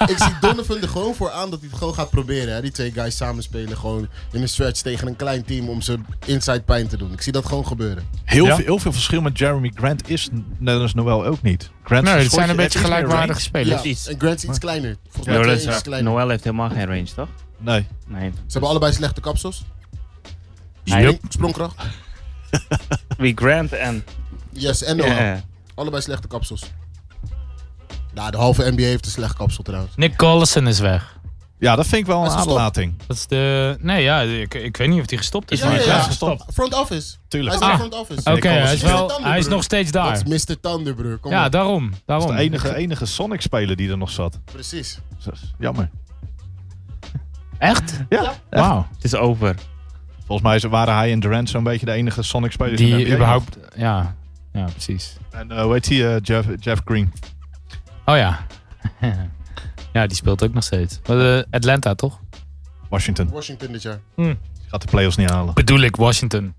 Speaker 4: ik zie Donovan er gewoon voor aan dat hij het gewoon gaat proberen. Hè? Die twee guys samen spelen gewoon in een stretch tegen een klein team om ze inside pijn te doen. Ik zie dat gewoon gebeuren.
Speaker 3: Heel,
Speaker 1: Ja.
Speaker 3: veel, heel veel verschil met Jeremy Grant is Nellis Noel ook niet. Grant
Speaker 1: Nee, het
Speaker 3: schotje
Speaker 1: zijn een beetje
Speaker 3: heeft iets meer
Speaker 1: gelijkwaardige spelers.
Speaker 4: Ja,
Speaker 5: precies.
Speaker 4: en Grant is iets kleiner. Volgens mij
Speaker 2: Noel
Speaker 4: twee
Speaker 2: is-
Speaker 4: inches kleiner.
Speaker 2: Noel heeft helemaal geen range, toch?
Speaker 3: range. Nee.
Speaker 2: Nee.
Speaker 4: Ze hebben allebei slechte kapsels.
Speaker 2: Hij-
Speaker 4: Sprong- Sprongkracht.
Speaker 2: Wie Grant en...
Speaker 4: Yes, en Noel.
Speaker 2: Ja.
Speaker 4: Allebei slechte kapsels. Nou, de halve NBA heeft een slecht kapsel trouwens.
Speaker 1: Nick Collison is weg.
Speaker 3: Ja, dat vind ik wel een
Speaker 4: Hij is gestopt.
Speaker 3: aderlating.
Speaker 1: Dat is de... Nee, ja, ik, ik weet niet of hij gestopt is.
Speaker 2: Is
Speaker 1: maar-
Speaker 2: hij-
Speaker 3: Ja,
Speaker 4: Ja.
Speaker 3: gestopt.
Speaker 4: Front office. Hij
Speaker 3: Tuurlijk.
Speaker 4: is in de
Speaker 1: Ah.
Speaker 4: front office.
Speaker 1: Oké,
Speaker 3: Nick Collison.
Speaker 1: hij,
Speaker 4: Is
Speaker 1: is wel,
Speaker 4: het dan
Speaker 1: hij is
Speaker 4: broer?
Speaker 1: nog steeds
Speaker 4: Dat
Speaker 1: daar.
Speaker 4: is Mr. Thunder, broer. Kom
Speaker 1: Ja,
Speaker 4: op.
Speaker 1: daarom.
Speaker 3: Dat is
Speaker 1: daarom.
Speaker 3: de enige, enige Sonic-speler die er nog zat.
Speaker 4: Precies.
Speaker 3: Dat is Jammer.
Speaker 1: Echt?
Speaker 3: Ja.
Speaker 1: Wauw.
Speaker 2: Het is over.
Speaker 3: Volgens mij ze- waren hij en Durant zo'n beetje de enige Sonic-spelers in de
Speaker 1: Die
Speaker 3: NBA.
Speaker 1: überhaupt... Ja. ja, precies.
Speaker 3: En eh, hoe heet die? eh, Jeff, Jeff Green.
Speaker 1: Oh ja. ja, die speelt ook nog steeds. Maar, eh, Atlanta, toch?
Speaker 3: Washington.
Speaker 4: Washington dit jaar.
Speaker 3: Die gaat de playoffs niet halen.
Speaker 1: Bedoel ik, Washington.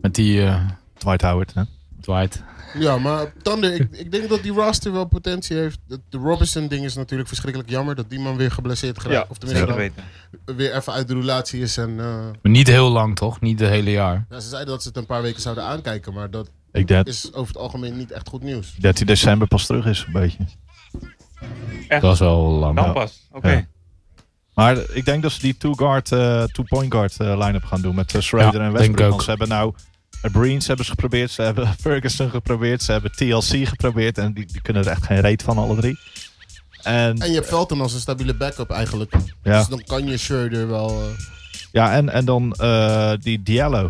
Speaker 1: Met die eh
Speaker 3: Dwight Howard. Hè?
Speaker 1: Dwight.
Speaker 4: Ja, maar Thunder, ik, ik denk dat die roster wel potentie heeft. De, de Robinson-ding is natuurlijk verschrikkelijk jammer dat die man weer geblesseerd geraakt. of tenminste,
Speaker 5: Zeker
Speaker 4: dan
Speaker 5: weten.
Speaker 4: weer even uit de roulatie is. En, eh,
Speaker 1: Maar niet heel lang, toch? Niet het hele jaar.
Speaker 4: ja, ze zeiden dat ze het een paar weken zouden aankijken, maar dat
Speaker 3: Ik denk
Speaker 4: is over het algemeen niet echt goed nieuws.
Speaker 3: 13 december pas terug is, een beetje.
Speaker 1: Dat is wel lang.
Speaker 2: Dan pas. Oké.
Speaker 3: Ja. Maar ik denk dat ze die two-guard, eh, two-point guard eh, line-up gaan doen met eh, Schroeder
Speaker 1: Ja,
Speaker 3: en
Speaker 1: denk
Speaker 3: Westbrook.
Speaker 1: ook.
Speaker 3: Want ze hebben nou eh, Breens hebben ze geprobeerd, ze hebben Ferguson geprobeerd, ze hebben TLC geprobeerd. En die, die kunnen er echt geen reet van, alle drie. En,
Speaker 4: En je hebt Velton als een stabiele backup eigenlijk.
Speaker 3: ja,
Speaker 4: Dus dan kan je Schroeder wel... eh,
Speaker 3: ja, en, en dan eh, die Diallo.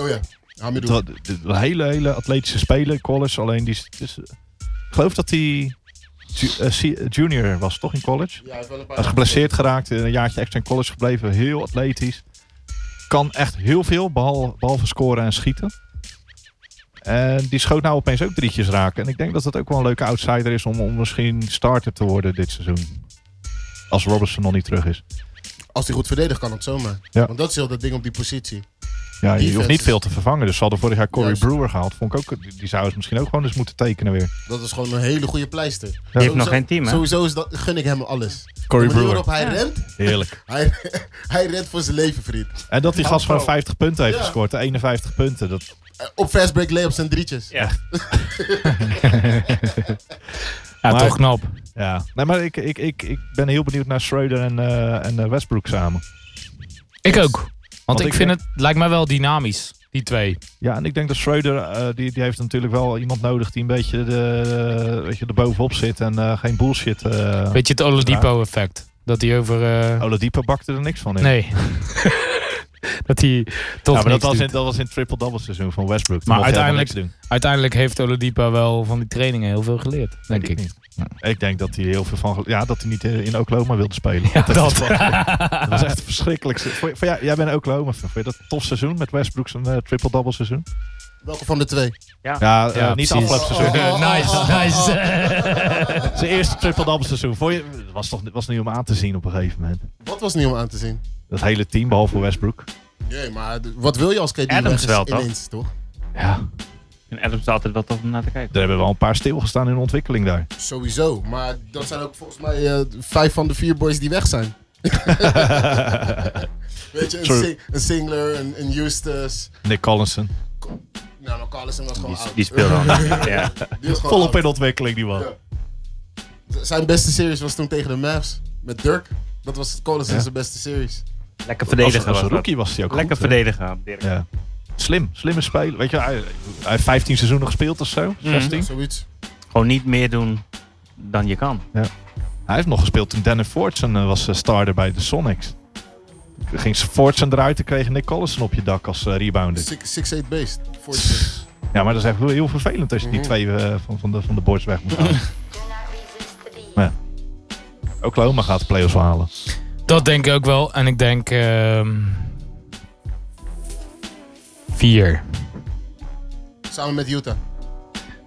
Speaker 4: Oh ja, Hamidou.
Speaker 3: Dat, een hele, hele atletische speler, college. Alleen die. is- is- ik geloof dat hij eh, junior was, toch in college?
Speaker 4: Ja, hij heeft wel een paar...
Speaker 3: Hij is geblesseerd geraakt, een jaartje extra in college gebleven, heel atletisch. Kan echt heel veel, behal- behalve scoren en schieten. En die schoot nou opeens ook drietjes raken. En ik denk dat dat ook wel een leuke outsider is om, om misschien starter te worden dit seizoen. Als Robertson nog niet terug is.
Speaker 4: Als hij goed verdedigt, kan het zomaar.
Speaker 3: Ja.
Speaker 4: Want dat is heel dat ding op die positie.
Speaker 3: Ja, je hoeft
Speaker 4: Defense
Speaker 3: niet
Speaker 4: is-
Speaker 3: veel te vervangen. Dus ze hadden vorig jaar Corey
Speaker 4: Juist.
Speaker 3: Brewer gehaald. Vond ik ook, die die zouden ze misschien ook gewoon eens moeten tekenen weer.
Speaker 4: Dat is gewoon een hele goede pleister. Die
Speaker 2: heeft nog geen team, hè?
Speaker 4: Sowieso is dat, gun ik hem alles.
Speaker 3: Corey
Speaker 4: de manier
Speaker 3: Brewer.
Speaker 4: waarop hij rent,
Speaker 3: Heerlijk.
Speaker 4: hij, hij rent voor zijn leven, vriend.
Speaker 3: En dat die gast gewoon
Speaker 2: zo.
Speaker 3: 50 punten heeft
Speaker 4: Ja.
Speaker 3: gescoord. De 51 punten. Dat,
Speaker 4: Eh, Op fast break layups en drietjes.
Speaker 2: Ja.
Speaker 1: Ja,
Speaker 3: Maar-
Speaker 1: toch knap.
Speaker 3: Ja, nee, maar ik, ik, ik, ik ben heel benieuwd naar Schroeder en, eh, en eh, Westbrook samen.
Speaker 1: Ik ook. Want, ik,
Speaker 3: ik
Speaker 1: vind
Speaker 3: denk-
Speaker 1: het, lijkt mij wel dynamisch, die twee.
Speaker 3: Ja, en ik denk dat Schroeder, eh, die, die heeft natuurlijk wel iemand nodig die een beetje de, eh, weet je, er bovenop zit en eh, geen bullshit. eh
Speaker 1: Weet je het Oladipo effect? Dat hij over... eh,
Speaker 3: Oladipo bakte er niks van in.
Speaker 1: nee. dat hij toch
Speaker 3: ja, maar dat
Speaker 1: niks
Speaker 3: was, in,
Speaker 1: doet.
Speaker 3: dat was in het triple-double seizoen van Westbrook. Toen
Speaker 1: Maar
Speaker 3: mocht hij helemaal
Speaker 1: uiteindelijk-
Speaker 3: niks
Speaker 1: Uiteindelijk heeft Oladipo wel van die trainingen heel veel geleerd, denk ik.
Speaker 3: ik doen. Ik denk dat hij heel veel van... gel- Ja, dat hij niet eh, in Oklahoma wilde spelen.
Speaker 1: Ja, dat.
Speaker 3: Dat was echt verschrikkelijk. Voor, voor, jou- jij bent Oklahoma. fan. Vond je dat een tof seizoen met Westbrook zijn eh, triple-double seizoen?
Speaker 4: Welke van de twee?
Speaker 3: Ja, eh,
Speaker 1: Ja,
Speaker 3: niet
Speaker 1: precies. Oh.
Speaker 3: afgelopen seizoen.
Speaker 2: Oh.
Speaker 1: nice, nice.
Speaker 3: Zijn eerste triple-double seizoen. Vond je, het was toch het was niet om aan te zien op een gegeven moment.
Speaker 4: Wat was niet om aan te zien?
Speaker 3: Dat hele team, behalve Westbrook.
Speaker 4: Nee, maar d- wat wil je als KD
Speaker 2: Adams
Speaker 4: weg is
Speaker 2: wel, toch?
Speaker 4: ineens, toch?
Speaker 3: Ja.
Speaker 2: En Adams is altijd wel tof om naar te kijken.
Speaker 3: Er hebben wel een paar stilgestaan in ontwikkeling daar.
Speaker 4: Sowieso, maar dat zijn ook volgens mij eh, vijf van de vier boys die weg zijn. Weet je, een,
Speaker 3: True.
Speaker 4: Sing- een Singler, een, een Eustace.
Speaker 3: Nick Collinson.
Speaker 4: Nou, maar Carlson was gewoon
Speaker 2: Die,
Speaker 4: oud.
Speaker 2: die speelt dan. ja.
Speaker 4: Die was gewoon
Speaker 3: Volop
Speaker 4: oud.
Speaker 3: in ontwikkeling die man.
Speaker 4: Ja. Zijn beste series was toen tegen de Mavs. Met Dirk. Dat was Collison
Speaker 3: Ja.
Speaker 4: zijn beste series.
Speaker 2: Lekker
Speaker 3: Als,
Speaker 2: verdedigen.
Speaker 3: als
Speaker 2: was dat.
Speaker 3: rookie was hij ook
Speaker 2: Lekker
Speaker 3: goed, hè?
Speaker 2: verdedigen, Dirk.
Speaker 3: Ja. Slim, slimme speler. Weet je, hij, hij heeft 15 seizoenen gespeeld of
Speaker 1: Mhm.
Speaker 3: zo. 16.
Speaker 4: Nou, Zoiets.
Speaker 2: Gewoon niet meer doen dan je kan.
Speaker 3: Hij heeft nog gespeeld toen Dennis Fortson eh, was eh, starter bij de Sonics. Toen Ging Fortson eruit en kreeg Nick Collison op je dak als eh, rebounder.
Speaker 4: 6-8 beest. Fortune.
Speaker 3: Ja, maar dat is echt wel heel vervelend als je
Speaker 1: Mhm.
Speaker 3: die twee eh, van, van, de, van de boards weg moet halen. maar ja. Oklahoma gaat de play-offs wel halen.
Speaker 1: Dat denk ik ook wel. En ik denk... ehm, vier.
Speaker 4: Samen met Utah.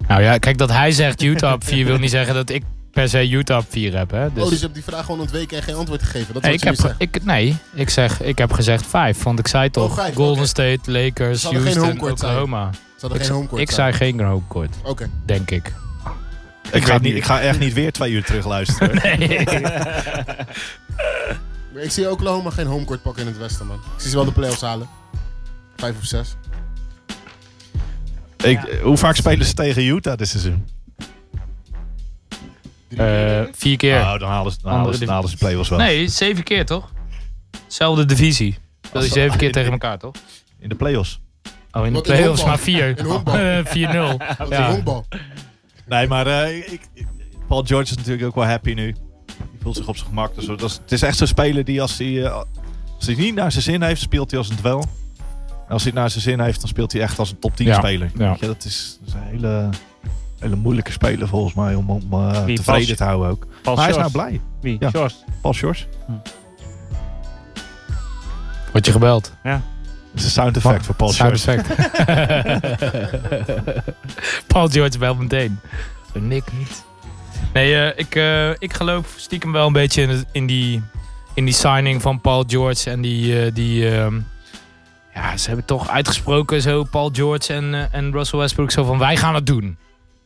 Speaker 1: Nou ja, kijk, dat hij zegt Utah op 4 wil niet zeggen dat ik per se Utah op 4 heb. Hè? Dus,
Speaker 4: Oh, dus je hebt die vraag gewoon ontweken en geen antwoord gegeven. Dat
Speaker 1: nee,
Speaker 4: is
Speaker 1: ik
Speaker 4: wat
Speaker 1: heb,
Speaker 4: ik
Speaker 1: ge-
Speaker 4: heb
Speaker 1: ik, nee, ik zeg, ik heb gezegd 5. Want ik zei toch,
Speaker 4: Oh, vijf,
Speaker 1: Golden
Speaker 4: oké.
Speaker 1: State, Lakers,
Speaker 4: Zal er geen
Speaker 1: Houston,
Speaker 4: homecourt zijn?
Speaker 1: Oklahoma.
Speaker 4: Ze hadden
Speaker 1: Ik,
Speaker 4: geen homecourt.
Speaker 1: ik
Speaker 4: zijn.
Speaker 1: zei geen homecourt,
Speaker 4: Oké.
Speaker 1: denk ik.
Speaker 3: Ik,
Speaker 1: weet
Speaker 3: ga, het niet,
Speaker 1: niet.
Speaker 3: ik ga echt niet weer twee uur terug luisteren.
Speaker 4: Maar Ik zie Oklahoma geen homecourt pakken in het westen, man. Ik zie ze wel de playoffs halen. Vijf of zes.
Speaker 3: Ik, Hoe vaak spelen ze tegen Utah dit seizoen?
Speaker 1: Eh, vier keer.
Speaker 3: Nou, dan halen ze, dan halen
Speaker 1: Andere
Speaker 3: ze, dan halen ze de play-offs wel.
Speaker 1: nee, zeven keer toch? Zelfde divisie. Dat is
Speaker 3: zo.
Speaker 1: zeven keer
Speaker 3: In-
Speaker 1: tegen
Speaker 3: in-
Speaker 1: elkaar, toch?
Speaker 3: In de play-offs.
Speaker 1: Oh, in de
Speaker 4: Wat in
Speaker 1: playoffs
Speaker 4: honkbal?
Speaker 1: maar vier.
Speaker 4: In honkbal.
Speaker 1: Eh, 4-0.
Speaker 4: Dat is
Speaker 1: Ja.
Speaker 4: een honkbal.
Speaker 3: Nee, maar eh, ik, ik- Paul George is natuurlijk ook wel happy nu. Die voelt zich op zijn gemak. Dus dat is, het is echt zo'n speler die als hij, eh, als hij niet naar zijn zin heeft, speelt hij als een dwel. En als hij het naar zijn zin heeft, dan speelt hij echt als een top 10
Speaker 1: Ja,
Speaker 3: speler.
Speaker 1: ja.
Speaker 3: Weet je, dat, is, dat is een hele, hele moeilijke speler volgens mij om, om eh,
Speaker 2: Wie,
Speaker 3: tevreden
Speaker 2: Paul-
Speaker 3: te houden ook.
Speaker 2: Paul
Speaker 3: maar hij is nou
Speaker 2: George.
Speaker 3: blij.
Speaker 2: Wie?
Speaker 3: Ja.
Speaker 2: George.
Speaker 3: Paul George.
Speaker 1: Word je gebeld?
Speaker 3: Het is een sound effect voor Paul
Speaker 1: Sound
Speaker 3: George.
Speaker 1: effect. Paul George wel meteen. Zo Nick niet. Nee, eh, ik, eh, ik geloof stiekem wel een beetje in, het- in, die, in die signing van Paul George. En die, eh, die ehm, ja, ze hebben toch uitgesproken zo Paul George en, eh, en Russell Westbrook zo van wij gaan het doen.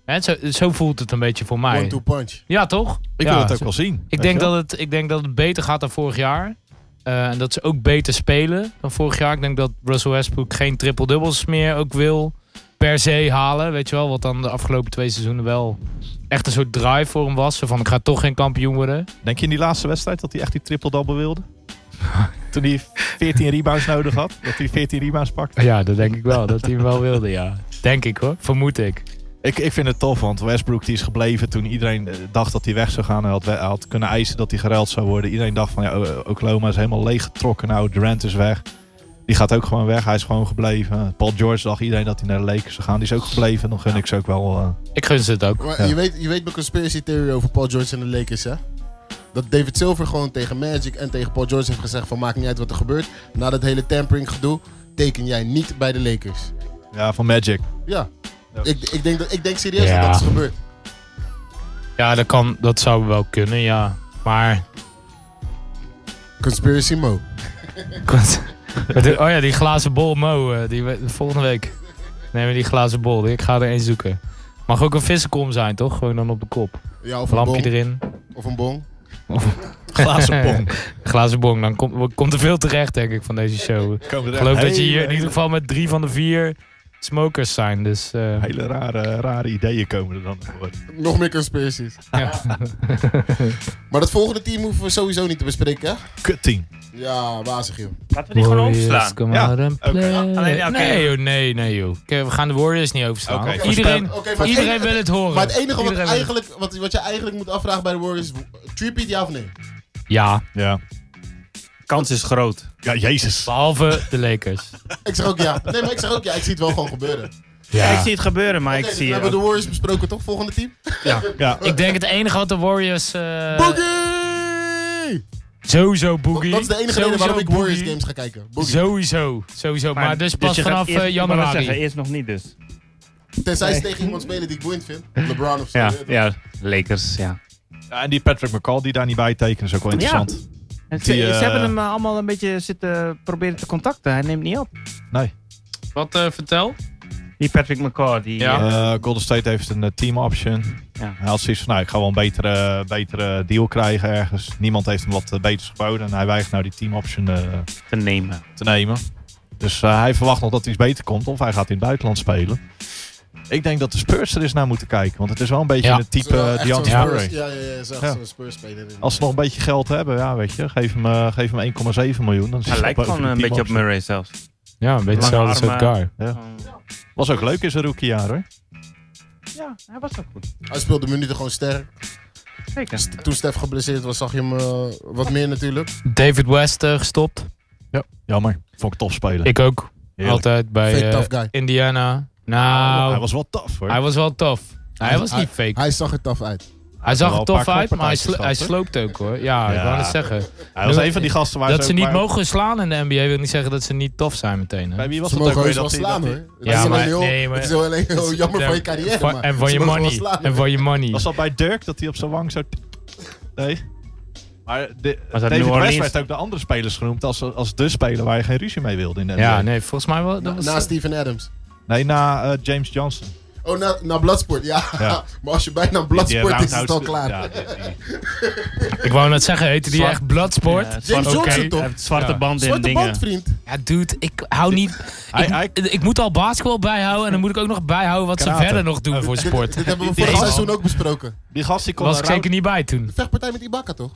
Speaker 1: Hè, zo, zo voelt het een beetje voor mij.
Speaker 4: One-two punch.
Speaker 1: Ja, toch?
Speaker 3: Ik
Speaker 1: Ja,
Speaker 3: wil het ook
Speaker 1: zo-
Speaker 3: wel zien.
Speaker 1: ik denk, dat het, ik denk dat het beter gaat dan vorig jaar. Eh, en dat ze ook beter spelen dan vorig jaar. Ik denk dat Russell Westbrook geen triple-doubles meer ook wil per se halen. Weet je wel, wat dan de afgelopen twee seizoenen wel echt een soort drive voor hem was. Zo van, ik ga toch geen kampioen worden.
Speaker 3: Denk je in die laatste wedstrijd dat hij echt die triple-double wilde? Toen hij 14 rebounds nodig had, dat hij 14 rebounds pakte.
Speaker 1: Ja, dat denk ik wel. Dat hij hem wel wilde, ja. Denk ik hoor, vermoed ik.
Speaker 3: Ik, ik vind het tof, want Westbrook die is gebleven toen iedereen eh, dacht dat hij weg zou gaan. Hij had, we- hij had kunnen eisen dat hij geruild zou worden. Iedereen dacht van ja, O- Oklahoma is helemaal leeggetrokken. Nou, Durant is weg. Die gaat ook gewoon weg. Hij is gewoon gebleven. Paul George dacht iedereen dat hij naar de Lakers zou gaan. Die is ook gebleven. Dan gun ik ze ook wel. eh,
Speaker 1: Ik gun ze het ook.
Speaker 4: Maar
Speaker 3: Ja.
Speaker 4: je, weet, je weet mijn conspiracy theory over Paul George en de Lakers, hè? Dat David Silver gewoon tegen Magic en tegen Paul George heeft gezegd van maakt niet uit wat er gebeurt. Na dat hele tampering gedoe, teken jij niet bij de Lakers.
Speaker 3: ja, van Magic.
Speaker 4: Ja.
Speaker 3: Ja.
Speaker 4: Ik, ik, denk, dat, ik denk serieus
Speaker 1: Ja.
Speaker 4: dat dat is gebeurd.
Speaker 1: Ja, dat, kan, dat zou wel kunnen, ja. Maar...
Speaker 4: Conspiracy Mo.
Speaker 1: oh ja, die glazen bol Mo, eh, die we- volgende week. Neem we die glazen bol, ik ga er één zoeken. Mag ook een vissenkom zijn, toch? Gewoon dan op de kop.
Speaker 4: Ja, of een
Speaker 1: Lampje
Speaker 4: bong.
Speaker 1: erin,
Speaker 4: Of een bong.
Speaker 3: Glazen bonk.
Speaker 1: glazen bong. Dan komt komt er veel terecht, denk ik, van deze show. Ik
Speaker 3: Komen er
Speaker 1: geloof
Speaker 3: echt
Speaker 1: dat je hier in
Speaker 3: hele-
Speaker 1: ieder geval met drie van de vier smokers zijn. Dus eh,
Speaker 3: Hele rare, rare ideeën komen er dan voor.
Speaker 4: Nog meer conspiracies.
Speaker 1: ja.
Speaker 4: Maar dat volgende team hoeven we sowieso niet te bespreken, hè?
Speaker 3: Kut team.
Speaker 4: Ja, wazig, joh.
Speaker 2: Laten we die gewoon overslaan.
Speaker 3: Ja,
Speaker 5: Alleen, ja, oké.
Speaker 1: Nee joh, nee, nee joh. Oké, We gaan de Warriors niet overslaan.
Speaker 3: Oké,
Speaker 1: Want iedereen,
Speaker 4: Oké, maar
Speaker 1: want
Speaker 4: het
Speaker 1: iedereen
Speaker 4: enige-
Speaker 1: wil het horen.
Speaker 4: Maar het enige wat,
Speaker 1: Iedereen wil-
Speaker 4: eigenlijk, wat, wat je eigenlijk moet afvragen bij de Warriors... Tripeat, ja of nee?
Speaker 1: Ja,
Speaker 3: Ja.
Speaker 5: Kans is groot.
Speaker 3: Ja, jezus.
Speaker 1: behalve de Lakers.
Speaker 4: Ik zeg ook ja. Nee, maar ik zeg ook ja. Ik zie het wel gewoon gebeuren.
Speaker 5: Ja.
Speaker 1: Ja.
Speaker 5: ik zie het gebeuren, maar
Speaker 4: Oké,
Speaker 5: ik
Speaker 4: dus
Speaker 5: zie
Speaker 4: we hebben
Speaker 5: ook-
Speaker 4: de Warriors besproken, toch? Volgende team?
Speaker 3: Ja.
Speaker 1: Ik denk het enige wat de Warriors... eh,
Speaker 4: Boogie!
Speaker 1: sowieso Boogie.
Speaker 4: Dat is de enige
Speaker 1: sowieso
Speaker 4: reden waarom ik
Speaker 1: Boogie.
Speaker 4: Warriors games ga kijken. Boogie.
Speaker 1: Sowieso, sowieso. Maar, dus pas
Speaker 5: je gaat
Speaker 1: vanaf
Speaker 5: eerst-
Speaker 1: eh,
Speaker 5: ik wou net
Speaker 1: januari.
Speaker 5: Zeggen, eerst nog niet dus.
Speaker 4: Tenzij ze tegen iemand spelen die ik boeiend vind. LeBron of zo.
Speaker 5: Ja,
Speaker 4: weet je
Speaker 5: ja. Lakers, ja.
Speaker 3: Ja, en die Patrick McCall die daar niet bij tekent is ook wel interessant.
Speaker 2: En
Speaker 3: Die, eh,
Speaker 2: eh, allemaal een beetje zitten proberen te contacten. Hij neemt niet op.
Speaker 3: Nee.
Speaker 1: Wat eh, vertel?
Speaker 2: Die Patrick McCall, die...
Speaker 1: Ja.
Speaker 2: eh,
Speaker 3: Eh, Golden State heeft een eh, team option.
Speaker 2: Ja.
Speaker 3: Hij had zoiets van, nou, ik ga wel een betere, betere deal krijgen ergens. Niemand heeft hem wat eh, beters geboden. En hij weigert nou die team option eh,
Speaker 2: te nemen.
Speaker 3: te nemen. Dus eh, hij verwacht nog dat hij iets beter komt. Of hij gaat in het buitenland spelen. Ik denk dat de Spurs er eens naar moeten kijken. Want het is wel een beetje
Speaker 1: Ja.
Speaker 3: een
Speaker 4: Het is
Speaker 3: type
Speaker 4: wel
Speaker 3: eh,
Speaker 4: echt
Speaker 3: DeAndre
Speaker 4: zo'n
Speaker 1: Ja.
Speaker 4: Spurs-
Speaker 3: Murray.
Speaker 4: Ja, ja, ja. Ze
Speaker 3: Ja.
Speaker 4: zo'n Spurs speler.
Speaker 3: Als ze nog een beetje geld hebben, ja, weet je. Geef hem, eh, geef hem 1,7 miljoen. Dan zit
Speaker 5: Hij
Speaker 3: hij
Speaker 5: lijkt
Speaker 3: boven
Speaker 5: gewoon
Speaker 3: de
Speaker 5: een beetje op
Speaker 3: teamoption.
Speaker 5: Murray zelfs.
Speaker 1: Ja, een beetje
Speaker 5: Lange
Speaker 1: hetzelfde soort
Speaker 5: armen.
Speaker 1: guy.
Speaker 3: Was ook leuk in zijn rookiejaar, hoor.
Speaker 2: Ja, hij was ook goed.
Speaker 4: Hij speelde minuten gewoon sterk.
Speaker 2: Zeker.
Speaker 4: St- Toen Stef geblesseerd was, zag je hem eh, wat meer natuurlijk.
Speaker 1: David West eh, gestopt.
Speaker 3: Jammer. Vond ik tof spelen.
Speaker 1: Ik ook.
Speaker 3: Heerlijk.
Speaker 1: Altijd bij
Speaker 4: Fake
Speaker 1: eh,
Speaker 4: tough guy.
Speaker 1: Indiana.
Speaker 5: eh,
Speaker 1: Nou,
Speaker 3: Ah, Hij was wel tof, hoor.
Speaker 1: hij was wel tof. Hij
Speaker 4: Hij-
Speaker 1: was niet fake.
Speaker 4: Hij zag er tof uit.
Speaker 1: Hij zag
Speaker 3: wel
Speaker 1: er
Speaker 3: een
Speaker 1: tof
Speaker 3: paar
Speaker 1: uit, maar hij,
Speaker 3: knoppartijtjes
Speaker 1: slo- hij
Speaker 3: gehad,
Speaker 1: sloopt ook hoor. Ja, ik
Speaker 3: Ja.
Speaker 1: wou net zeggen.
Speaker 3: Hij was een van die gasten waar
Speaker 1: dat ze
Speaker 3: ook
Speaker 1: niet
Speaker 3: bij-
Speaker 1: mogen slaan in de NBA wil niet zeggen dat ze niet tof zijn meteen. Hè?
Speaker 3: Bij wie was
Speaker 4: Ze
Speaker 3: dat ook
Speaker 4: mogen
Speaker 3: weer?
Speaker 4: heus
Speaker 3: Dat
Speaker 4: wel
Speaker 3: die-
Speaker 4: slaan
Speaker 3: dat
Speaker 4: hoor.
Speaker 3: die-
Speaker 4: Het
Speaker 1: Ja,
Speaker 4: is
Speaker 1: maar-
Speaker 4: alleen heel-
Speaker 1: nee, maar-
Speaker 4: het is alleen heel jammer voor je carrière.
Speaker 1: Van-
Speaker 4: maar
Speaker 1: en van
Speaker 4: ze
Speaker 1: je
Speaker 4: mogen wel
Speaker 1: money.
Speaker 4: slaan,
Speaker 1: En
Speaker 4: hoor.
Speaker 1: van je money.
Speaker 3: Was dat bij Dirk dat hij op zijn wang zo... Nee. Maar de,
Speaker 5: Was dat
Speaker 3: David
Speaker 5: New
Speaker 3: West
Speaker 5: Orleans?
Speaker 3: werd ook de andere spelers genoemd als, als de speler waar je geen ruzie mee wilde in de NBA.
Speaker 1: Ja, nee, volgens mij wel. Dat
Speaker 4: Na,
Speaker 1: was,
Speaker 4: na Steven Adams.
Speaker 3: Nee, na eh, James Johnson.
Speaker 4: Oh, na, na Bloodsport, ja.
Speaker 3: Ja.
Speaker 4: maar als je bijna Bloodsport is, is het al klaar.
Speaker 3: Ja, die- die-
Speaker 1: ik wou net zeggen, heette die
Speaker 5: Zwart.
Speaker 1: echt Bloodsport?
Speaker 5: Ja,
Speaker 1: Ja,
Speaker 5: het
Speaker 4: James
Speaker 5: zwarte-
Speaker 4: Johnson
Speaker 5: Oké,
Speaker 4: toch?
Speaker 5: hij heeft zwarte
Speaker 1: Ja.
Speaker 5: banden en
Speaker 4: Zwarte
Speaker 5: dingen.
Speaker 4: band, vriend.
Speaker 1: dude, ik hou niet.
Speaker 3: Hij- hij-
Speaker 1: Ik, ik moet al basketbal bijhouden en dan moet ik ook nog bijhouden wat ze
Speaker 3: Karate.
Speaker 1: verder nog doen voor sport.
Speaker 4: Dit hebben we
Speaker 3: Die
Speaker 4: vorig
Speaker 3: gast-
Speaker 4: seizoen ook besproken.
Speaker 3: Die gast die kon
Speaker 1: was
Speaker 3: een
Speaker 1: ik
Speaker 3: round-
Speaker 1: zeker niet bij toen.
Speaker 4: De vechtpartij met Ibaka, toch?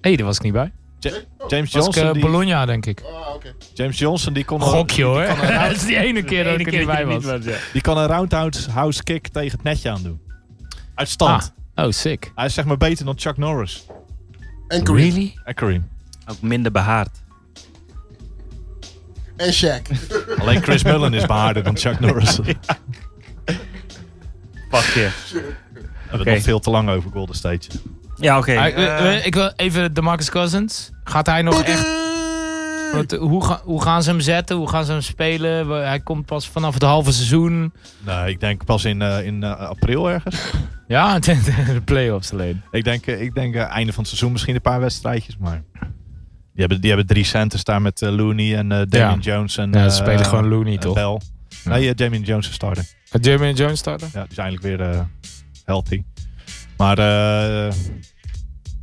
Speaker 1: Hé, daar was ik niet bij.
Speaker 3: Ja- James
Speaker 1: Was ik eh,
Speaker 3: Johnson, die,
Speaker 1: Bologna, denk ik.
Speaker 4: Ah, oké.
Speaker 3: James Johnson die kon, een,
Speaker 1: Gokje hoor. Dat is die ene keer
Speaker 5: De
Speaker 1: dat
Speaker 5: ene
Speaker 1: ik er niet bij was.
Speaker 5: was, ja.
Speaker 3: die kan een roundhouse house kick tegen het netje aandoen. Uit stand.
Speaker 1: Ah, oh, sick.
Speaker 3: Hij is zeg maar beter dan Chuck Norris
Speaker 4: En Kareem.
Speaker 3: en Kareem.
Speaker 5: Ook minder behaard.
Speaker 4: En Shaq.
Speaker 3: Alleen Chris Mullen is behaarder dan Chuck Norris. We
Speaker 5: Pak je.
Speaker 3: hebben
Speaker 5: Oké.
Speaker 3: het nog veel te lang over Golden State.
Speaker 5: Ja, oké.
Speaker 1: Hij- eh,
Speaker 5: eh,
Speaker 1: eh, ik wil even Marcus Cousins. Gaat hij nog echt... Wat, hoe, ga- hoe gaan ze hem zetten? Hoe gaan ze hem spelen? We- Hij komt pas vanaf het halve seizoen.
Speaker 3: Nee, ik denk pas in, eh, in eh, april ergens.
Speaker 1: Ja, de, de- de play-offs alleen.
Speaker 3: Ik denk, eh, ik denk eh, einde van het seizoen misschien een paar wedstrijdjes, maar... Die hebben, die hebben drie centers daar met eh, Looney en eh Damian Jones en...
Speaker 1: Ja, ze
Speaker 3: eh,
Speaker 1: spelen gewoon Looney,
Speaker 3: en
Speaker 1: toch?
Speaker 3: Bell.
Speaker 1: Ja.
Speaker 3: Nee, eh, Damian Jones is starter.
Speaker 1: Gaat Jeremy Jones starten?
Speaker 3: Ja, die is eindelijk weer eh, healthy. Maar eh,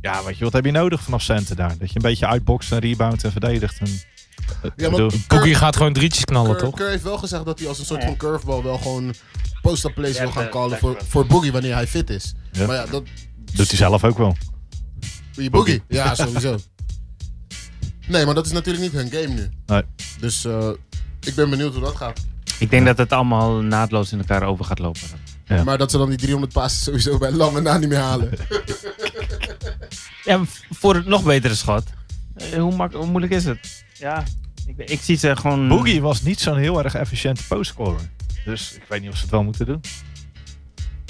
Speaker 3: ja, weet je, wat heb je nodig vanaf center daar? Dat je een beetje uitbokst en rebound en verdedigt. En,
Speaker 4: Ja, maar
Speaker 3: bedoel,
Speaker 1: Cookie gaat gewoon drietjes knallen,
Speaker 4: Kerr,
Speaker 1: toch?
Speaker 4: Kerr heeft wel gezegd dat hij als een soort van curveball wel gewoon post-up plays wil gaan
Speaker 5: de-
Speaker 4: callen
Speaker 5: de-
Speaker 4: voor, voor Boogie wanneer hij fit is.
Speaker 3: Ja.
Speaker 4: Maar ja, dat...
Speaker 3: doet hij zelf ook wel.
Speaker 1: Hmm.
Speaker 4: Die Boogie. Ja, sowieso. Nee, maar dat is natuurlijk niet hun game nu.
Speaker 3: Nee.
Speaker 4: Dus eh, ik ben benieuwd hoe dat gaat.
Speaker 5: ik denk dat het allemaal naadloos in elkaar over gaat lopen.
Speaker 3: Ja.
Speaker 4: Maar dat ze dan die 300 passes sowieso bij lange na niet meer halen.
Speaker 2: Ja, v- voor het nog betere schot. Eh, Hoe, mak- hoe moeilijk is het? Ja, ik, ik zie ze gewoon...
Speaker 3: Boogie was niet zo'n heel erg efficiënte postscorer. Dus ik weet niet of ze het wel moeten doen.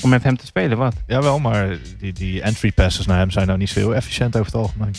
Speaker 2: Om met hem te spelen, wat?
Speaker 3: Jawel, maar die, die entry passes naar hem zijn nou niet zo heel efficiënt over het algemeen.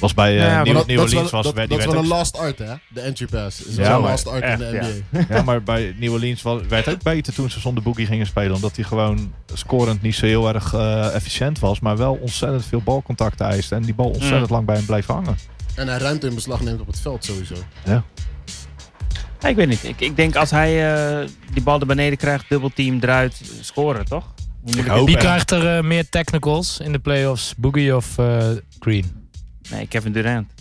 Speaker 3: Was bij eh,
Speaker 2: Ja, maar
Speaker 3: New,
Speaker 4: Nou Maar dat-
Speaker 3: New
Speaker 4: dat is wel-
Speaker 3: Orleans was
Speaker 4: dat,
Speaker 3: werd- die
Speaker 4: dat is
Speaker 3: werd
Speaker 4: wel
Speaker 3: ook-
Speaker 4: een last art, hè? De entry pass. Is
Speaker 3: Ja,
Speaker 4: wel een
Speaker 3: maar
Speaker 4: last art in de
Speaker 2: echt,
Speaker 4: NBA.
Speaker 3: Ja, maar bij New Orleans wa- werd ook beter toen ze zonder Boogie gingen spelen. Omdat hij gewoon scorend niet zo heel erg eh, efficiënt was. Maar wel ontzettend veel balcontact eiste. En die bal ontzettend lang bij hem bleef hangen.
Speaker 4: En hij ruimte in beslag neemt op het veld sowieso.
Speaker 2: Ja, ik weet niet. Ik, ik denk als hij eh, die bal er beneden krijgt, dubbelteam eruit, scoren, toch? Hoe moeilijk
Speaker 3: hoop
Speaker 1: Wie
Speaker 3: hè.
Speaker 1: krijgt er eh, meer technicals in de playoffs? Boogie of eh, Green?
Speaker 2: is- Nee, Kevin Durant.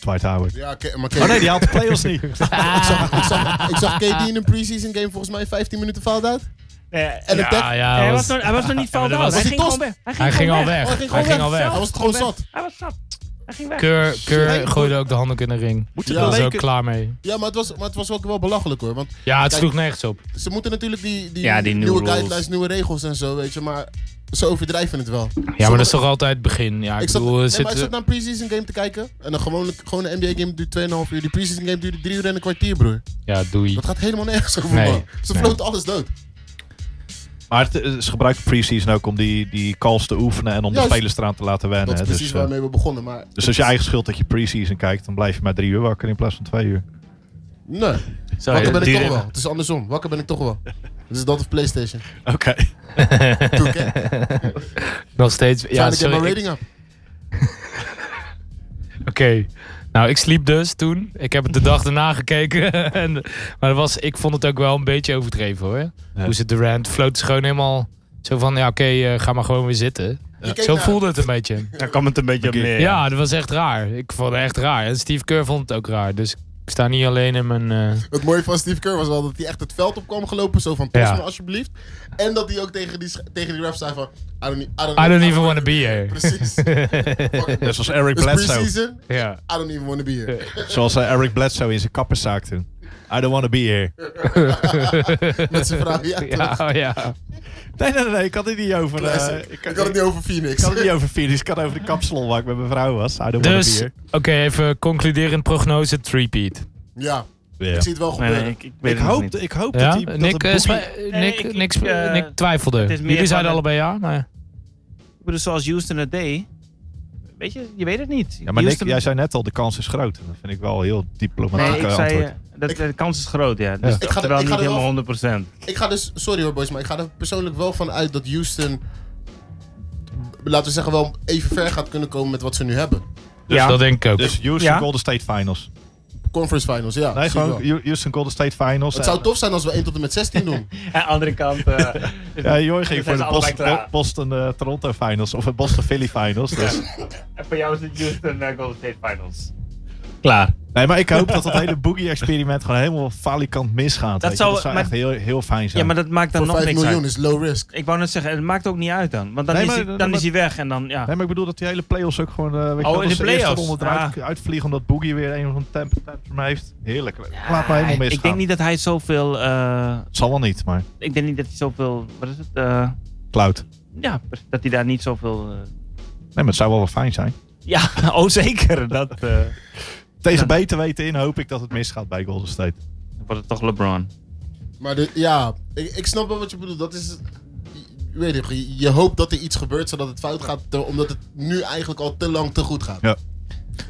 Speaker 3: Dwight Howard.
Speaker 4: Ja, Ke- maar
Speaker 3: Oh
Speaker 4: Kevin,
Speaker 3: nee, die haalt de playoffs niet.
Speaker 4: ik, zag, ik, zag, ik zag KD in een preseason game volgens mij 15 minuten fout uit. En een tech.
Speaker 1: Ja, Ah, ja,
Speaker 2: hij, was
Speaker 1: was-
Speaker 2: nog, hij was nog niet fout
Speaker 1: dat
Speaker 2: out.
Speaker 1: was
Speaker 2: Hij
Speaker 4: een
Speaker 2: ging
Speaker 4: tost.
Speaker 2: gewoon weg. nou? Hij
Speaker 1: hij ging al weg.
Speaker 4: Oh, hij ging
Speaker 1: Hij
Speaker 4: gewoon
Speaker 1: ging al
Speaker 4: Hij
Speaker 1: weg.
Speaker 4: was het gewoon zat.
Speaker 2: Hij was zat. Hij ging weg.
Speaker 1: Keur, Keur
Speaker 4: Shit.
Speaker 1: gooide ook de handdoek in de ring.
Speaker 3: Moeten
Speaker 4: Ja.
Speaker 3: de
Speaker 1: Daar was ook
Speaker 3: Lakers-
Speaker 1: klaar mee.
Speaker 4: Ja, maar het was, maar het was ook wel belachelijk hoor. Want
Speaker 1: Ja, het
Speaker 4: Kijk.
Speaker 1: sloeg nergens op.
Speaker 4: ze moeten natuurlijk die, die,
Speaker 2: Ja, die nieuwe
Speaker 4: nieuwe
Speaker 2: rules.
Speaker 4: guidelines, nieuwe regels en zo, weet je. Maar ze overdrijven het wel.
Speaker 1: Ja, maar dat is toch altijd het begin. Ja, ik,
Speaker 4: Ik zat,
Speaker 1: bedoel,
Speaker 4: nee,
Speaker 1: zit,
Speaker 4: maar ik zat naar een preseason game te kijken. En een gewone, gewone NBA game duurt 2,5 uur. Die preseason game duurde 3 uur en een kwartier, broer.
Speaker 1: ja, doei.
Speaker 4: Dat gaat helemaal nergens over,
Speaker 1: Nee.
Speaker 4: man. Ze floten alles dood.
Speaker 3: Maar het, eh, ze gebruiken pre-season ook om die, die calls te oefenen. En om
Speaker 4: Juist.
Speaker 3: de spelers eraan te laten wennen.
Speaker 4: Dat is
Speaker 3: hè.
Speaker 4: precies
Speaker 3: dus, eh,
Speaker 4: waarmee we begonnen. Maar
Speaker 3: dus als je eigen schuld dat je pre-season kijkt. Dan blijf je maar drie uur wakker in plaats van twee uur.
Speaker 4: Nee,
Speaker 2: Zo,
Speaker 4: wakker ben ik
Speaker 2: Durant-
Speaker 4: toch wel. Het is andersom. Wakker ben ik toch wel. Dus dat of PlayStation.
Speaker 3: Oké.
Speaker 4: Doe ik, hè? Trying
Speaker 1: Nog steeds.
Speaker 4: to get
Speaker 1: Ja,
Speaker 4: my
Speaker 1: sorry, ik-
Speaker 4: rating up.
Speaker 1: Oké. Nou, ik sliep dus toen. Ik heb het de dag daarna gekeken. en, maar dat was, ik vond het ook wel een beetje overdreven hoor. Hoe ze Durant floot gewoon helemaal zo van, ja oké, eh, ga maar gewoon weer zitten.
Speaker 4: Je keek
Speaker 1: Zo
Speaker 4: naar-
Speaker 1: voelde het een beetje.
Speaker 5: Daar kwam het een beetje op
Speaker 3: Oké.
Speaker 5: neer.
Speaker 1: Ja, dat was echt raar. Ik vond het echt raar. En Steve Kerr vond het ook raar. Dus ik sta niet alleen in mijn... eh,
Speaker 4: Het mooie van Steve Kerr was wel dat hij echt het veld op kwam gelopen. Zo van, pas
Speaker 1: Ja.
Speaker 4: me alsjeblieft. En dat hij ook tegen die, sch- tegen die ref zei van... I don't, need- I don't,
Speaker 1: I don't even want to be here.
Speaker 4: Precies.
Speaker 3: Net zoals Eric
Speaker 4: Dus
Speaker 3: Bledsoe.
Speaker 4: preseason,
Speaker 1: ja.
Speaker 4: I don't even want to be here.
Speaker 3: Zoals eh, Eric Bledsoe in zijn kapperszaak toen. I don't want to be here.
Speaker 4: Met zijn vrouw, ja. toch?
Speaker 1: Ja, eh, ja.
Speaker 3: Nee, nee, nee, nee, ik had het niet over. eh,
Speaker 4: Classic.
Speaker 3: ik,
Speaker 4: Ik had het niet over Phoenix.
Speaker 3: ik had het niet over Phoenix, ik had het over de kapsalon waar ik met mijn vrouw was. I don't want
Speaker 1: Dus,
Speaker 3: to
Speaker 1: oké,
Speaker 3: be
Speaker 1: even concluderend prognose, threepeat.
Speaker 4: Ja,
Speaker 3: here.
Speaker 4: ik zie het wel
Speaker 2: Nee,
Speaker 4: gebeuren.
Speaker 2: nee, ik, ik weet
Speaker 3: Ik
Speaker 2: het nog
Speaker 3: hoop,
Speaker 2: niet.
Speaker 3: ik hoop
Speaker 1: Ja?
Speaker 3: dat die. dat
Speaker 1: Nick,
Speaker 3: de
Speaker 1: eh,
Speaker 3: Boogie-
Speaker 1: sma- Nick,
Speaker 2: ik- ik,
Speaker 1: niks-
Speaker 2: eh,
Speaker 1: Nick twijfelde.
Speaker 2: het is meer
Speaker 1: Jullie zeiden
Speaker 2: van
Speaker 1: allebei ja. Nou, ja.
Speaker 2: Ik bedoel, zoals Houston het deed. Weet je, je weet het niet.
Speaker 3: ja, maar Nick,
Speaker 2: Houston,
Speaker 3: jij zei net al, de kans is groot. Dat vind ik wel een heel diplomatiek
Speaker 2: Nee, ik
Speaker 3: eh,
Speaker 2: zei
Speaker 3: antwoord.
Speaker 2: eh, dat de kans is groot, ja. Dus
Speaker 4: Ik ga er-
Speaker 2: terwijl
Speaker 4: ik ga
Speaker 2: niet
Speaker 4: er wel-
Speaker 2: helemaal 100%.
Speaker 4: Ik ga dus, sorry hoor boys, maar ik ga er persoonlijk wel van uit dat Houston, laten we zeggen, wel even ver gaat kunnen komen met wat ze nu hebben.
Speaker 1: Dus dat denk ik ook.
Speaker 3: Dus Houston
Speaker 2: Ja?
Speaker 3: Golden State Finals.
Speaker 4: Conference finals, ja.
Speaker 3: Nee,
Speaker 4: zie ik wel.
Speaker 3: gewoon Hu- Houston Golden State Finals.
Speaker 4: Het zou
Speaker 3: En-
Speaker 4: tof zijn als we 1 tot en met 16 doen.
Speaker 2: Aan de andere kant... eh,
Speaker 3: Ja, Joy ging
Speaker 2: zijn
Speaker 3: voor
Speaker 2: ze
Speaker 3: de
Speaker 2: allebei
Speaker 3: Boston,
Speaker 2: klaar.
Speaker 3: Bo- Boston eh, Toronto Finals. Of het Boston Philly Finals. Dus.
Speaker 2: En voor jou is het Houston uh, Golden State Finals. Klaar.
Speaker 3: Nee, maar ik hoop dat dat hele Boogie-experiment gewoon helemaal falikant misgaat.
Speaker 2: Dat
Speaker 3: weet je.
Speaker 2: zou-
Speaker 3: dat zou
Speaker 2: maar-
Speaker 3: echt heel, heel fijn zijn.
Speaker 2: Ja, maar dat maakt dan
Speaker 4: Voor
Speaker 2: nog
Speaker 4: 5
Speaker 2: niks
Speaker 4: miljoen
Speaker 2: uit.
Speaker 4: is low risk.
Speaker 2: Ik wou net zeggen, het maakt ook niet uit dan. Want dan,
Speaker 3: Nee,
Speaker 2: is,
Speaker 3: maar-
Speaker 2: hij, dan
Speaker 3: maar-
Speaker 2: is hij weg en dan, ja.
Speaker 3: Nee, maar ik bedoel dat die hele play-offs ook gewoon... eh weet je
Speaker 2: Oh,
Speaker 3: wel,
Speaker 2: in
Speaker 3: als
Speaker 2: de
Speaker 3: eerste
Speaker 2: playoffs. Ah.
Speaker 3: ronde eruit, uitvliegen omdat Boogie weer een van de temp tantrum heeft. Heerlijk. Laat maar helemaal misgaan.
Speaker 2: ik denk niet dat hij zoveel... eh,
Speaker 3: Het zal wel niet, maar...
Speaker 2: ik denk niet dat hij zoveel... Wat is het? eh,
Speaker 3: Cloud.
Speaker 2: ja, dat hij daar niet zoveel... eh,
Speaker 3: Nee, maar het zou wel wel fijn zijn.
Speaker 2: ja, oh zeker. Dat eh,
Speaker 3: Tegen beter weten in hoop ik dat het misgaat bij Golden State.
Speaker 2: dan wordt het toch LeBron.
Speaker 4: Maar de- ja, ik, ik snap wel wat je bedoelt. Dat is, je- weet je, je, je hoopt dat er iets gebeurt zodat het fout gaat, te- omdat het nu eigenlijk al te lang te goed gaat.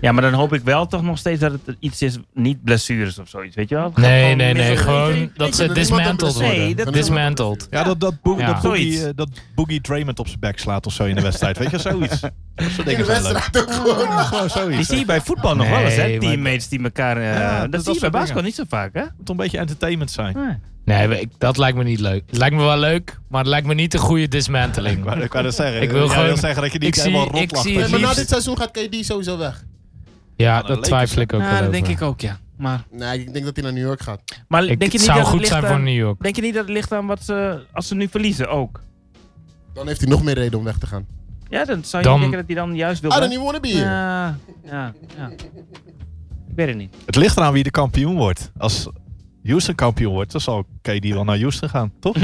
Speaker 2: Ja, maar dan hoop ik wel toch nog steeds dat het iets is... Niet blessures of zoiets, weet je wel? Het gaat
Speaker 1: Nee,
Speaker 2: gewoon
Speaker 1: nee,
Speaker 2: mis-
Speaker 1: nee. Gewoon
Speaker 4: weet je,
Speaker 1: dat ze
Speaker 4: dat is iemand
Speaker 1: dismantled
Speaker 4: dat-
Speaker 2: nee, dat-
Speaker 1: worden.
Speaker 4: dat-
Speaker 1: Dismantled.
Speaker 3: Ja, dat, dat, Boogie,
Speaker 1: Ja.
Speaker 3: dat, Boogie,
Speaker 2: Zoiets.
Speaker 3: eh, dat Boogie Draymond op zijn bek slaat of zo in de wedstrijd. Weet je, zoiets. Dat soort
Speaker 4: In de
Speaker 3: dingen zijn leuk.
Speaker 4: wedstrijd ook gewoon.
Speaker 3: Ja, gewoon
Speaker 2: Die
Speaker 3: zoiets.
Speaker 2: zie je bij voetbal Oh, nog wel eens,
Speaker 1: Nee,
Speaker 2: hè?
Speaker 1: maar-
Speaker 2: Teammates die elkaar... eh,
Speaker 3: Ja, dat- dat
Speaker 2: dat, zie je bij
Speaker 3: soort
Speaker 2: basketbal niet zo vaak, hè? Nou,
Speaker 3: Het moet een beetje entertainment zijn.
Speaker 1: Nee, we- ik- dat lijkt me niet leuk. Het lijkt me wel leuk, maar het lijkt me niet een goede
Speaker 3: Ik
Speaker 1: dismanteling.
Speaker 3: wou, ik wou dat zeggen.
Speaker 1: Ik wil
Speaker 3: Jij
Speaker 1: gewoon-
Speaker 3: wil zeggen dat je niet
Speaker 1: ik zie-
Speaker 3: helemaal
Speaker 1: ik
Speaker 3: rot lacht. dat
Speaker 1: zie
Speaker 4: Nee,
Speaker 3: je-
Speaker 1: het
Speaker 4: maar na
Speaker 1: liefst-
Speaker 4: dit seizoen gaat KD sowieso weg.
Speaker 1: Ja,
Speaker 3: dat
Speaker 1: dat
Speaker 3: leek
Speaker 1: twijfel ik ook wel
Speaker 2: Ja, dat
Speaker 1: over.
Speaker 2: denk ik ook, ja. Maar,
Speaker 4: Nee, ik denk dat hij naar New York gaat.
Speaker 2: maar
Speaker 1: Ik-
Speaker 2: denk je
Speaker 1: het
Speaker 2: niet
Speaker 1: zou
Speaker 2: dat het
Speaker 1: goed
Speaker 2: ligt
Speaker 1: zijn voor
Speaker 2: aan-
Speaker 1: New York.
Speaker 2: Denk je niet dat het ligt aan wat ze, als ze nu verliezen ook?
Speaker 4: Dan heeft hij nog meer reden om weg te gaan.
Speaker 2: Ja, dan zou je
Speaker 1: Dan-
Speaker 2: niet denken dat hij dan juist wil
Speaker 4: I don't
Speaker 2: blijven?
Speaker 4: even want to be here.
Speaker 2: Ja, ja, ja. Ik weet het niet.
Speaker 3: Het ligt eraan wie de kampioen wordt. Als Houston kampioen wordt, dan zal KD wel naar Houston gaan, toch?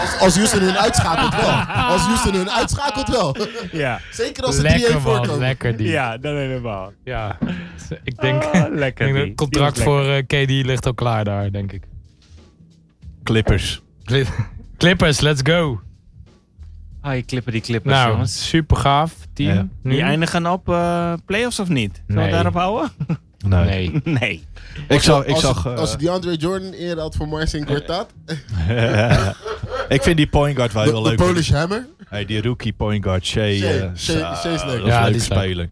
Speaker 4: Als, als Houston hun uitschakelt wel. Als Houston hun uitschakelt wel.
Speaker 5: Ja,
Speaker 4: Zeker als ze 3-1
Speaker 1: lekker man,
Speaker 4: voorkomen.
Speaker 1: lekker die. Ja,
Speaker 5: ja dat helemaal.
Speaker 1: ik denk,
Speaker 5: Ah,
Speaker 1: ik
Speaker 5: lekker.
Speaker 1: denk dat
Speaker 5: die.
Speaker 1: het contract
Speaker 5: Die was
Speaker 1: voor eh, KD ligt al klaar daar, denk ik.
Speaker 3: Clippers.
Speaker 1: Cli- Clippers, let's go.
Speaker 2: Hi, clipper Ah, die clippers,
Speaker 1: Nou,
Speaker 2: jongens.
Speaker 1: super gaaf team.
Speaker 3: Ja.
Speaker 5: lekker.
Speaker 1: Nu?
Speaker 5: Die eindigen op eh playoffs of niet? Zullen
Speaker 1: Nee.
Speaker 5: we daarop houden?
Speaker 3: Nee.
Speaker 1: Nee.
Speaker 5: Nee.
Speaker 3: Ik zag... Ik
Speaker 4: als,
Speaker 3: zag eh,
Speaker 4: als die Andre Jordan eerder had voor Marcin Kortat.
Speaker 3: ik vind die point guard wel
Speaker 4: De,
Speaker 3: heel
Speaker 4: de
Speaker 3: leuk.
Speaker 4: Polish Hammer.
Speaker 3: Hey, die rookie point guard, Shea.
Speaker 4: Shea,
Speaker 3: eh,
Speaker 4: Shea-
Speaker 3: zo,
Speaker 4: Shea is leuk.
Speaker 3: Dat
Speaker 1: Ja,
Speaker 3: ja,
Speaker 1: die
Speaker 3: leuk
Speaker 1: is leuk.
Speaker 3: spelen.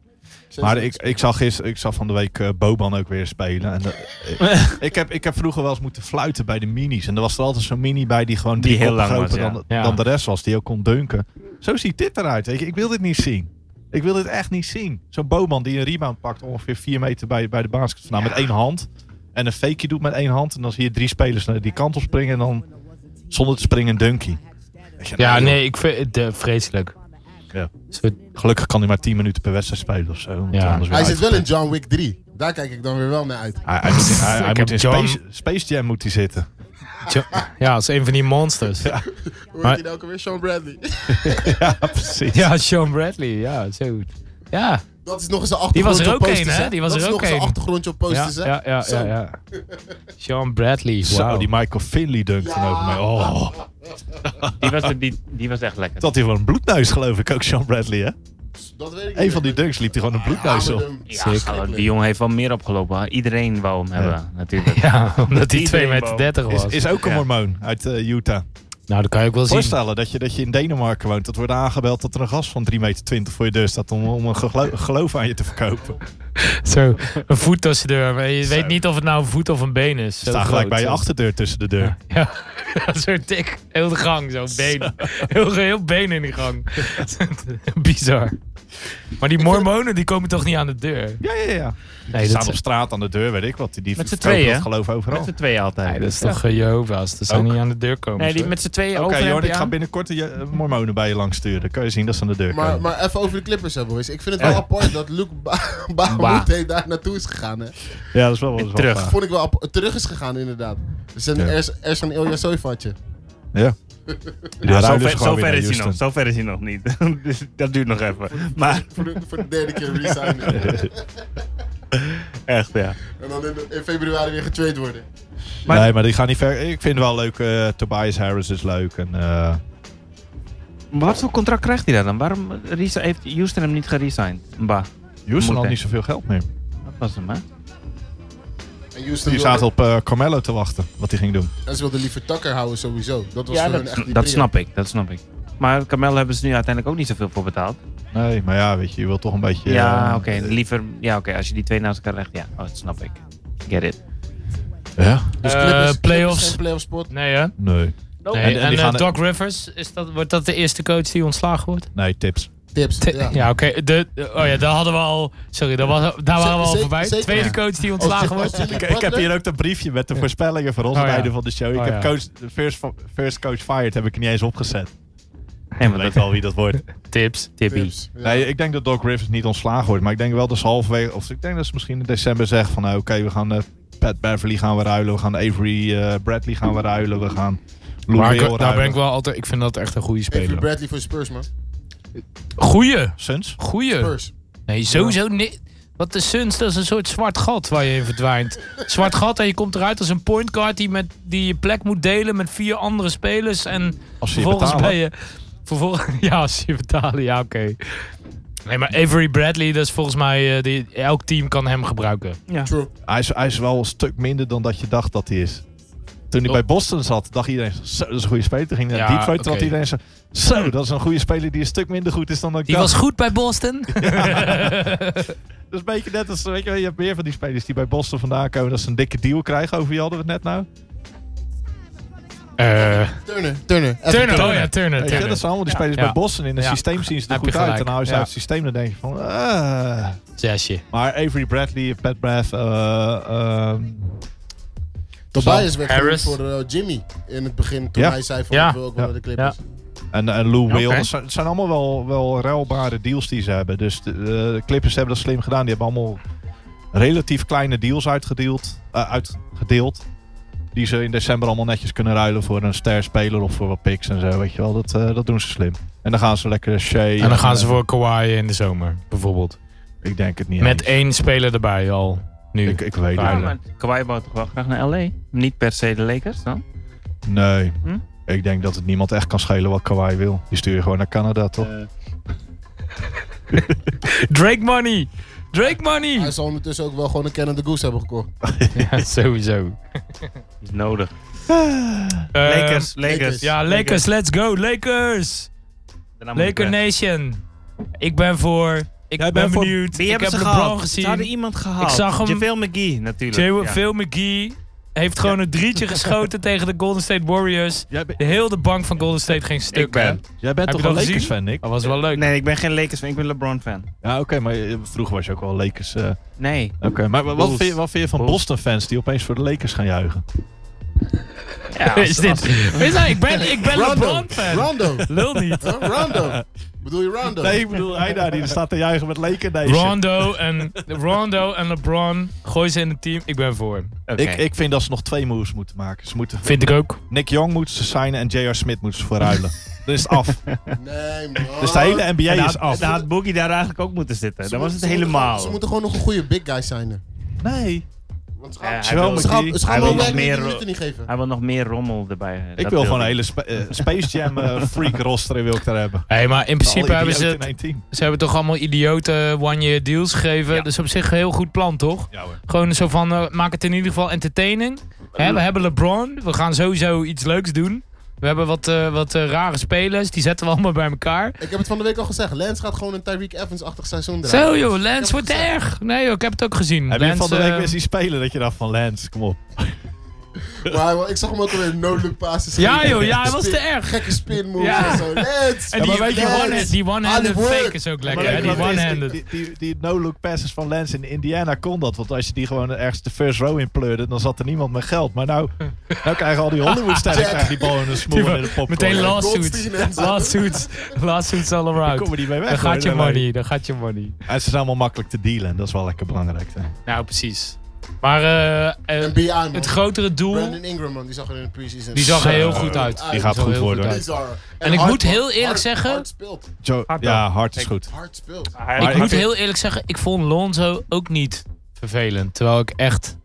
Speaker 4: Dus
Speaker 3: Maar ik, ik, zag gisteren, ik zag van de week eh, Boban ook weer spelen. En, eh, ik- ik, heb, ik heb vroeger wel eens moeten fluiten bij de minis. En er was er altijd zo'n mini bij die gewoon
Speaker 5: Die
Speaker 3: drie
Speaker 5: heel
Speaker 3: koppen
Speaker 5: lang was,
Speaker 3: groter
Speaker 5: ja.
Speaker 3: dan,
Speaker 1: Ja.
Speaker 3: dan de rest was. Die ook kon dunken. Zo ziet dit eruit. Weet je. Ik wil dit niet zien. Ik wil dit echt niet zien. Zo'n Boban die een rebound pakt ongeveer vier meter bij, bij de basket vandaan met één hand. En een fakeje doet met één hand. En dan zie je drie spelers naar die kant op springen. En dan zonder te springen een dunkie. Weet je,
Speaker 1: Ja,
Speaker 3: joh.
Speaker 1: nee, ik vind het eh, vreselijk.
Speaker 3: Ja.
Speaker 1: Soort-
Speaker 3: Gelukkig kan hij maar 10 minuten per wedstrijd spelen of zo. want
Speaker 1: Ja.
Speaker 3: anders weer
Speaker 4: Hij zit
Speaker 3: uit-
Speaker 4: wel in John Wick 3. Daar kijk ik dan weer wel naar uit.
Speaker 3: Hij, hij moet in, hij- hij
Speaker 1: Ik
Speaker 3: moet
Speaker 1: heb
Speaker 3: in
Speaker 1: John-
Speaker 3: Space, Space Jam moet hij zitten.
Speaker 1: Ja, als een van die monsters. Ja,
Speaker 4: Hoe
Speaker 1: Maar-
Speaker 4: heet hij nou ook weer? Sean Bradley.
Speaker 3: Ja, precies.
Speaker 1: Sean Bradley. Ja, zo. Ja,
Speaker 4: Dat is nog eens een achtergrondje
Speaker 1: was
Speaker 4: op
Speaker 1: er ook
Speaker 4: posters,
Speaker 1: een, hè? Die was
Speaker 4: dat
Speaker 1: er
Speaker 4: is
Speaker 1: ook
Speaker 4: nog eens
Speaker 1: een.
Speaker 4: een achtergrondje op
Speaker 1: ja,
Speaker 4: posters, hè?
Speaker 1: ja, ja, ja,
Speaker 4: Zo.
Speaker 1: ja. Sean Bradley.
Speaker 3: Zo,
Speaker 1: Wow.
Speaker 3: die Michael Finley dunkt dan over mij. Oh,
Speaker 2: Die was, er- die, die was echt lekker.
Speaker 3: dat hij gewoon een bloedneus geloof ik ook, Sean Bradley. Hè?
Speaker 4: Dat weet ik
Speaker 3: Een
Speaker 4: niet.
Speaker 3: van die dunks liep hij gewoon een bloedneus op.
Speaker 2: Ja, hallo, die jongen heeft wel meer opgelopen. hè. Iedereen wou hem hebben, natuurlijk.
Speaker 1: Ja, omdat hij
Speaker 5: Die
Speaker 1: 2
Speaker 5: rainbow.
Speaker 1: meter 30 was.
Speaker 3: Is, is ook een
Speaker 5: Ja.
Speaker 3: hormoon uit eh, Utah.
Speaker 1: Nou, dat kan je ook wel zien.
Speaker 3: Voorstellen dat je, dat je in Denemarken woont. Dat wordt aangebeld dat er een gast van 3,20 meter voor je deur staat om, om een geglo- geloof aan je te verkopen.
Speaker 1: Zo, een voet tussen de deur. Maar Je
Speaker 3: Zo.
Speaker 1: weet niet of het nou een voet of een been is. Zo
Speaker 3: Sta
Speaker 1: groot,
Speaker 3: gelijk bij je
Speaker 1: zo.
Speaker 3: achterdeur tussen de deur.
Speaker 1: Ja, zo dik. Heel de gang, zo'n been. Heel, heel been in die gang. Bizar. Maar die mormonen, die komen toch niet aan de deur?
Speaker 3: Ja, ja, ja.
Speaker 1: Nee,
Speaker 3: Die staan op
Speaker 1: dat,
Speaker 3: straat aan de deur, weet ik wat. Die, die
Speaker 5: Met z'n
Speaker 3: verkopen
Speaker 5: tweeën,
Speaker 3: dat geloof overal.
Speaker 5: Met z'n tweeën altijd.
Speaker 1: nee, dat is toch eh, Jehovah's. Dat zou
Speaker 3: Ook.
Speaker 1: niet aan de deur komen.
Speaker 5: nee, die
Speaker 1: toch?
Speaker 5: met z'n tweeën
Speaker 3: Oké,
Speaker 5: over
Speaker 3: Jordi, ik ga binnenkort de eh, mormonen bij je langs sturen. Dan kan je zien dat ze aan de deur
Speaker 4: Maar,
Speaker 3: komen.
Speaker 4: maar even over de Clippers, hè, boys. Ik vind het wel
Speaker 3: Ja.
Speaker 4: apart dat Luke ba Bahamute daar naartoe is gegaan, hè.
Speaker 3: ja, dat is wel wel- dat is wel
Speaker 5: Terug.
Speaker 3: waar.
Speaker 4: Vond ik wel ap- terug is gegaan, inderdaad. Er is een,
Speaker 3: Ja.
Speaker 4: er is- er is een Ilya Soyfatje.
Speaker 3: Ja.
Speaker 5: Ja,
Speaker 3: ruilen
Speaker 5: zover
Speaker 3: ze gewoon weer
Speaker 5: zover
Speaker 3: naar
Speaker 5: is hij nog.
Speaker 3: Houston.
Speaker 5: Zover is hij nog niet. Dus dat duurt nog even. Maar
Speaker 4: Voor de, voor de derde keer resignen.
Speaker 5: echt, ja.
Speaker 4: En dan in, in februari weer getrade worden.
Speaker 5: Maar-
Speaker 3: nee, maar die gaan niet ver. Ik vind wel leuk. eh, Tobias Harris is leuk. En, eh,
Speaker 5: Wat voor contract krijgt hij daar dan? Waarom rese- heeft Houston hem niet geresigned? Bah,
Speaker 3: Houston had
Speaker 5: hij.
Speaker 3: niet zoveel geld meer.
Speaker 5: dat was hem, hè?
Speaker 4: En Houston
Speaker 3: Die
Speaker 4: wilde,
Speaker 3: zaten op eh, Carmelo te wachten, wat hij ging doen.
Speaker 4: en ze wilden liever Tucker houden sowieso. Dat was
Speaker 5: Ja,
Speaker 4: voor
Speaker 5: dat,
Speaker 4: hun echt die
Speaker 5: dat
Speaker 4: prio.
Speaker 5: snap ik, dat snap ik. Maar Carmelo hebben ze nu uiteindelijk ook niet zoveel voor betaald.
Speaker 3: Nee, maar ja, weet je, je wil toch een beetje...
Speaker 5: Ja,
Speaker 3: eh,
Speaker 5: oké. liever, ja, oké. als je die twee naast elkaar legt, ja, oh, dat snap ik. Get it.
Speaker 3: Ja?
Speaker 4: Dus
Speaker 1: Eh,
Speaker 4: Clippers- Clippers
Speaker 1: playoffs.
Speaker 4: zijn playoff spot.
Speaker 1: Nee, hè?
Speaker 3: Nee.
Speaker 4: Oh.
Speaker 1: Nee.
Speaker 3: En-
Speaker 1: En,
Speaker 3: en die
Speaker 1: eh,
Speaker 3: gaan-
Speaker 1: Doc Rivers, is dat, wordt dat de eerste coach die ontslagen wordt?
Speaker 3: Nee, tips.
Speaker 4: Tips.
Speaker 1: ja,
Speaker 4: Ja.
Speaker 1: oké. De- de- Oh ja, daar hadden we al... Sorry, daar, was, daar waren we al
Speaker 4: Zeker-
Speaker 1: voorbij.
Speaker 4: zeker.
Speaker 1: Tweede
Speaker 4: Ja.
Speaker 1: coach die
Speaker 4: Als-
Speaker 1: ontslagen
Speaker 4: als
Speaker 1: wordt.
Speaker 4: Jimmy
Speaker 3: Ik, ik heb
Speaker 4: Butler-
Speaker 3: hier ook dat briefje met de voorspellingen voor ons
Speaker 1: Oh, ja.
Speaker 3: beiden van de show. Ik
Speaker 1: Oh,
Speaker 3: heb
Speaker 1: ja.
Speaker 3: coach, de first, first coach fired heb ik er niet eens opgezet.
Speaker 5: Nee,
Speaker 3: Ik
Speaker 5: maar
Speaker 3: weet
Speaker 5: dat
Speaker 3: al wie dat wordt.
Speaker 1: Tips.
Speaker 5: Tibby.
Speaker 4: Tips. Ja.
Speaker 3: Nee, ik denk dat Doc Rivers niet ontslagen wordt. Maar ik denk wel dat ze halverwege... Of ik denk dat ze misschien in december zeggen van... nou, Oké, we gaan eh, Pat Beverly gaan we ruilen. We gaan Avery eh, Bradley gaan we ruilen. We gaan Lou
Speaker 1: Maar ik-
Speaker 3: Will
Speaker 1: daar ben
Speaker 3: ruilen.
Speaker 1: ik wel altijd... Ik vind dat echt een goede
Speaker 4: Avery
Speaker 1: speler.
Speaker 4: Bradley voor Spurs, man.
Speaker 1: Goeie.
Speaker 3: Suns?
Speaker 1: Goeie.
Speaker 4: Spurs.
Speaker 1: Nee, sowieso niet. Wat de Suns, dat is een soort zwart gat waar je in verdwijnt. zwart gat en je komt eruit als een point guard die, met, die je plek moet delen met vier andere spelers. En
Speaker 3: Als ze je
Speaker 1: vervolgens
Speaker 3: betalen.
Speaker 1: ben je... Vervolgens, ja, als je betalen, ja, oké. Nee, maar Avery Bradley, dat is volgens mij... eh, die, elk team kan hem gebruiken.
Speaker 4: True.
Speaker 3: Hij is, hij is wel een stuk minder dan dat je dacht dat hij is. Toen hij
Speaker 1: Oh.
Speaker 3: bij Boston zat, dacht iedereen, zo, dat is een goede speler. Toen ging hij naar
Speaker 1: Ja,
Speaker 3: Detroit, toen
Speaker 1: oké.
Speaker 3: had iedereen zo, zo, dat is een goede speler die een stuk minder goed is dan dat ik
Speaker 1: Die
Speaker 3: dacht.
Speaker 1: was goed bij Boston.
Speaker 3: Dat is een beetje net als, weet je wel, je hebt meer van die spelers die bij Boston vandaan komen, dat ze een dikke deal krijgen, over wie hadden we het net nou?
Speaker 1: Eh
Speaker 4: Turner. Turner. Even
Speaker 1: Turner, oh ja, Turner.
Speaker 3: Weet je,
Speaker 1: Turner.
Speaker 3: dat zijn allemaal die spelers
Speaker 1: Ja.
Speaker 3: bij Boston. In het
Speaker 1: Ja.
Speaker 3: systeem zien ze er
Speaker 1: Heb je
Speaker 3: goed uit. En
Speaker 1: gelijk.
Speaker 3: nou is
Speaker 1: Ja.
Speaker 3: uit het systeem, dan denk je van... eh.
Speaker 1: Zesje.
Speaker 3: Maar Avery Bradley, Pat Braff, eh ehm,
Speaker 4: Tobias werd
Speaker 1: Harris.
Speaker 4: genoemd voor eh, Jimmy in het begin. Toen
Speaker 3: Ja.
Speaker 4: hij zei van
Speaker 1: Ja.
Speaker 4: ik wil ook wel
Speaker 3: Ja.
Speaker 4: naar de Clippers.
Speaker 3: en, en Lou Will.
Speaker 5: Oké.
Speaker 3: Dat zijn, het zijn allemaal wel, wel ruilbare deals die ze hebben. Dus de, de Clippers hebben dat slim gedaan. Die hebben allemaal relatief kleine deals uitgedeeld. eh, uitgedeeld. Die ze in december allemaal netjes kunnen ruilen voor een sterspeler of voor wat picks en zo. Weet je wel, dat, eh, dat doen ze slim. En dan gaan ze lekker Shea. eh,
Speaker 1: En dan gaan ze voor Kawhi in de zomer, bijvoorbeeld.
Speaker 3: Ik denk het niet.
Speaker 1: Met
Speaker 3: eens.
Speaker 1: één speler erbij al. Nu.
Speaker 3: Ik, ik weet het.
Speaker 1: Ruilen.
Speaker 2: Ja, maar Kawhi wou toch wel graag naar LA? Niet per se de Lakers dan?
Speaker 3: Nee.
Speaker 2: Hm?
Speaker 3: Ik denk dat het niemand echt kan schelen wat Kawhi wil. Die stuur je gewoon naar Canada, toch?
Speaker 1: Drake money! Drake
Speaker 4: Hij
Speaker 1: money!
Speaker 4: zal ondertussen ook wel gewoon een Canada Goose hebben gekocht.
Speaker 1: ja, sowieso.
Speaker 2: Is nodig.
Speaker 1: Ehm,
Speaker 5: Lakers, Lakers.
Speaker 4: Lakers.
Speaker 1: Ja, Lakers, let's go, Lakers!
Speaker 5: Daarna moet ik
Speaker 1: Laker
Speaker 5: weg.
Speaker 1: Nation. Ik ben voor. Ik
Speaker 5: Jij
Speaker 1: ben
Speaker 5: bent voor-
Speaker 1: benieuwd.
Speaker 5: Wie
Speaker 1: ik
Speaker 5: hebben
Speaker 1: heb
Speaker 5: ze
Speaker 1: LeBron
Speaker 5: gehaald? Ze hadden
Speaker 1: gezien.
Speaker 5: iemand gehaald.
Speaker 1: Ik zag hem.
Speaker 5: JaVale McGee natuurlijk.
Speaker 1: Jay-
Speaker 5: Ja.
Speaker 1: Phil McGee heeft gewoon een drietje geschoten tegen de Golden State Warriors.
Speaker 3: Jij, ben-
Speaker 1: De hele bank van Golden State ging stuk.
Speaker 5: ben.
Speaker 1: hè?
Speaker 3: jij bent
Speaker 1: Heb
Speaker 3: toch
Speaker 1: je
Speaker 3: een
Speaker 1: dat gezien?
Speaker 3: Lakers-fan, Nick?
Speaker 1: Dat was wel leuk.
Speaker 5: Nee, ik ben geen Lakers fan. Ik ben LeBron fan.
Speaker 3: Ja, oké, maar eh, vroeger was je ook wel Lakers. eh,
Speaker 5: Nee.
Speaker 3: Oké, maar wat
Speaker 5: Bulls.
Speaker 3: vind, je, wat vind je van
Speaker 5: Bulls.
Speaker 3: Boston-fans die opeens voor de Lakers gaan juichen?
Speaker 5: Ja,
Speaker 1: Is dit? Weet je, ik ben, ik ben
Speaker 4: Rondo.
Speaker 1: LeBron fan.
Speaker 4: Rondo.
Speaker 1: Lul niet.
Speaker 4: Huh? Rondo. Bedoel je Rondo?
Speaker 3: Nee, ik bedoel, hij daar die staat te juichen met Laker Nation.
Speaker 1: Rondo en, Rondo en LeBron, gooi ze in het team. Ik ben voor.
Speaker 3: Ik, ik vind dat ze nog twee moves moeten maken. Ze moeten,
Speaker 1: Vind ik ook.
Speaker 3: Nick Young moeten ze signen en J.R. Smith moeten ze verruilen. Dan is het af.
Speaker 4: Nee, man.
Speaker 3: Dus de hele NBA
Speaker 5: En
Speaker 3: is af.
Speaker 5: daar had, daar had Boogie daar eigenlijk ook moeten zitten.
Speaker 4: Ze
Speaker 5: Dan was
Speaker 4: moeten-
Speaker 5: het
Speaker 4: ze moeten gewoon- Ze
Speaker 5: helemaal.
Speaker 4: moeten gewoon nog een goede big guy zijn.
Speaker 3: Nee.
Speaker 4: Want ze
Speaker 5: Ja,
Speaker 4: gaan
Speaker 5: hij, wil,
Speaker 4: ze gaan-
Speaker 3: die-
Speaker 4: ze gaan
Speaker 5: hij
Speaker 4: wel
Speaker 5: wil nog
Speaker 4: werk die
Speaker 5: meer-
Speaker 4: minuten niet geven.
Speaker 5: hij wil nog meer rommel erbij. eh,
Speaker 3: Ik
Speaker 5: dat
Speaker 3: wil gewoon een
Speaker 5: hij.
Speaker 3: hele spa- eh, Space Jam eh, freak roster wil ik daar hebben.
Speaker 1: Hey, maar in principe
Speaker 3: Alle
Speaker 1: hebben ze,
Speaker 3: idioten
Speaker 1: het-
Speaker 3: in één team.
Speaker 1: ze hebben toch allemaal idiote one-year deals gegeven.
Speaker 5: Ja.
Speaker 1: Dus op zich een heel goed plan, toch?
Speaker 3: Ja hoor.
Speaker 1: Gewoon zo van, eh, maak het in ieder geval entertaining. Hè, we hebben LeBron, we gaan sowieso iets leuks doen. We hebben wat, eh, wat eh, rare spelers, die zetten we allemaal bij elkaar.
Speaker 4: Ik heb het van de week al gezegd. Lens gaat gewoon een Tyreek Evans-achtig seizoen draaien.
Speaker 1: Zo joh, Lance
Speaker 4: het
Speaker 1: wordt
Speaker 4: gezien.
Speaker 1: erg. Nee joh, ik heb het ook gezien.
Speaker 3: Heb je
Speaker 1: Lance,
Speaker 3: van de week
Speaker 1: eh,
Speaker 3: weer zien spelen dat je dacht van Lance, kom op.
Speaker 4: Maar hij- ik zag hem ook alweer no-look passes.
Speaker 1: Ja
Speaker 4: geven.
Speaker 1: joh, ja, hij was
Speaker 4: Spin-
Speaker 1: te erg.
Speaker 4: Gekke spin moves
Speaker 1: Ja.
Speaker 4: en zo. Lens.
Speaker 1: En die, die,
Speaker 4: Lens.
Speaker 1: one, die
Speaker 3: Ah,
Speaker 1: one-handed
Speaker 4: Hollywood.
Speaker 1: fake is ook lekker, hè?
Speaker 3: Maar
Speaker 1: Die
Speaker 3: weet je wat het is?
Speaker 1: one-handed.
Speaker 3: Die, die, die no-look passes van Lance in Indiana kon dat. Want als je die gewoon ergens de first row in pleurde, dan zat er niemand met geld. Maar nou, nou krijgen al die Hollywoodsterren
Speaker 4: Jack.
Speaker 3: krijgen die bal in een smoel en in de popcorn.
Speaker 1: Meteen
Speaker 3: Ja,
Speaker 1: lawsuits.
Speaker 4: Goldstein en zo.
Speaker 1: Lawsuits. Lawsuits all
Speaker 3: daar
Speaker 1: around.
Speaker 3: komen die mee weg.
Speaker 1: Dan
Speaker 3: hoor.
Speaker 1: gaat je
Speaker 3: Daarbij.
Speaker 1: money, dan gaat je money.
Speaker 3: En ze zijn allemaal makkelijk te dealen. En dat is wel lekker belangrijk. Hè.
Speaker 1: Nou, precies. Maar eh, eh,
Speaker 4: En BI, man.
Speaker 1: het grotere doel,
Speaker 4: Brandon Ingram, man. Die zag er in de preseason.
Speaker 1: die zag er
Speaker 4: Zo.
Speaker 1: heel goed uit.
Speaker 4: Die
Speaker 3: gaat
Speaker 1: zag
Speaker 3: goed
Speaker 1: heel
Speaker 3: worden.
Speaker 1: uit.
Speaker 4: Bizar. En,
Speaker 1: ik
Speaker 4: hard,
Speaker 1: moet
Speaker 4: man.
Speaker 1: heel eerlijk
Speaker 4: Hard-
Speaker 1: zeggen-
Speaker 4: Hard speelt.
Speaker 3: Jo-
Speaker 5: Hard
Speaker 3: ja, hard is goed.
Speaker 4: Hard speelt.
Speaker 5: Hij-
Speaker 1: Ik
Speaker 3: Maar
Speaker 1: moet
Speaker 3: ik-
Speaker 1: heel eerlijk zeggen, ik vond Lonzo ook niet vervelend. Terwijl ik echt...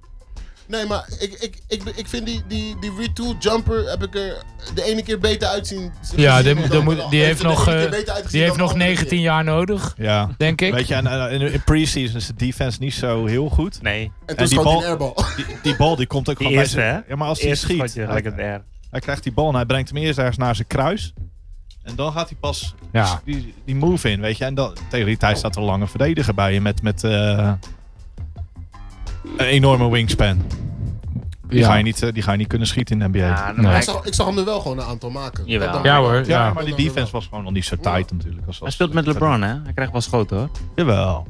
Speaker 4: Nee, maar ik, ik, ik, ik vind die, die, die retool jumper heb ik er de ene keer beter uitzien.
Speaker 1: Ja, die-
Speaker 4: dan
Speaker 1: die
Speaker 4: de-
Speaker 1: moet- die
Speaker 4: dan-
Speaker 1: heeft
Speaker 4: de
Speaker 1: nog,
Speaker 4: ene keer
Speaker 1: eh,
Speaker 4: beter uitgezien
Speaker 1: Die heeft
Speaker 4: dan de
Speaker 1: nog
Speaker 4: andere
Speaker 1: 19
Speaker 4: keer.
Speaker 1: jaar nodig,
Speaker 3: Ja.
Speaker 1: denk ik.
Speaker 3: Weet je, en, en in in preseason is de defense niet zo heel goed.
Speaker 5: Nee,
Speaker 4: En
Speaker 3: en
Speaker 4: toen
Speaker 3: die
Speaker 4: schoot hij een
Speaker 3: bal-
Speaker 4: airbal.
Speaker 3: Die, die bal die komt ook
Speaker 5: die
Speaker 3: gewoon bij
Speaker 5: eerste
Speaker 3: zijn...
Speaker 5: hè?
Speaker 3: Ja, maar als hij
Speaker 5: Eerst
Speaker 3: schiet,
Speaker 5: schiet je
Speaker 3: hij,
Speaker 5: gelijk het air.
Speaker 3: hij krijgt die bal en hij brengt hem eerst ergens naar zijn kruis. En dan gaat hij pas
Speaker 1: Ja.
Speaker 3: die, die move in, weet je. En dan, tegen die tijd staat er een lange verdediger bij je met, met eh, een enorme wingspan. Die, ga je niet, eh, die ga je niet kunnen schieten in de NBA. Ja,
Speaker 5: Ja, dan
Speaker 1: Nee.
Speaker 4: Ik
Speaker 5: hij,
Speaker 4: zag, ik zag hem er wel gewoon een aantal maken.
Speaker 5: Jawel.
Speaker 4: Dat dan
Speaker 1: Ja
Speaker 4: wel.
Speaker 1: hoor, ja.
Speaker 3: maar die defense was gewoon nog niet zo tight natuurlijk. Als,
Speaker 5: hij
Speaker 3: als-
Speaker 5: speelt met LeBron hè? Hij krijgt wel schoten hoor.
Speaker 3: Jawel.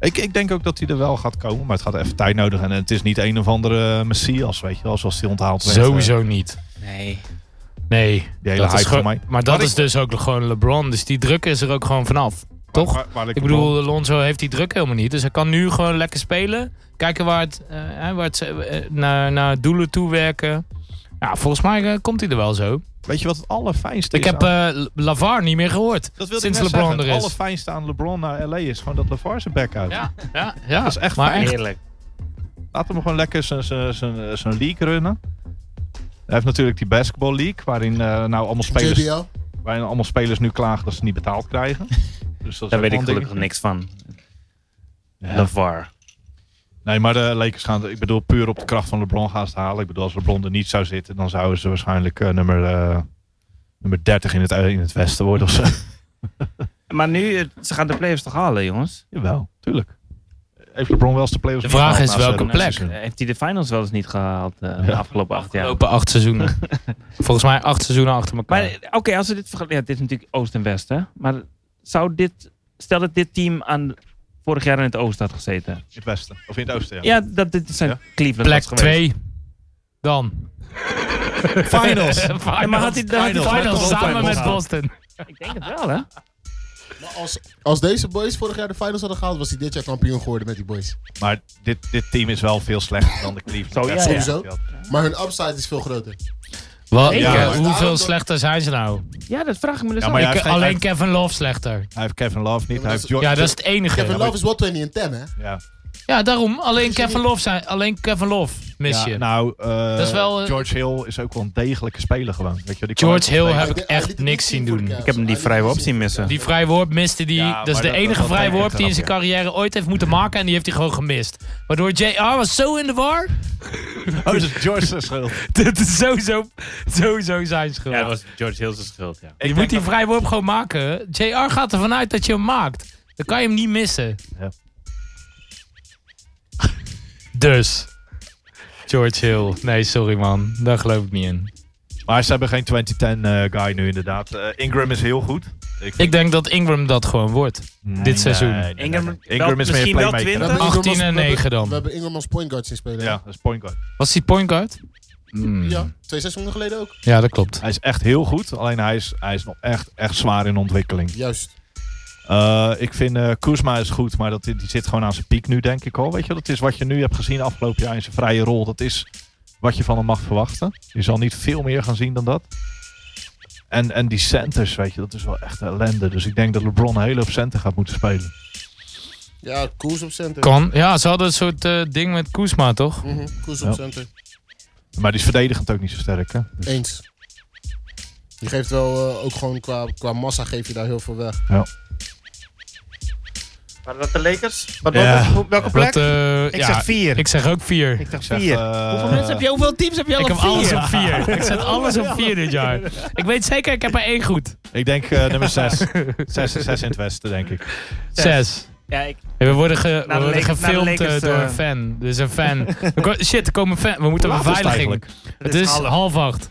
Speaker 3: Ik, ik denk ook dat hij er wel gaat komen, maar het gaat even tijd nodig. En het is niet een of andere eh, messias, weet je wel, zoals hij onthaald werd. eh,
Speaker 1: Sowieso niet.
Speaker 5: Nee.
Speaker 1: Nee.
Speaker 3: Die hele hype
Speaker 1: dat is
Speaker 3: van
Speaker 1: gewoon-
Speaker 3: mij.
Speaker 1: Maar dat
Speaker 3: Maar
Speaker 1: is dus ook gewoon LeBron. Dus die druk is er ook gewoon vanaf. Toch?
Speaker 3: Waar- waar
Speaker 1: Ik bedoel, Lonzo heeft die druk helemaal niet. Dus hij kan nu gewoon lekker spelen. Kijken waar het, eh, hè, waar het eh, naar, naar doelen toe werken. Ja, volgens mij eh, komt hij er wel zo.
Speaker 3: Weet je wat het allerfijnste
Speaker 1: Ik
Speaker 3: is?
Speaker 1: heb
Speaker 3: aan-
Speaker 1: eh, Lavar niet meer gehoord.
Speaker 3: dat wilde
Speaker 1: sinds
Speaker 3: ik net
Speaker 1: LeBron
Speaker 3: zeggen,
Speaker 1: er is.
Speaker 3: Het allerfijnste aan LeBron naar LA is gewoon dat LeVar zijn bek uit.
Speaker 1: Ja, ja, ja.
Speaker 3: Dat is echt
Speaker 1: maar
Speaker 3: fijn.
Speaker 1: echt.
Speaker 5: Heerlijk.
Speaker 3: Laat hem gewoon lekker zijn- zijn- zijn zijn league runnen. Hij heeft natuurlijk die basketball league, waarin, eh, nou allemaal spelers,
Speaker 4: JBL.
Speaker 3: waarin allemaal spelers nu klagen dat ze niet betaald krijgen. Dus dat is
Speaker 5: Daar
Speaker 3: ook
Speaker 5: weet
Speaker 3: wel
Speaker 5: ik
Speaker 3: een
Speaker 5: gelukkig
Speaker 3: dingetje.
Speaker 5: niks van.
Speaker 3: Ja.
Speaker 5: LeVar.
Speaker 3: Nee, maar de Lakers gaan, ik bedoel, puur op de kracht van LeBron gaan ze het halen. Ik bedoel, als LeBron er niet zou zitten, dan zouden ze waarschijnlijk eh, nummer, eh, nummer 30 in het, eh, in het westen worden of zo.
Speaker 5: Maar nu, eh, ze gaan de playoffs toch halen jongens?
Speaker 3: Jawel, tuurlijk. Heeft LeBron wel eens de playoffs
Speaker 1: De vraag
Speaker 3: gehaald
Speaker 1: is
Speaker 3: na
Speaker 1: welke
Speaker 3: zijn
Speaker 1: plek?
Speaker 3: seizoen?
Speaker 5: Eh, Heeft hij de finals wel eens niet gehaald eh, de
Speaker 3: Ja.
Speaker 5: afgelopen acht jaar?
Speaker 1: Lopen acht seizoenen. volgens mij acht seizoenen achter elkaar.
Speaker 5: Maar eh, oké, als we dit vergelijken. Ja, dit is natuurlijk Oost en West, hè? Maar zou dit. Stel dat dit team aan vorig jaar in het Oosten had gezeten.
Speaker 3: In het westen. Of in het oosten, ja.
Speaker 5: Ja, dat dit zijn
Speaker 3: Ja.
Speaker 5: Cleveland
Speaker 1: Plek
Speaker 5: was geweest.
Speaker 1: 2. Dan.
Speaker 3: Finals.
Speaker 1: Finals.
Speaker 5: Ja, maar had hij dan had hij
Speaker 1: Finals
Speaker 5: Boston
Speaker 1: samen met
Speaker 5: gehaald?
Speaker 1: Boston.
Speaker 5: Ik denk het wel, hè?
Speaker 4: Maar als, als deze boys vorig jaar de finals hadden gehaald, was hij dit jaar kampioen geworden met die boys.
Speaker 3: Maar dit, dit team is wel veel slechter dan de Cleveland.
Speaker 5: Zo, ja,
Speaker 3: Cavaliers.
Speaker 4: ja. Maar hun upside is veel groter.
Speaker 1: Wat?
Speaker 5: Zeker.
Speaker 1: Ja,
Speaker 3: Ja, maar
Speaker 1: eh, hoeveel
Speaker 4: daarom-
Speaker 1: slechter zijn ze nou?
Speaker 5: Ja, dat vraag ik me dus
Speaker 3: Ja,
Speaker 5: af.
Speaker 3: maar ja, hij,
Speaker 1: Ik- eh,
Speaker 3: heeft, hij
Speaker 1: alleen
Speaker 3: heeft-
Speaker 1: Kevin Love slechter.
Speaker 3: hij heeft Kevin Love niet. Hij heeft
Speaker 1: Ja,
Speaker 3: Jordan.
Speaker 1: dat is het
Speaker 4: Kevin
Speaker 1: enige.
Speaker 4: Love is wel 20 en 10, hè?
Speaker 3: Ja.
Speaker 1: Ja, daarom. Alleen Kevin Love, zijn, alleen Kevin Love mis
Speaker 3: Ja,
Speaker 1: je.
Speaker 3: nou, eh,
Speaker 1: Dat is wel, eh,
Speaker 3: George Hill is ook wel een degelijke speler gewoon. Weet je, wel, die kan ook
Speaker 1: George Hill
Speaker 3: spelen.
Speaker 1: heb ik
Speaker 4: Hij liet
Speaker 1: echt
Speaker 4: het niet
Speaker 1: niks zien
Speaker 4: voor de
Speaker 1: doen.
Speaker 4: Cavs.
Speaker 5: Ik heb hem die
Speaker 4: Hij liet het
Speaker 5: vrije
Speaker 4: niet
Speaker 5: worp
Speaker 4: zien.
Speaker 5: zien missen.
Speaker 1: Die vrijworp miste die.
Speaker 3: Ja,
Speaker 1: dat is
Speaker 3: maar
Speaker 1: de
Speaker 3: dat-
Speaker 1: enige
Speaker 3: dat- dat
Speaker 1: vrijworp
Speaker 3: lijkt
Speaker 1: die in zijn
Speaker 3: knap,
Speaker 1: carrière ooit heeft moeten maken. En die heeft hij gewoon gemist. Waardoor JR was zo in de war.
Speaker 3: Oh, dat is George's schuld.
Speaker 1: Dit is sowieso, sowieso zijn schuld.
Speaker 5: Ja, dat was George Hill zijn schuld, ja.
Speaker 1: je moet die vrijworp gewoon maken. JR gaat ervan uit dat je hem maakt. Dan kan je hem niet missen.
Speaker 3: Ja.
Speaker 1: dus. George Hill. Nee, sorry man. Daar geloof ik niet in.
Speaker 3: Maar ze hebben geen 2010 eh, guy nu inderdaad. Eh, Ingram is heel goed. vind-
Speaker 1: Ik denk dat Ingram dat gewoon wordt.
Speaker 3: Nee,
Speaker 1: dit seizoen.
Speaker 5: Ingram-
Speaker 3: Ingram
Speaker 5: wel-
Speaker 3: is meer
Speaker 5: misschien
Speaker 3: een
Speaker 5: wel
Speaker 3: playmaker.
Speaker 4: We
Speaker 5: 20?
Speaker 4: hebben Ingram
Speaker 1: 18
Speaker 4: als-
Speaker 1: en
Speaker 4: we hebben-
Speaker 1: 9 dan.
Speaker 4: We hebben Ingram als point guard zien spelen.
Speaker 3: Ja, dat is point guard.
Speaker 1: Was die point guard? Hmm.
Speaker 4: Ja, twee seizoenen geleden ook.
Speaker 1: ja, dat klopt.
Speaker 3: Hij is echt heel goed, alleen hij is, hij is nog echt, echt zwaar in ontwikkeling.
Speaker 4: Juist.
Speaker 3: Eh, ik vind eh Kuzma is goed, maar dat, die zit gewoon aan zijn piek nu, denk ik al. Weet je, wel, dat is wat je nu hebt gezien afgelopen jaar in zijn vrije rol. Dat is wat je van hem mag verwachten. Je zal niet veel meer gaan zien dan dat. En, en die centers, weet je, dat is wel echt ellende. Dus ik denk dat LeBron heel op center gaat moeten spelen.
Speaker 4: Ja, Koers op center.
Speaker 1: Kan. Ja, ze hadden een soort eh, ding met Koesma, toch?
Speaker 4: Mhm, Koers
Speaker 3: Ja.
Speaker 4: op center.
Speaker 3: Maar die is verdedigend ook niet zo sterk, hè? Dus-
Speaker 4: Eens. Je geeft wel eh, ook gewoon qua, qua massa geef je daar heel veel weg.
Speaker 5: Waren dat de Lakers?
Speaker 3: Ja. welke-
Speaker 5: welke
Speaker 1: Dat, eh,
Speaker 5: ik
Speaker 1: ja,
Speaker 5: zeg vier.
Speaker 1: ik zeg ook vier.
Speaker 5: Ik dacht
Speaker 3: zeg,
Speaker 5: vier.
Speaker 3: eh,
Speaker 5: Hoeveel mensen heb je? Hoeveel teams heb je al
Speaker 1: Ik
Speaker 5: op
Speaker 1: heb
Speaker 5: vier?
Speaker 1: alles op vier. Ik zet alles op vier dit jaar. Ik weet zeker, ik heb er één goed.
Speaker 3: Ik denk eh, nummer 6. 6 en 6 in het westen, denk ik.
Speaker 1: Zes.
Speaker 5: Ja, ik,
Speaker 1: Hey, we worden, ge- we
Speaker 5: de
Speaker 1: worden
Speaker 5: Lakers- naar
Speaker 1: gefilmd
Speaker 5: de Lakers,
Speaker 1: eh, door
Speaker 5: eh.
Speaker 1: een fan. Dus een fan. We ko- Shit, er komen fan. We moeten
Speaker 3: Hoe laat is het
Speaker 1: beveiliging.
Speaker 3: eigenlijk?
Speaker 1: Het is
Speaker 5: half.
Speaker 1: half acht.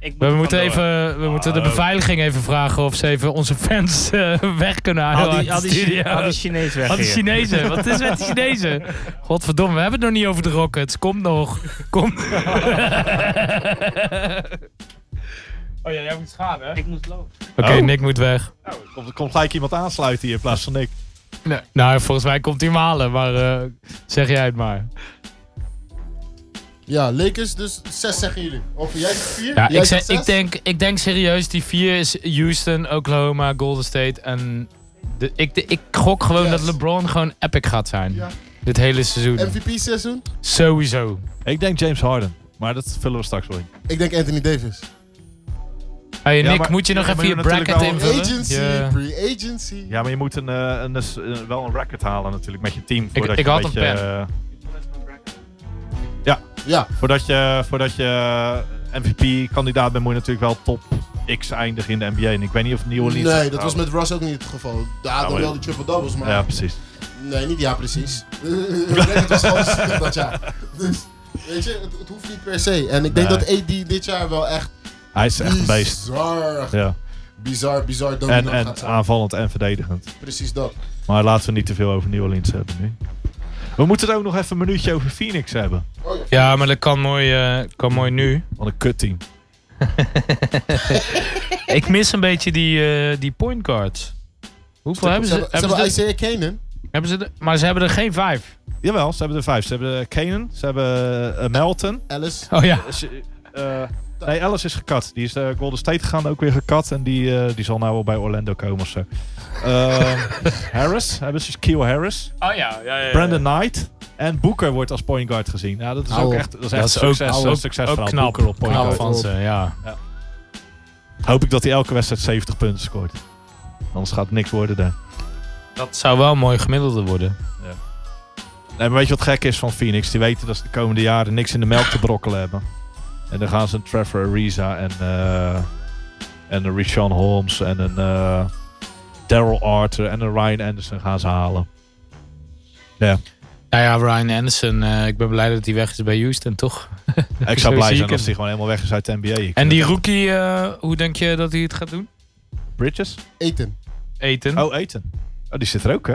Speaker 5: Ik
Speaker 1: We
Speaker 5: moet
Speaker 1: moeten,
Speaker 5: vandoor.
Speaker 1: even, we moeten de
Speaker 5: Ah.
Speaker 3: Oh.
Speaker 1: beveiliging even vragen of ze even onze fans eh, weg kunnen halen.
Speaker 5: Al
Speaker 1: uit
Speaker 5: die,
Speaker 1: de
Speaker 5: al die,
Speaker 1: studio.
Speaker 5: Chi- al die Chinees weg
Speaker 1: Wat de
Speaker 5: hier.
Speaker 1: Chinezen? Wat is met de Chinezen? Godverdomme, we hebben het nog niet over de Rockets. Kom nog. Kom. oh ja, jij moet gaan, hè? Oké,
Speaker 5: Ik moet lopen.
Speaker 3: Oh.
Speaker 1: Nick moet weg.
Speaker 3: Komt er komt gelijk iemand aansluiten hier in plaats van ik.
Speaker 1: Nou, volgens mij komt hij hem halen, maar eh, zeg jij het maar.
Speaker 4: Ja, Lakers dus zes zeggen jullie. Of jij zegt vier?
Speaker 1: Ja,
Speaker 4: jij
Speaker 1: ik,
Speaker 4: zegt
Speaker 1: zeg, ik,
Speaker 4: zes?
Speaker 1: denk, ik denk serieus, die vier is Houston, Oklahoma, Golden State. En de, ik, de- ik gok gewoon
Speaker 4: Yes.
Speaker 1: dat LeBron gewoon epic gaat zijn.
Speaker 4: Ja.
Speaker 1: Dit hele seizoen.
Speaker 4: MVP seizoen?
Speaker 1: Sowieso.
Speaker 3: Ik denk James Harden. Maar dat vullen we straks wel in.
Speaker 4: Ik denk Anthony Davis.
Speaker 1: Hey,
Speaker 3: Ja,
Speaker 1: Nick,
Speaker 3: maar-
Speaker 1: moet je nog
Speaker 3: ja,
Speaker 1: even
Speaker 3: maar
Speaker 1: je
Speaker 3: je moet natuurlijk
Speaker 1: bracket
Speaker 3: wel-
Speaker 1: invullen?
Speaker 4: Agency,
Speaker 1: Ja.
Speaker 4: pre-agency.
Speaker 3: Ja, maar je moet een, eh, een, s- eh, wel een record halen natuurlijk met je team. Voordat
Speaker 1: ik
Speaker 3: je
Speaker 1: had een
Speaker 3: beetje, eh,
Speaker 4: Ja,
Speaker 3: voordat je, eh, voordat je MVP-kandidaat bent, moet je natuurlijk wel top X eindigen in de NBA. En ik weet niet of New Orleans...
Speaker 4: nee, dat was met Russ ook niet het geval. Daar hadden
Speaker 3: maar-
Speaker 4: wel die triple doubles, maar
Speaker 3: Ja, precies.
Speaker 4: nee, niet ja precies. Het was gewoon zielig dat jaar. Dus, weet je, het, het hoeft niet per se. En ik denk
Speaker 3: Nee.
Speaker 4: dat AD dit jaar wel echt
Speaker 3: Hij is echt een beest.
Speaker 4: bizar,
Speaker 3: Ja.
Speaker 4: bizar, bizar dominant
Speaker 3: En, en
Speaker 4: Oh,
Speaker 3: ah.
Speaker 4: gaat zijn.
Speaker 3: aanvallend en verdedigend.
Speaker 4: Precies dat.
Speaker 3: Maar laten we niet te veel over New Orleans hebben nu. We moeten het ook nog even een minuutje over Phoenix hebben.
Speaker 4: Oh, ja.
Speaker 1: Ja, maar dat kan mooi, eh, kan mooi nu.
Speaker 3: Wat een kutteam.
Speaker 1: Ik mis een beetje die, eh, die point guards. Hoeveel hebben ze? Hebben ze,
Speaker 4: hebben Isaiah Kanan.
Speaker 1: er- hebben ze er- maar ze hebben er geen vijf.
Speaker 3: Jawel, ze hebben er vijf. Ze hebben eh, Kanan, ze hebben eh, Melton,
Speaker 4: Alice.
Speaker 1: Oh ja.
Speaker 3: Ze- eh, nee, Alice is gekat. Die is naar Golden State gegaan, ook weer gekat. En die, eh, die zal nou wel bij Orlando komen of zo. Ehm, Harris, hebben ze Keel Harris.
Speaker 1: Oh ja, ja, ja.
Speaker 3: Brandon Knight. En Booker wordt als point guard gezien. Ja, dat is
Speaker 4: Ouwe.
Speaker 3: ook echt, dat is
Speaker 1: Dat
Speaker 3: echt
Speaker 1: is ook-
Speaker 3: succes,
Speaker 1: ouwe.
Speaker 3: een succesverhaal.
Speaker 1: Ook knap.
Speaker 3: Booker op point
Speaker 1: Knap
Speaker 3: guard.
Speaker 1: van ze, ja.
Speaker 3: Hoop ik dat hij elke wedstrijd 70 punten scoort. Anders gaat het niks worden daar.
Speaker 1: Dat zou wel een mooi gemiddelde worden.
Speaker 3: Nee, maar weet je wat gek is van Phoenix? Die weten dat ze de komende jaren niks in de melk te brokkelen hebben. En dan gaan ze een Trevor Ariza en, eh, en een Richon Holmes en een eh, Daryl Arthur en een Ryan Anderson gaan ze halen.
Speaker 1: Nou ja, Ryan Anderson, eh, ik ben blij dat hij weg is bij Houston, toch?
Speaker 3: Ik
Speaker 1: Zo
Speaker 3: zou blij
Speaker 1: zie ik
Speaker 3: zijn als
Speaker 1: hem.
Speaker 3: hij gewoon helemaal weg is uit de NBA. Ik
Speaker 1: En
Speaker 3: vind
Speaker 1: die
Speaker 3: het-
Speaker 1: rookie, eh, hoe denk je dat hij het gaat doen?
Speaker 3: Bridges?
Speaker 4: Eten.
Speaker 1: Eten?
Speaker 3: Oh, Eten. Oh, die zit er ook, hè?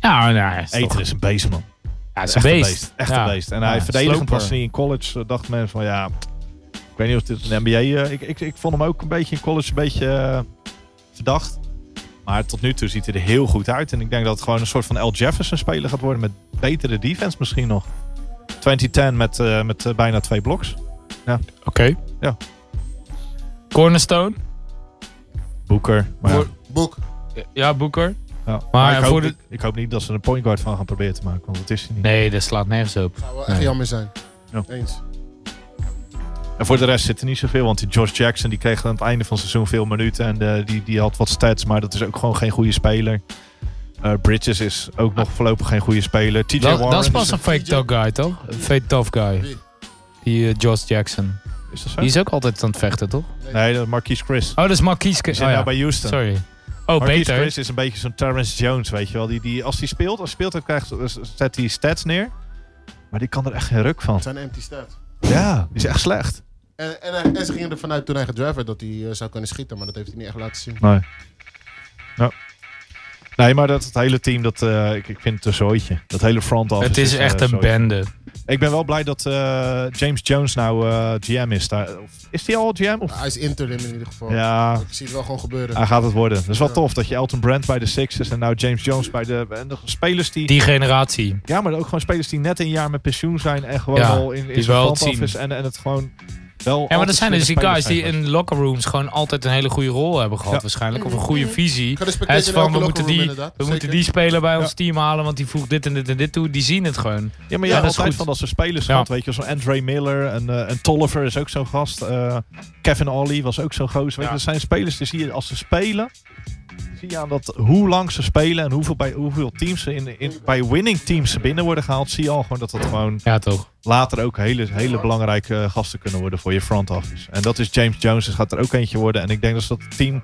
Speaker 1: Ja, nou, hij is toch-
Speaker 3: Eten is een beest, man.
Speaker 1: ja, hij is een
Speaker 3: Echt een
Speaker 1: beest.
Speaker 3: beest. Echt
Speaker 1: Ja.
Speaker 3: een beest. En
Speaker 1: Ja,
Speaker 3: hij verdedigend
Speaker 1: sloper.
Speaker 3: was hij in college. eh, dacht men van ja, ik weet niet of dit een NBA. eh, ik, ik, ik vond hem ook een beetje in college een beetje eh, verdacht. Maar tot nu toe ziet hij er heel goed uit. En ik denk dat het gewoon een soort van L. Jefferson speler gaat worden. Met betere defense misschien nog. 2010 met, eh, met eh, bijna twee bloks.
Speaker 1: Oké.
Speaker 3: Ja.
Speaker 1: Cornerstone.
Speaker 3: Boeker. Maar ja.
Speaker 1: Voor-
Speaker 4: Boek.
Speaker 1: Ja, Boeker.
Speaker 3: Ja. Maar,
Speaker 1: Maar
Speaker 3: ik, hoop
Speaker 1: voor de-
Speaker 3: niet, ik hoop niet dat ze een point guard van gaan proberen te maken. Want dat is hij niet.
Speaker 1: Nee, dat slaat nergens op.
Speaker 4: Zou wel echt
Speaker 1: Nee.
Speaker 4: jammer zijn.
Speaker 3: Ja.
Speaker 4: Eens.
Speaker 3: En voor de rest zit er niet zoveel. Want die George Jackson die kreeg aan het einde van het seizoen veel minuten. En eh, die, die had wat stats. Maar dat is ook gewoon geen goede speler. Eh, Bridges is ook nog voorlopig geen goede speler. TJ
Speaker 1: Dat,
Speaker 3: Warren
Speaker 1: dat is pas
Speaker 3: een-
Speaker 1: een fake tough guy, toch? Een fake tough guy.
Speaker 4: Wie?
Speaker 1: Die eh, George Jackson.
Speaker 3: Is dat zo?
Speaker 1: Die is ook altijd aan het vechten, toch?
Speaker 3: Nee, dat is Marquise Chris.
Speaker 1: Oh, dat is
Speaker 3: Die
Speaker 1: Marquise. Ke-
Speaker 3: zit
Speaker 1: Oh,
Speaker 3: nou
Speaker 1: ja.
Speaker 3: bij Houston.
Speaker 1: Sorry. Oh,
Speaker 3: Marquise
Speaker 1: beter.
Speaker 3: Chris is een beetje zo'n Terrence Jones, weet je wel. Die, die, als hij speelt, als hij speelt, dan krijgt, zet hij stats neer. Maar die kan er echt geen ruk van.
Speaker 4: Het zijn empty stats.
Speaker 3: Ja, die is echt slecht.
Speaker 4: En, en, hij- en ze gingen ervan uit toen hij gedrive werd dat hij eh, zou kunnen schieten, maar dat heeft hij niet echt laten zien.
Speaker 3: Nee. Ja. Nee, maar dat het hele team, dat, eh, ik, ik vind het een zooitje. Dat hele front office.
Speaker 1: Het is
Speaker 3: eh,
Speaker 1: echt een
Speaker 3: zooitje.
Speaker 1: bende.
Speaker 3: Ik ben wel blij dat eh, James Jones nou eh, GM is. Daar. Of- Is hij al GM? Of?
Speaker 4: Hij is interim in ieder geval.
Speaker 3: Ja, Ah.
Speaker 4: Ik zie het wel gewoon gebeuren.
Speaker 3: hij gaat het worden. Dat is wel
Speaker 4: Ja.
Speaker 3: tof dat je Elton Brand bij de Sixers en nou James Jones bij de... En de spelers die...
Speaker 1: Die generatie.
Speaker 3: Ja, maar ook gewoon spelers die net een jaar met pensioen zijn en gewoon
Speaker 1: Ja,
Speaker 3: al in, in
Speaker 1: die
Speaker 3: zijn
Speaker 1: wel
Speaker 3: front
Speaker 1: het zien.
Speaker 3: office en, en het gewoon wel...
Speaker 1: Ja, maar
Speaker 3: altijd
Speaker 1: dat zijn dus die
Speaker 3: slimme
Speaker 1: guys die
Speaker 3: spelers zijn.
Speaker 1: in locker rooms gewoon altijd een hele goede rol hebben gehad
Speaker 3: Ja.
Speaker 1: waarschijnlijk. Of een goede visie.
Speaker 4: Gerespecteerd
Speaker 1: Hij is
Speaker 4: in
Speaker 1: van,
Speaker 4: elke
Speaker 1: we
Speaker 4: locker
Speaker 1: moeten
Speaker 4: room
Speaker 1: die,
Speaker 4: inderdaad,
Speaker 1: we moeten
Speaker 4: zeker.
Speaker 1: die speler bij ons
Speaker 3: Ja.
Speaker 1: team halen, want die voegt dit en dit en dit toe. Die zien het
Speaker 3: Ja,
Speaker 1: gewoon.
Speaker 3: maar je
Speaker 4: Ja,
Speaker 3: hebt
Speaker 1: dat is
Speaker 3: altijd
Speaker 1: goed.
Speaker 3: van dat soort spelers
Speaker 1: Ja.
Speaker 3: gehad, weet je. Zo'n Andre Miller, en, eh en Tolliver is ook zo'n gast. eh, Kevin Ollie was ook zo'n gozer. Weet je,
Speaker 1: Ja.
Speaker 3: dat zijn spelers die zie je als ze spelen... Zie je aan dat hoe lang ze spelen en hoeveel, bij, hoeveel teams ze in, in, bij winning teams ze binnen worden gehaald. Zie je al gewoon dat dat gewoon
Speaker 1: Ja, toch?
Speaker 3: later ook hele, hele belangrijke eh, gasten kunnen worden voor je front office. En dat is James Jones, dus gaat er ook eentje worden. En ik denk dus dat ze dat team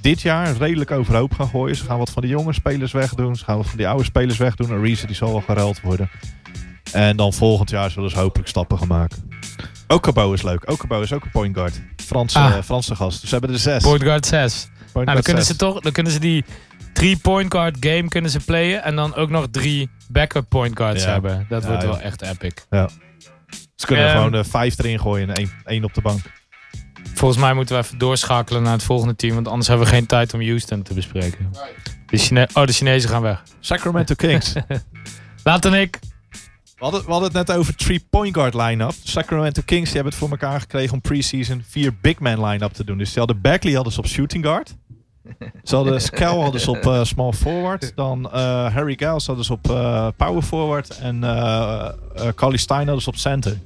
Speaker 3: dit jaar redelijk overhoop gaan gooien. Ze gaan wat van de jonge spelers wegdoen. Ze gaan wat van die oude spelers wegdoen. En Reese die zal wel geruild worden. En dan volgend jaar zullen ze hopelijk stappen gaan maken. Okabo is leuk. Okabo is ook een point guard. Franse,
Speaker 1: Ah.
Speaker 3: eh, Franse gast. Dus ze hebben er zes.
Speaker 1: Point guard 6.
Speaker 3: Point
Speaker 1: Nou, dan
Speaker 3: guard
Speaker 1: kunnen ze
Speaker 3: zes.
Speaker 1: toch, dan kunnen ze die drie point guard game kunnen ze playen en dan ook nog drie backup point guards
Speaker 3: Ja.
Speaker 1: hebben. Dat
Speaker 3: Ja,
Speaker 1: wordt wel
Speaker 3: ja.
Speaker 1: echt epic.
Speaker 3: Ze kunnen
Speaker 1: Ehm.
Speaker 3: gewoon eh, vijf erin gooien en één, één op de bank.
Speaker 1: Volgens mij moeten we even doorschakelen naar het volgende team, want anders hebben we geen tijd om Houston te bespreken. De Chine oh, de Chinezen gaan weg.
Speaker 3: Sacramento Kings.
Speaker 1: Laat en ik.
Speaker 3: We hadden, we hadden het net over three point guard line-up. De Sacramento Kings die hebben het voor elkaar gekregen om preseason vier big man line-up te doen. Dus ze hadden Bagley hadden ze op shooting guard. Ze hadden Scal hadden ze op eh, small forward. Dan eh, Harry Giles hadden ze op eh, power forward. En eh eh, Carly Stein hadden ze op center.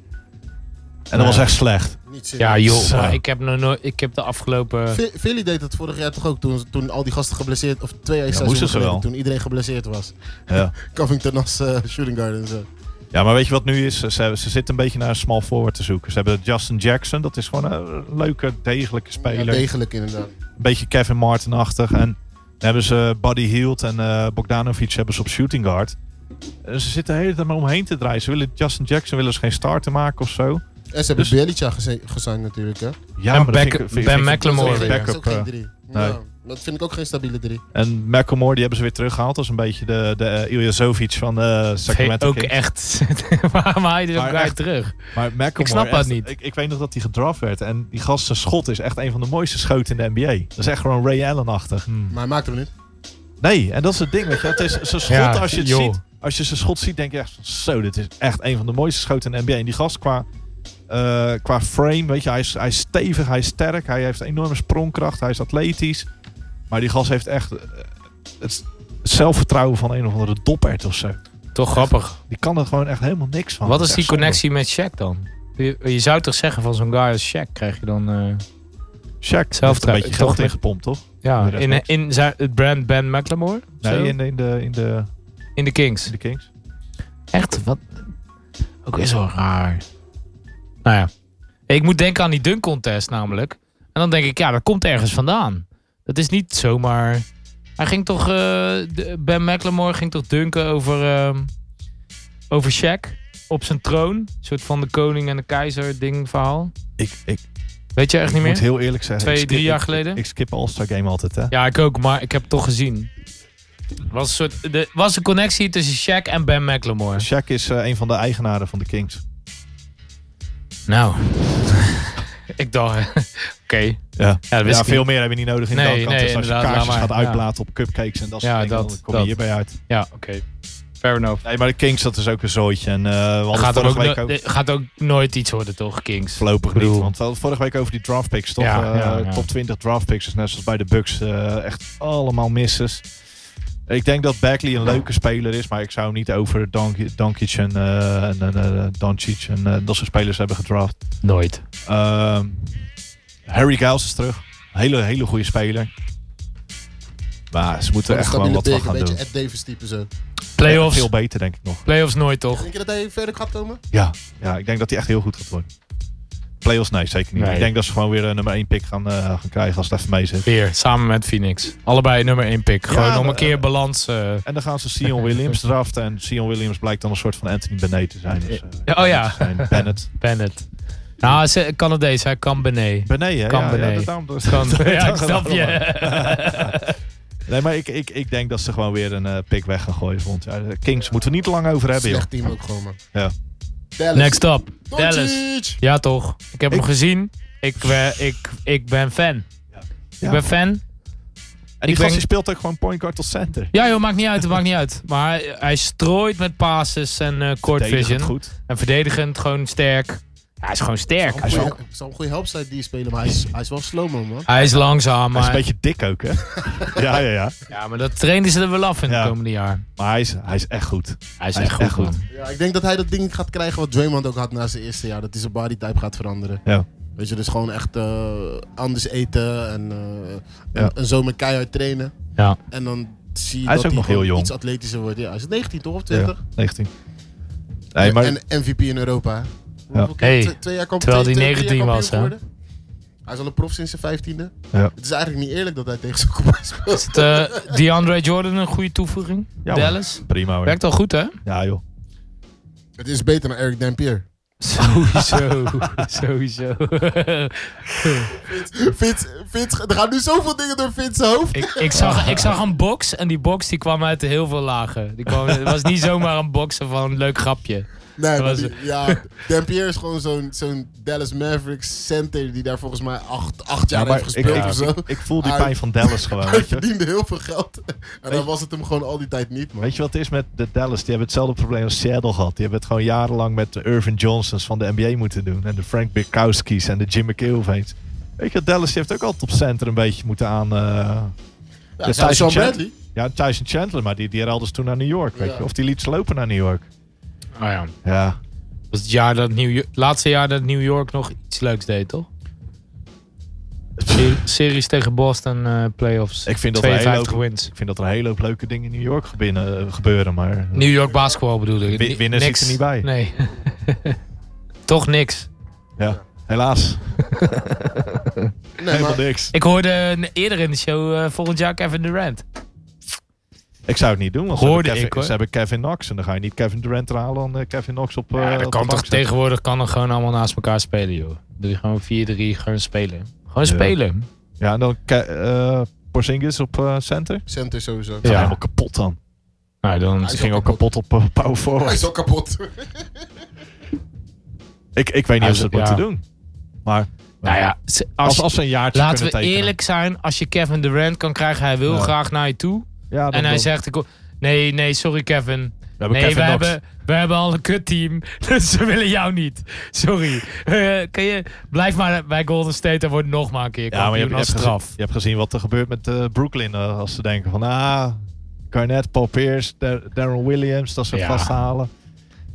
Speaker 3: En dat was echt slecht.
Speaker 4: Niet
Speaker 1: Ja,
Speaker 4: serieus.
Speaker 1: joh.
Speaker 3: Zo.
Speaker 1: maar Ik heb, nog nooit- ik heb de afgelopen.
Speaker 4: Phil- Philly deed het vorig jaar toch ook toen, toen al die gasten geblesseerd, of twee jaar
Speaker 3: Ja,
Speaker 4: seizoenen
Speaker 3: moesten ze
Speaker 4: geleden,
Speaker 3: wel.
Speaker 4: toen iedereen geblesseerd was.
Speaker 3: Ja.
Speaker 4: Covington als eh, shooting guard en zo.
Speaker 3: ja, maar weet je wat nu is? Ze, ze zitten een beetje naar een small forward te zoeken. Ze hebben Justin Jackson. Dat is gewoon een leuke, degelijke
Speaker 4: Ja,
Speaker 3: speler.
Speaker 4: degelijk inderdaad.
Speaker 3: een beetje Kevin Martin-achtig. En dan hebben ze Buddy Hield en eh, Bogdanovic hebben ze op shooting guard. En ze zitten de hele tijd maar omheen te draaien. Ze willen Justin Jackson willen ze geen starter maken of zo.
Speaker 4: En ze hebben
Speaker 3: Dus-
Speaker 4: Bielica geze- gezien natuurlijk, hè?
Speaker 3: Ja,
Speaker 1: En
Speaker 3: maar dat
Speaker 1: Beck-
Speaker 3: vind ik- vind-
Speaker 1: Ben
Speaker 3: vind ik-
Speaker 1: McLemore.
Speaker 4: Dat is ook geen-
Speaker 3: Backup,
Speaker 4: dat is ook geen
Speaker 3: eh,
Speaker 4: drie.
Speaker 3: nee.
Speaker 4: Ja, dat vind ik ook geen stabiele drie.
Speaker 3: En McElmore, die hebben ze weer teruggehaald. Dat is een beetje de, de eh, Ilya Zovic van eh Sacramento
Speaker 1: ook
Speaker 3: Kings.
Speaker 1: echt. Waarom haal je dit ook
Speaker 3: Maar
Speaker 1: guy
Speaker 3: echt.
Speaker 1: terug?
Speaker 3: Maar McElmore,
Speaker 1: Ik snap dat
Speaker 3: echt-
Speaker 1: niet.
Speaker 3: Ik, ik weet nog dat hij gedraft werd. En die gast zijn schot is echt een van de mooiste schoten in de NBA. Dat is echt gewoon Ray Allen-achtig.
Speaker 4: Maar hij maakt hem niet.
Speaker 3: Nee, en dat is het ding. Weet je. Het is zijn schot,
Speaker 1: Ja,
Speaker 3: als je het
Speaker 1: joh.
Speaker 3: ziet, als je zijn schot ziet, denk je echt van, zo, dit is echt een van de mooiste schoten in de NBA. En die gast qua, eh, qua frame, weet je, hij is, hij is stevig, hij is sterk, hij heeft enorme sprongkracht, hij is atletisch. Maar die gast heeft echt eh, het zelfvertrouwen van een of andere doppert of zo.
Speaker 1: Toch grappig.
Speaker 3: Die kan er gewoon echt helemaal niks van.
Speaker 1: Wat
Speaker 3: Oh, Dat
Speaker 1: is die
Speaker 3: echt zonde.
Speaker 1: connectie met Shaq dan? Je, je zou toch zeggen van zo'n guy als Shaq krijg je dan. eh,
Speaker 3: Shaq heeft een
Speaker 1: Zelfvertrouwen,
Speaker 3: beetje
Speaker 1: toch
Speaker 3: geld
Speaker 1: met-
Speaker 3: ingepompt, toch?
Speaker 1: ja,
Speaker 3: De rest
Speaker 1: in,
Speaker 3: niks.
Speaker 1: in zijn, het brand Ben McLemore? Zo?
Speaker 3: Nee, in, de- in, de, in, de,
Speaker 1: in de Kings.
Speaker 3: in de Kings.
Speaker 1: Echt? Wat? Ook is wel raar. Nou ja. Ik moet denken aan die dunk contest namelijk. En dan denk ik, ja, dat komt ergens vandaan. Dat is niet zomaar... Hij ging toch... eh, de- ben McLemore ging toch dunken over... ehm, over Shaq op zijn troon. Een soort van de koning en de keizer ding verhaal.
Speaker 3: Ik, ik,
Speaker 1: Weet je echt
Speaker 3: ik
Speaker 1: niet
Speaker 3: moet
Speaker 1: meer?
Speaker 3: heel eerlijk zeggen.
Speaker 1: Twee,
Speaker 3: ik skip-
Speaker 1: drie jaar
Speaker 3: ik-
Speaker 1: geleden?
Speaker 3: Ik, skip All-Star Game altijd, hè?
Speaker 1: Ja, ik ook, maar ik heb het toch gezien. Er was een, soort, de, was een connectie tussen Shaq en Ben McLemore.
Speaker 3: Shaq is eh, een van de eigenaren van de Kings.
Speaker 1: Nou. Ik dacht, oké.
Speaker 3: Ja.
Speaker 1: Ja, dat wist
Speaker 3: Ja,
Speaker 1: ik
Speaker 3: veel
Speaker 1: niet.
Speaker 3: meer hebben we niet nodig in
Speaker 1: Nee,
Speaker 3: de kant.
Speaker 1: nee,
Speaker 3: dus als je
Speaker 1: inderdaad,
Speaker 3: kaarsjes
Speaker 1: laat maar.
Speaker 3: gaat
Speaker 1: Ja.
Speaker 3: uitblaten op cupcakes en dat soort
Speaker 1: Ja,
Speaker 3: dingen,
Speaker 1: dat-
Speaker 3: dan kom
Speaker 1: dat.
Speaker 3: je hierbij uit.
Speaker 1: Ja, oké. Fair enough.
Speaker 3: Nee, maar de Kings, dat is ook een zooitje. En eh we hadden
Speaker 1: Gaat er
Speaker 3: vorige
Speaker 1: ook,
Speaker 3: week
Speaker 1: no-
Speaker 3: ook...
Speaker 1: eh, gaat ook nooit iets worden, toch, Kings?
Speaker 3: Voorlopig
Speaker 1: Ik bedoel-
Speaker 3: niet, want we hadden vorige week over die draft picks, toch?
Speaker 1: Ja,
Speaker 3: Eh,
Speaker 1: ja, ja.
Speaker 3: Top 20 draft picks is net zoals bij de Bucks eh, echt allemaal misses. Ik denk dat Bagley een leuke speler is, maar ik zou hem niet over Donk- Donkic en, eh, en eh, Doncic en eh, dat soort spelers hebben gedraft.
Speaker 1: Nooit.
Speaker 3: Ehm, Harry Giles is terug. Hele, hele goede speler. Maar ze moeten echt gewoon
Speaker 4: stabiele
Speaker 3: wat van
Speaker 4: pick, een
Speaker 3: gaan
Speaker 4: beetje
Speaker 3: doen.
Speaker 4: Ed Davis type zo.
Speaker 1: Playoffs,
Speaker 3: Veel beter, denk ik nog.
Speaker 1: playoffs nooit, toch?
Speaker 4: Denk je dat hij verder gaat komen?
Speaker 3: Ja, ja ik denk dat hij echt heel goed gaat worden. Playoffs? Nee, zeker niet.
Speaker 1: Nee.
Speaker 3: Ik denk dat ze gewoon weer een nummer 1 pick gaan, eh, gaan krijgen als het even mee zit.
Speaker 1: Weer, samen met Phoenix. Allebei nummer 1 pick. Gewoon nog een
Speaker 3: maar,
Speaker 1: keer
Speaker 3: eh,
Speaker 1: balans. eh.
Speaker 3: En dan gaan ze Sion Williams draften. En Sion Williams blijkt dan een soort van Anthony Bennett te zijn. Dus, eh,
Speaker 1: Ja, oh ja.
Speaker 3: zijn Bennett.
Speaker 1: Bennett. Nou, ze, Canadees, hij kan beneden.
Speaker 3: Bennett, hè?
Speaker 1: Kan
Speaker 3: ja,
Speaker 1: Benet.
Speaker 3: Ja, dat- daarom- dat-
Speaker 1: Kan,
Speaker 3: dat-
Speaker 1: ja,
Speaker 3: dat-
Speaker 1: ik snap je.
Speaker 3: Nee, maar ik, ik, ik denk dat ze gewoon weer een eh, pick weg gaan gooien. Want ja, de Kings moeten we niet te lang over hebben, joh.
Speaker 4: Slecht team ook gewoon, man.
Speaker 3: Ja.
Speaker 4: Dallas.
Speaker 1: Next up.
Speaker 4: Doncic!
Speaker 1: Dallas. Ja, toch. Ik heb hem
Speaker 3: Ik-
Speaker 1: gezien. Ik, we- ik, ik ben fan.
Speaker 3: Ja.
Speaker 1: Ik ben fan.
Speaker 3: En die
Speaker 1: ik
Speaker 3: gast
Speaker 1: denk-
Speaker 3: die speelt ook gewoon point guard tot center.
Speaker 1: Ja joh, maakt niet uit, het maakt niet uit. Maar hij, hij strooit met passes en eh court
Speaker 3: Verdedigend
Speaker 1: vision.
Speaker 3: goed.
Speaker 1: En verdedigend, gewoon sterk. Ja, hij is gewoon sterk.
Speaker 4: Hij is wel- Het zal een goede helpside die spelen, maar hij is, hij is wel slow-mo, man.
Speaker 1: Hij is langzaam,
Speaker 3: Hij is
Speaker 1: maar,
Speaker 3: een beetje dik ook, hè? ja, ja, ja.
Speaker 1: ja, maar dat trainen ze er wel af in
Speaker 3: Ja.
Speaker 1: het komende jaar.
Speaker 3: Maar hij is, hij is echt goed.
Speaker 1: Hij is
Speaker 3: Hij
Speaker 1: echt goed. man.
Speaker 4: Ja, ik denk dat hij dat ding gaat krijgen wat Draymond ook had na zijn eerste jaar. Dat hij zijn body type gaat veranderen.
Speaker 3: Ja.
Speaker 4: Weet je, dus gewoon echt eh, anders eten en, eh,
Speaker 3: Ja.
Speaker 4: en zo met keihard trainen.
Speaker 1: Ja.
Speaker 4: En dan zie je
Speaker 3: Hij is
Speaker 4: dat
Speaker 3: ook nog
Speaker 4: hij
Speaker 3: heel
Speaker 4: gewoon
Speaker 3: jong.
Speaker 4: iets atletischer wordt. Ja, hij is 19 toch of 20?
Speaker 3: 19. Nee, maar
Speaker 4: En MVP in Europa. hè? Hoeveel keer?
Speaker 1: Hey,
Speaker 4: Twee- twee jaar kamp-
Speaker 1: terwijl
Speaker 4: twee-
Speaker 1: hij
Speaker 4: twee- drie jaar
Speaker 1: 19 was,
Speaker 4: kampioen geworden. Hij is al een prof sinds zijn vijftiende.
Speaker 3: Ja.
Speaker 4: Het is eigenlijk niet eerlijk dat hij tegen zijn koepel speelt.
Speaker 1: Is eh, DeAndre Jordan een goede toevoeging?
Speaker 3: Ja,
Speaker 1: Dallas?
Speaker 3: prima hoor.
Speaker 1: Werkt al goed, hè?
Speaker 3: Ja joh.
Speaker 4: Het is beter dan Eric Dampier.
Speaker 1: Sowieso. Sowieso.
Speaker 4: Vince, Vince, er gaan nu zoveel dingen door Vince's hoofd.
Speaker 1: ik, ik, zag, ik zag een box en die box die kwam uit heel veel lagen. Die kwam, het was niet zomaar een boxen van een leuk grapje.
Speaker 4: Nee, maar
Speaker 1: was-
Speaker 4: die- ja, Dampier is gewoon zo'n zo'n Dallas Mavericks center die daar volgens mij acht, acht jaar
Speaker 3: Ja, maar
Speaker 4: heeft
Speaker 3: ik,
Speaker 4: gespeeld
Speaker 3: ik,
Speaker 4: of zo.
Speaker 3: ik, ik voel die
Speaker 4: Hij-
Speaker 3: pijn van Dallas gewoon.
Speaker 4: Hij
Speaker 3: Weet je?
Speaker 4: verdiende heel veel geld. En
Speaker 3: Weet-
Speaker 4: dan was het hem gewoon al die tijd niet, man.
Speaker 3: Weet je wat het is met de Dallas? Die hebben hetzelfde probleem als Seattle gehad. Die hebben het gewoon jarenlang met de Irvin Johnsons van de NBA moeten doen. En de Frank Bikowski's en de Jim McIlveens. Weet je, Dallas die heeft ook altijd op center een beetje moeten aan... eh,
Speaker 4: Ja,
Speaker 3: Ja,
Speaker 4: Sean
Speaker 3: Tyson Chan-
Speaker 4: Bradley.
Speaker 3: ja, Tyson Chandler, maar die, die herhaalde ze toen naar New York, weet
Speaker 4: Ja.
Speaker 3: je. Of die liet ze lopen naar New York.
Speaker 1: Oh ja.
Speaker 3: Ah, Ja,
Speaker 1: Dat was het jaar dat New York, laatste jaar dat New York nog iets leuks deed, toch? Ser- Series tegen Boston, eh playoffs.
Speaker 3: ik vind dat, er een hele
Speaker 1: 52
Speaker 3: hoop,
Speaker 1: wins.
Speaker 3: ik vind dat er een hele hoop leuke dingen in New York gebinnen- eh, gebeuren, maar...
Speaker 1: New York basketbal bedoel ik.
Speaker 3: Wi-
Speaker 1: Ni-
Speaker 3: winnen zit
Speaker 1: niks.
Speaker 3: er niet bij.
Speaker 1: Nee. toch niks.
Speaker 3: Ja, helaas.
Speaker 4: Nee,
Speaker 3: Helemaal
Speaker 4: maar
Speaker 3: niks.
Speaker 1: Ik hoorde eh, eerder in de show eh, volgend jaar Kevin Durant.
Speaker 3: Ik zou het niet doen, want ze,
Speaker 1: Hoorde
Speaker 3: hebben Kevin,
Speaker 1: ik, hoor.
Speaker 3: ze hebben Kevin Knox. En dan ga je niet Kevin Durant halen dan eh, Kevin Knox op... eh,
Speaker 1: Ja, dat
Speaker 3: op de
Speaker 1: kan toch
Speaker 3: bank zetten.
Speaker 1: tegenwoordig kan er gewoon allemaal naast elkaar spelen, joh. Doe je gewoon 4-3, gewoon spelen. Gewoon
Speaker 3: Ja.
Speaker 1: spelen.
Speaker 3: Ja, en dan Ke- eh, Porzingis op eh, center.
Speaker 4: center sowieso.
Speaker 1: Ja.
Speaker 3: Ja. Helemaal kapot dan.
Speaker 1: Nou, dan,
Speaker 4: Hij
Speaker 3: Ze
Speaker 4: is
Speaker 3: ging
Speaker 4: al
Speaker 3: ook kapot op eh, power
Speaker 4: Hij
Speaker 3: forward.
Speaker 4: is al kapot.
Speaker 3: Ik, ik weet niet
Speaker 1: Hij
Speaker 3: of
Speaker 1: is-
Speaker 3: ze het
Speaker 1: ja.
Speaker 3: moeten doen. Maar
Speaker 1: nou ja, ze- als,
Speaker 3: als, als ze een jaartje
Speaker 1: laten we
Speaker 3: kunnen tekenen.
Speaker 1: eerlijk zijn. Als je Kevin Durant kan krijgen, hij wil
Speaker 3: Ja.
Speaker 1: graag naar je toe.
Speaker 3: Ja, dan,
Speaker 1: En hij
Speaker 3: dan-
Speaker 1: zegt, ik, nee, nee, sorry Kevin.
Speaker 3: we hebben
Speaker 1: Nee,
Speaker 3: Kevin
Speaker 1: we
Speaker 3: Knox.
Speaker 1: hebben, we hebben al een kutteam, dus ze willen jou niet. Sorry. Eh, kan je, blijf maar bij Golden State en word nog maar een keer
Speaker 3: Ja, maar je
Speaker 1: kampioen
Speaker 3: hebt, je,
Speaker 1: als
Speaker 3: hebt gezien,
Speaker 1: straf.
Speaker 3: je hebt gezien wat er gebeurt met eh, Brooklyn. eh, als ze denken van, ah, Garnett, Paul Pierce, Dar- Darren Williams. Dat soort
Speaker 1: Ja.
Speaker 3: gasten halen.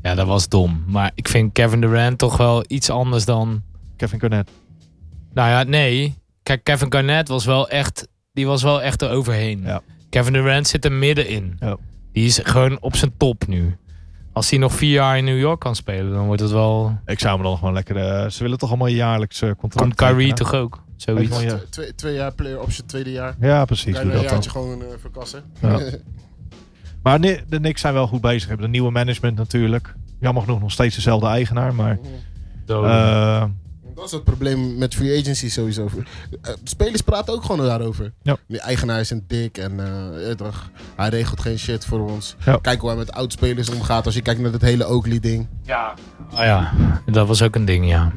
Speaker 1: Ja, dat was dom. Maar ik vind Kevin Durant toch wel iets anders dan...
Speaker 3: Kevin Garnett.
Speaker 1: Nou ja, nee. Kijk, Kevin Garnett was wel echt... Die was wel echt er overheen.
Speaker 3: Ja.
Speaker 1: Kevin Durant zit er middenin.
Speaker 3: Ja.
Speaker 1: Die is gewoon op zijn top nu. Als hij nog vier jaar in New York kan spelen, dan wordt het wel...
Speaker 3: Ik zou me dan gewoon lekker... eh, ze willen toch allemaal jaarlijks eh, contract
Speaker 1: Komt Kyrie
Speaker 3: tekenen?
Speaker 1: toch ook?
Speaker 3: Weet
Speaker 1: Zoiets.
Speaker 3: je wel, ja.
Speaker 4: Twee- Twee, twee jaar player option, tweede jaar.
Speaker 3: Ja, precies.
Speaker 4: Kan
Speaker 3: Doe
Speaker 4: je een
Speaker 3: dat dan.
Speaker 4: jaartje gewoon eh, verkassen.
Speaker 3: Ja. Maar ni- de Knicks zijn wel goed bezig. Hebben een nieuwe management natuurlijk. Jammer genoeg nog steeds dezelfde eigenaar. Maar
Speaker 1: Zo.
Speaker 3: eh,
Speaker 4: Mhm. Dat is het probleem met free agency sowieso. Eh, Spelers praten ook gewoon daarover.
Speaker 3: Ja.
Speaker 4: Die eigenaar is een dik en eh, eh, toch, hij regelt geen shit voor ons.
Speaker 3: Ja.
Speaker 4: Kijk hoe hij met oud-spelers omgaat. Als je kijkt
Speaker 1: Ah
Speaker 4: naar dat hele Oakley-ding.
Speaker 1: Oh ja, dat was ook een ding, ja.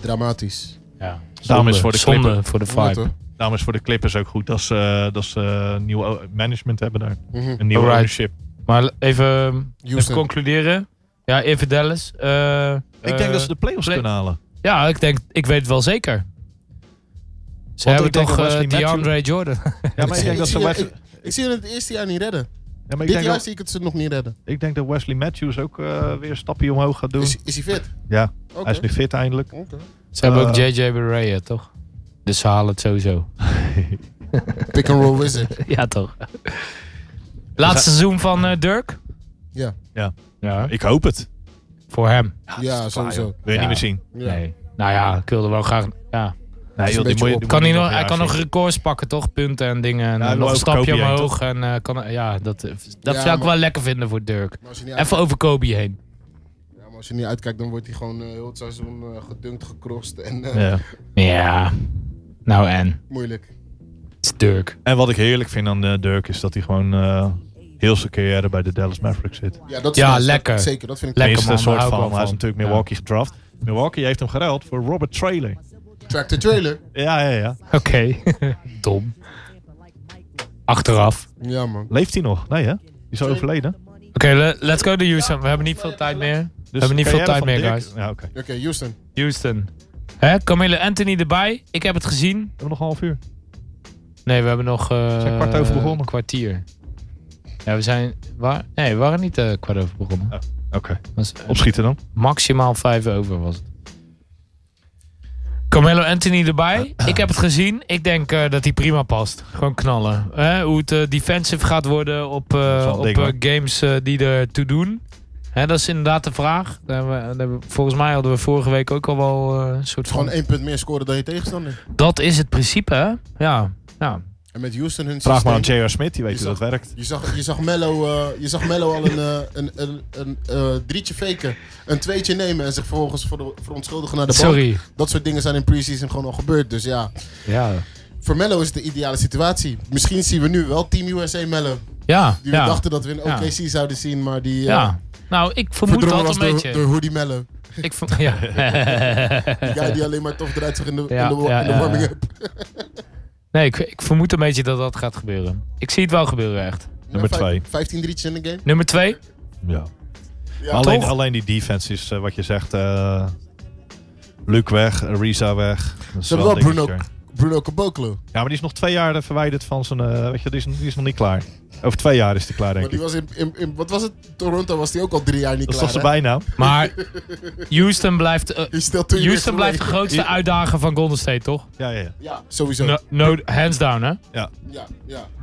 Speaker 4: Dramatisch.
Speaker 1: Ja.
Speaker 3: Daarom is voor de
Speaker 1: zonde
Speaker 3: Clippers-
Speaker 1: voor de
Speaker 4: Ja,
Speaker 1: vibe.
Speaker 4: toch?
Speaker 3: Daarom is voor de Clippers ook goed dat ze, eh, dat ze eh, nieuw o- management hebben daar.
Speaker 4: Mhm.
Speaker 3: Een nieuw
Speaker 1: Alright.
Speaker 3: ownership.
Speaker 1: maar even, even
Speaker 4: Houston.
Speaker 1: concluderen. Ja, even Dallas. Eh,
Speaker 3: Ik denk
Speaker 1: eh,
Speaker 3: dat ze de playoffs
Speaker 1: play-
Speaker 3: kunnen halen.
Speaker 1: Ja, ik denk, ik weet het wel zeker. Ze
Speaker 3: Want
Speaker 1: hebben
Speaker 3: ik denk
Speaker 1: toch
Speaker 3: dat
Speaker 1: eh,
Speaker 3: Wesley Matthews-
Speaker 1: DeAndre Jordan.
Speaker 3: Ja, maar ik denk
Speaker 4: zie-
Speaker 3: dat ze
Speaker 4: zie-
Speaker 3: Wes-
Speaker 4: Ik zie het het eerste jaar niet redden.
Speaker 3: ja, maar ik
Speaker 4: Dit
Speaker 3: denk
Speaker 4: jaar
Speaker 3: dat-
Speaker 4: zie ik het ze nog niet redden.
Speaker 3: ik denk dat Wesley Matthews ook eh, weer een stapje omhoog gaat doen.
Speaker 4: Is, is hij fit?
Speaker 3: Ja,
Speaker 4: Oké.
Speaker 3: hij is nu fit eindelijk.
Speaker 4: Oké.
Speaker 1: Ze hebben ook
Speaker 3: Eh.
Speaker 1: JJ Barea, toch? Dus ze halen het sowieso.
Speaker 4: Pick and roll wizard.
Speaker 1: ja, toch? Laatste seizoen van eh, Dirk?
Speaker 4: Ja.
Speaker 3: Ja.
Speaker 1: ja.
Speaker 3: Ik hoop het.
Speaker 1: Voor hem?
Speaker 4: Ja, sowieso.
Speaker 3: Wil je
Speaker 1: Ja.
Speaker 3: niet meer zien.
Speaker 4: Ja.
Speaker 1: Nee. Nou ja, ik wilde wel graag... Ja.
Speaker 3: Nee,
Speaker 4: beetje
Speaker 3: die moet je-
Speaker 4: op.
Speaker 3: die
Speaker 1: Kan
Speaker 3: moet
Speaker 1: hij,
Speaker 3: je
Speaker 1: nog, hij
Speaker 3: een
Speaker 1: kan
Speaker 3: jaar
Speaker 1: nog
Speaker 3: zien.
Speaker 1: records pakken, toch? Punten en dingen. En
Speaker 3: Ja, hij
Speaker 1: dan
Speaker 3: wil
Speaker 1: nog een stapje
Speaker 3: overkopen, ja,
Speaker 1: omhoog. En, eh, kan, ja, dat, dat
Speaker 4: Ja,
Speaker 1: zou ik
Speaker 4: maar-
Speaker 1: wel lekker vinden voor Dirk.
Speaker 4: Maar als je niet
Speaker 1: Even over Kobe heen.
Speaker 4: Ja, maar als je niet uitkijkt, dan wordt hij gewoon eh, heel het seizoen eh, gedunkt, gekrost en eh,
Speaker 3: Ja.
Speaker 1: Ja. Nou en?
Speaker 4: moeilijk.
Speaker 1: Het is Dirk.
Speaker 3: En wat ik heerlijk vind aan eh, Dirk is dat hij gewoon eh, heel zijn carrière bij de Dallas Mavericks zit.
Speaker 4: Ja, dat is
Speaker 1: Ja,
Speaker 4: dat- dat-
Speaker 1: lekker.
Speaker 4: Zeker, dat vind ik
Speaker 1: Lekker.
Speaker 3: Tenminste,
Speaker 1: man,
Speaker 3: een
Speaker 1: daar
Speaker 3: soort
Speaker 1: hou ik
Speaker 3: van.
Speaker 1: wel
Speaker 3: Hij is
Speaker 1: van.
Speaker 3: natuurlijk
Speaker 1: Ja.
Speaker 3: Milwaukee gedraft. Milwaukee heeft hem geruild voor Robert Trailer.
Speaker 4: Track the trailer.
Speaker 3: Ja, ja, ja.
Speaker 1: Oké. Dom. Achteraf.
Speaker 4: Ja, man.
Speaker 3: Leeft hij nog? Nee, hè? Die is al overleden.
Speaker 1: Oké, le- let's go to Houston. We hebben niet veel tijd meer.
Speaker 3: Dus
Speaker 1: hebben niet
Speaker 3: de carrière
Speaker 1: veel tijd
Speaker 3: van
Speaker 1: meer,
Speaker 3: Dirk-
Speaker 1: guys.
Speaker 3: Ja, oké.
Speaker 4: Oké, Houston.
Speaker 1: Houston. Hè? Camille Anthony erbij. Ik heb het gezien.
Speaker 3: We hebben nog een half uur.
Speaker 1: Nee, we hebben nog... eh,
Speaker 3: We zijn kwart over begonnen.
Speaker 1: Kwartier. Ja, we zijn... Waar? Nee, we waren niet eh, kwart over begonnen.
Speaker 3: Oké.
Speaker 1: Was, eh,
Speaker 3: Opschieten dan.
Speaker 1: maximaal vijf over was het. Carmelo Anthony erbij.
Speaker 3: Eh.
Speaker 1: Ik heb het gezien. Ik denk eh, dat hij prima past. Gewoon knallen. Hè, hoe het eh, defensive gaat worden op, eh,
Speaker 3: is wel een
Speaker 1: op
Speaker 3: ding,
Speaker 1: eh,
Speaker 3: hoor.
Speaker 1: games eh, die er toe doen. Hè, dat is inderdaad de vraag. Daar hebben we- daar hebben we- volgens mij hadden we vorige week ook al wel eh, een soort van...
Speaker 4: Gewoon één punt meer scoren dan je tegenstander.
Speaker 1: Dat is het principe, hè? Ja. ja.
Speaker 4: En met Houston hun
Speaker 3: Vraag maar aan
Speaker 4: systeem-
Speaker 3: J.R. Smith, die weet
Speaker 4: Je
Speaker 3: hoe dat werkt.
Speaker 4: Je zag, je zag Mello, eh, je zag Mello al een, eh, een, een, een eh, drietje faken, een tweetje nemen en zich vervolgens voor- verontschuldigen naar de bank.
Speaker 1: Sorry.
Speaker 4: Dat soort dingen zijn in preseason gewoon al gebeurd. Dus ja,
Speaker 1: Ja.
Speaker 4: voor Mello is het de ideale situatie. Misschien zien we nu wel Team USA Mello.
Speaker 1: Ja.
Speaker 4: Die we
Speaker 1: Ja.
Speaker 4: dachten dat we in
Speaker 1: Ja.
Speaker 4: OKC zouden zien, maar die eh
Speaker 1: ja. Nou, ik vermoed
Speaker 4: verdrongen was
Speaker 1: dat een
Speaker 4: door, door
Speaker 1: beetje.
Speaker 4: Hoodie Mello.
Speaker 1: Ik ver- ja.
Speaker 4: Die guy die alleen maar tof eruit zag in de,
Speaker 1: Ja,
Speaker 4: in de,
Speaker 1: ja,
Speaker 4: in de
Speaker 1: ja,
Speaker 4: warming-up.
Speaker 1: Nee, ik, ik vermoed een beetje dat dat gaat gebeuren. Ik zie het wel gebeuren, echt.
Speaker 3: Nummer
Speaker 4: vijf-
Speaker 3: twee.
Speaker 4: 15 drietjes in de game.
Speaker 1: Nummer twee.
Speaker 3: Ja.
Speaker 4: Ja,
Speaker 3: Maar alleen,
Speaker 1: toch?
Speaker 3: alleen die defense is eh, wat je zegt. eh Luke weg, Risa weg. Dat is
Speaker 4: Ze hebben
Speaker 3: een
Speaker 4: wel Bruno,
Speaker 3: dingetje.
Speaker 4: Bruno Caboclo.
Speaker 3: Ja, maar die is nog twee jaar eh, verwijderd van zijn... eh, weet je, die is, die is nog niet klaar. Over twee jaar is die klaar,
Speaker 4: Maar
Speaker 3: denk
Speaker 4: Oh, die
Speaker 3: ik.
Speaker 4: was in, in, in- wat was het? Toronto was die ook al drie jaar niet
Speaker 3: Dat is toch
Speaker 4: klaar.
Speaker 3: zijn
Speaker 4: hè?
Speaker 3: bijnaam?
Speaker 1: Maar Houston blijft, eh,
Speaker 4: Je stelt toen je
Speaker 1: Houston
Speaker 4: weer
Speaker 1: blijft de grootste uitdager van Golden State, toch?
Speaker 3: Ja, ja, ja.
Speaker 4: Ja, sowieso.
Speaker 1: No, no, hands down, hè?
Speaker 4: Ja, ja.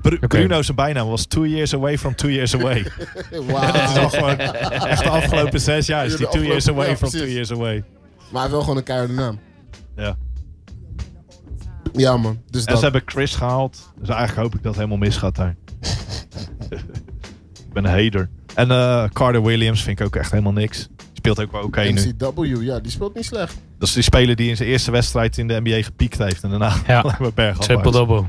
Speaker 3: Bru-
Speaker 1: Oké.
Speaker 3: Bruno zijn bijnaam was two years away from two years away. Dat is
Speaker 4: Wauw.
Speaker 3: al gewoon echt de afgelopen zes jaar is
Speaker 4: Ja, de
Speaker 3: die two years
Speaker 4: afgelopen-
Speaker 3: away
Speaker 4: ja,
Speaker 3: from
Speaker 4: precies.
Speaker 3: two years away.
Speaker 4: maar hij wel gewoon een keiharde naam.
Speaker 3: Ja.
Speaker 4: Ja, man. Dus
Speaker 3: En
Speaker 4: dat.
Speaker 3: ze hebben Chris gehaald. Dus eigenlijk hoop ik dat het helemaal misgaat daar. ik ben een hater. En eh, Carter Williams vind ik ook echt helemaal niks. Die Speelt ook wel oké nu.
Speaker 4: MCW, ja, die speelt niet slecht.
Speaker 3: Dat is die speler die in zijn eerste wedstrijd in de NBA gepiekt heeft. En daarna
Speaker 1: Ja.
Speaker 3: alleen maar bergaf
Speaker 1: Triple-double.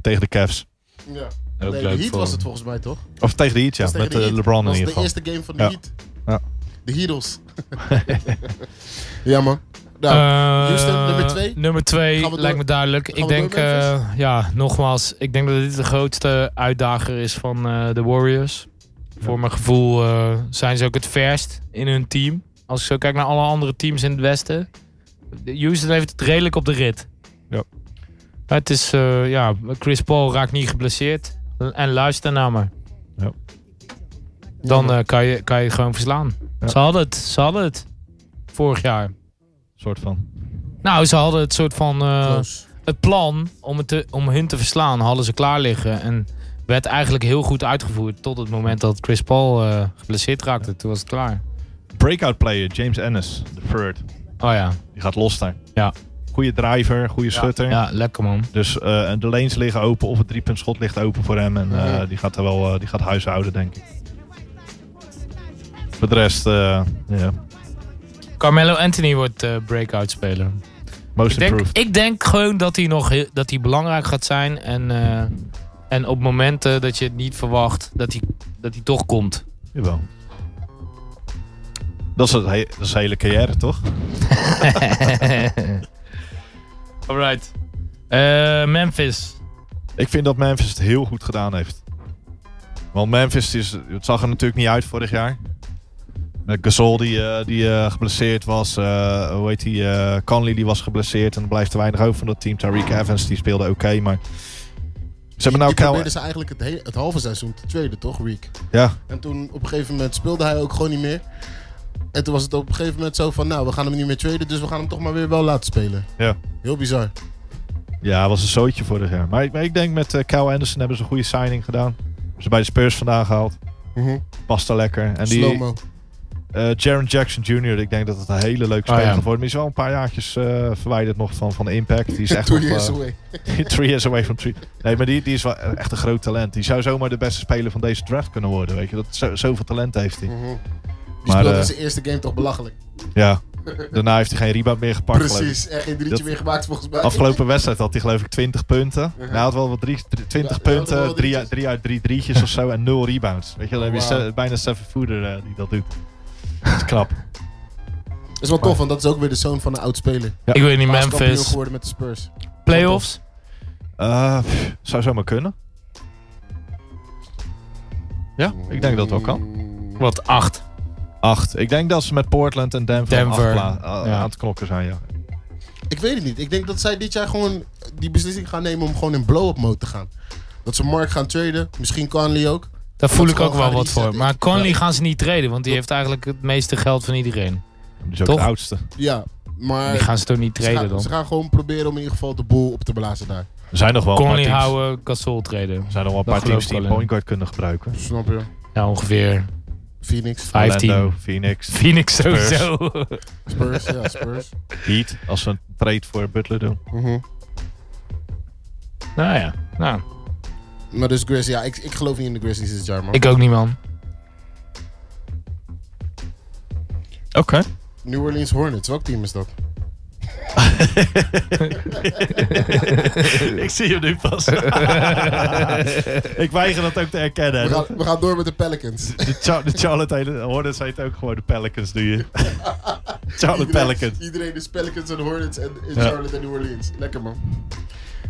Speaker 3: Tegen de Cavs.
Speaker 4: Ja.
Speaker 1: Ook
Speaker 4: Nee, de
Speaker 1: leuk
Speaker 4: Heat
Speaker 1: voor
Speaker 4: was
Speaker 1: hem.
Speaker 4: het volgens mij, toch? Dat
Speaker 3: Of tegen de Heat, ja.
Speaker 4: was tegen
Speaker 3: Met
Speaker 4: de
Speaker 3: eh,
Speaker 4: Heat.
Speaker 3: LeBron in
Speaker 4: Dat
Speaker 3: ieder
Speaker 4: was de
Speaker 3: geval.
Speaker 4: eerste game van de
Speaker 3: Ja.
Speaker 4: Heat.
Speaker 3: Ja.
Speaker 4: De Heatles. ja, man. Nou,
Speaker 1: Eh,
Speaker 4: Houston, nummer twee?
Speaker 1: Nummer twee,
Speaker 4: Gaan we
Speaker 1: lijkt
Speaker 4: door-
Speaker 1: me duidelijk.
Speaker 4: gaan
Speaker 1: Ik
Speaker 4: we
Speaker 1: denk,
Speaker 4: door, Memphis?
Speaker 1: eh, ja, nogmaals, ik denk dat dit de grootste uitdager is van eh, de Warriors. Voor mijn gevoel eh, zijn ze ook het verst in hun team. Als ik zo kijk naar alle andere teams in het Westen. de- Houston heeft het redelijk op de rit.
Speaker 3: Ja.
Speaker 1: Het is, eh, ja, Chris Paul raakt niet geblesseerd. L- En luister naar me.
Speaker 3: Ja.
Speaker 1: Dan eh, kan, je, kan je het gewoon verslaan.
Speaker 3: Ja.
Speaker 1: Ze hadden het, ze hadden het. Vorig jaar.
Speaker 3: soort van.
Speaker 1: Nou, ze hadden het soort van eh,
Speaker 4: Close.
Speaker 1: het plan om, het te, om hun te verslaan, hadden ze klaar liggen. En werd eigenlijk heel goed uitgevoerd tot het moment dat Chris Paul eh, geblesseerd raakte. Toen was het klaar.
Speaker 3: Breakout player, James Ennis. De third.
Speaker 1: Oh ja,
Speaker 3: Die gaat los daar.
Speaker 1: Ja.
Speaker 3: Goede driver, goede schutter.
Speaker 1: ja lekker man.
Speaker 3: Dus eh, de lanes liggen open of het driepuntschot ligt open voor hem. En eh, die gaat er wel eh, die gaat huishouden, denk ik. Voor de rest, eh ja,
Speaker 1: Carmelo Anthony wordt eh, breakout speler.
Speaker 3: most
Speaker 1: Ik denk,
Speaker 3: improved.
Speaker 1: ik denk gewoon dat hij nog heel- dat hij belangrijk gaat zijn. En, eh, en op momenten dat je het niet verwacht, dat hij, dat hij toch komt.
Speaker 3: Jawel. Dat is, het he- dat is de hele carrière, toch?
Speaker 1: Alright. Eh, Memphis.
Speaker 3: Ik vind dat Memphis het heel goed gedaan heeft. Want Memphis is, het zag er natuurlijk niet uit vorig jaar. Met Gasol die, eh, die eh, geblesseerd was. eh, hoe heet die? eh Conley die was geblesseerd. En er blijft te weinig over van dat team. Tariq Evans die speelde oké, maar... Ze hebben nou
Speaker 4: die
Speaker 3: Cal...
Speaker 4: probeerden ze eigenlijk het, hele- het halve seizoen te traden, toch, Reek?
Speaker 3: Ja,
Speaker 4: En toen op een gegeven moment speelde hij ook gewoon niet meer. En toen was het op een gegeven moment zo van, nou, we gaan hem niet meer traden, dus we gaan hem toch maar weer wel laten spelen.
Speaker 3: Ja.
Speaker 4: Heel bizar.
Speaker 3: ja, was een zootje vorig jaar. Maar ik, maar ik denk met eh Cal Anderson hebben ze een goede signing gedaan. Hebben ze bij de Spurs vandaan gehaald. Past daar lekker. En Mhm. die,
Speaker 4: Slow-mo.
Speaker 3: eh Jaron Jackson Jr., ik denk dat het een hele leuke
Speaker 1: Ah,
Speaker 3: speler
Speaker 1: ja.
Speaker 3: gaat worden. Maar die is wel een paar jaartjes eh, verwijderd nog van, van de impact. Die is echt
Speaker 4: Two
Speaker 3: nog,
Speaker 4: years
Speaker 3: eh,
Speaker 4: away.
Speaker 3: three years away from three. Nee, maar die, die is wel echt een groot talent. Die zou zomaar de beste speler van deze draft kunnen worden. Weet je? Dat, zo, zoveel talent heeft hij.
Speaker 4: Mhm. Die
Speaker 3: Maar,
Speaker 4: speelde
Speaker 3: eh,
Speaker 4: zijn eerste game toch belachelijk.
Speaker 3: Ja. Daarna heeft hij geen rebound meer gepakt. geloof ik.
Speaker 4: Precies. En geen drietje
Speaker 3: Dat-
Speaker 4: meer gemaakt volgens mij.
Speaker 3: Afgelopen wedstrijd had hij geloof ik 20 punten. Nou,
Speaker 4: Mhm.
Speaker 3: Hij had wel wat drie, drie- 20
Speaker 4: Ja, hij had wel
Speaker 3: punten,
Speaker 4: wat
Speaker 3: 3
Speaker 4: drietjes. Oh,
Speaker 3: uit 3 uit drie drietjes of zo en 0 rebounds. Weet je, dan heb je
Speaker 4: Wauw.
Speaker 3: se- bijna Seven Fooder eh, die dat doet. Dat is knap.
Speaker 4: Dat is wel tof, want dat is ook weer de zoon van een oud speler.
Speaker 3: Ja.
Speaker 1: Ik weet niet,
Speaker 4: Hij is kampioen
Speaker 1: Memphis.
Speaker 4: geworden met de Spurs.
Speaker 1: Playoffs.
Speaker 3: Eh, pff, zou zomaar kunnen. Ja, ik denk dat het wel kan.
Speaker 4: Mm.
Speaker 1: Wat, acht.
Speaker 3: Acht. Ik denk dat ze met Portland en Denver, aan
Speaker 1: Denver.
Speaker 3: afpla- a-
Speaker 1: Ja.
Speaker 3: aan het knokken zijn, ja.
Speaker 4: Ik weet het niet. Ik denk dat zij dit jaar gewoon die beslissing gaan nemen om gewoon in blow-up mode te gaan. Dat ze Mark gaan traden, misschien Conley ook.
Speaker 1: Daar voel
Speaker 4: Dat
Speaker 1: ik
Speaker 4: ze gewoon
Speaker 1: ook wel
Speaker 4: gaan
Speaker 1: wat voor.
Speaker 4: resetten.
Speaker 1: Maar Conley
Speaker 4: Ja.
Speaker 1: gaan ze niet treden, want die heeft eigenlijk het meeste geld van iedereen.
Speaker 3: Die is ook
Speaker 1: Toch?
Speaker 3: de oudste.
Speaker 4: Ja, maar
Speaker 1: Die gaan ze toch niet
Speaker 4: ze, gaan,
Speaker 1: treden dan?
Speaker 4: ze gaan gewoon proberen om in ieder geval de boel op te blazen daar.
Speaker 3: Er zijn nog wel een paar
Speaker 1: Conley
Speaker 3: teams,
Speaker 1: houden, Gasol treden.
Speaker 3: er zijn nog wel een
Speaker 1: Dat
Speaker 3: paar teams
Speaker 1: geloof ik
Speaker 3: die een
Speaker 1: wel in.
Speaker 3: point guard kunnen gebruiken.
Speaker 4: Snap je?
Speaker 1: Ja, ongeveer
Speaker 4: Phoenix,
Speaker 1: 15.
Speaker 3: Orlando, Phoenix,
Speaker 1: Phoenix
Speaker 3: Spurs.
Speaker 1: sowieso.
Speaker 4: Spurs, ja, Spurs.
Speaker 3: Heat, als ze een trade voor Butler doen.
Speaker 4: Mhm.
Speaker 1: nou ja, nou,
Speaker 4: Maar dus Grizz, ja, ik, ik geloof niet in de Grizzlies dit jaar, man.
Speaker 1: ik ook niet man.
Speaker 3: Oké.
Speaker 4: New Orleans Hornets, welk team is dat?
Speaker 3: ik zie hem nu pas. ik weiger dat ook te erkennen.
Speaker 4: We gaan, we gaan door met de Pelicans.
Speaker 3: De, Char- de Charlotte hele- Hornets heet ook gewoon de Pelicans, doe je. Charlotte
Speaker 4: Iedereen-
Speaker 3: Pelicans.
Speaker 4: Iedereen is Pelicans en Hornets en in
Speaker 3: Ja.
Speaker 4: Charlotte en New Orleans. Lekker, man.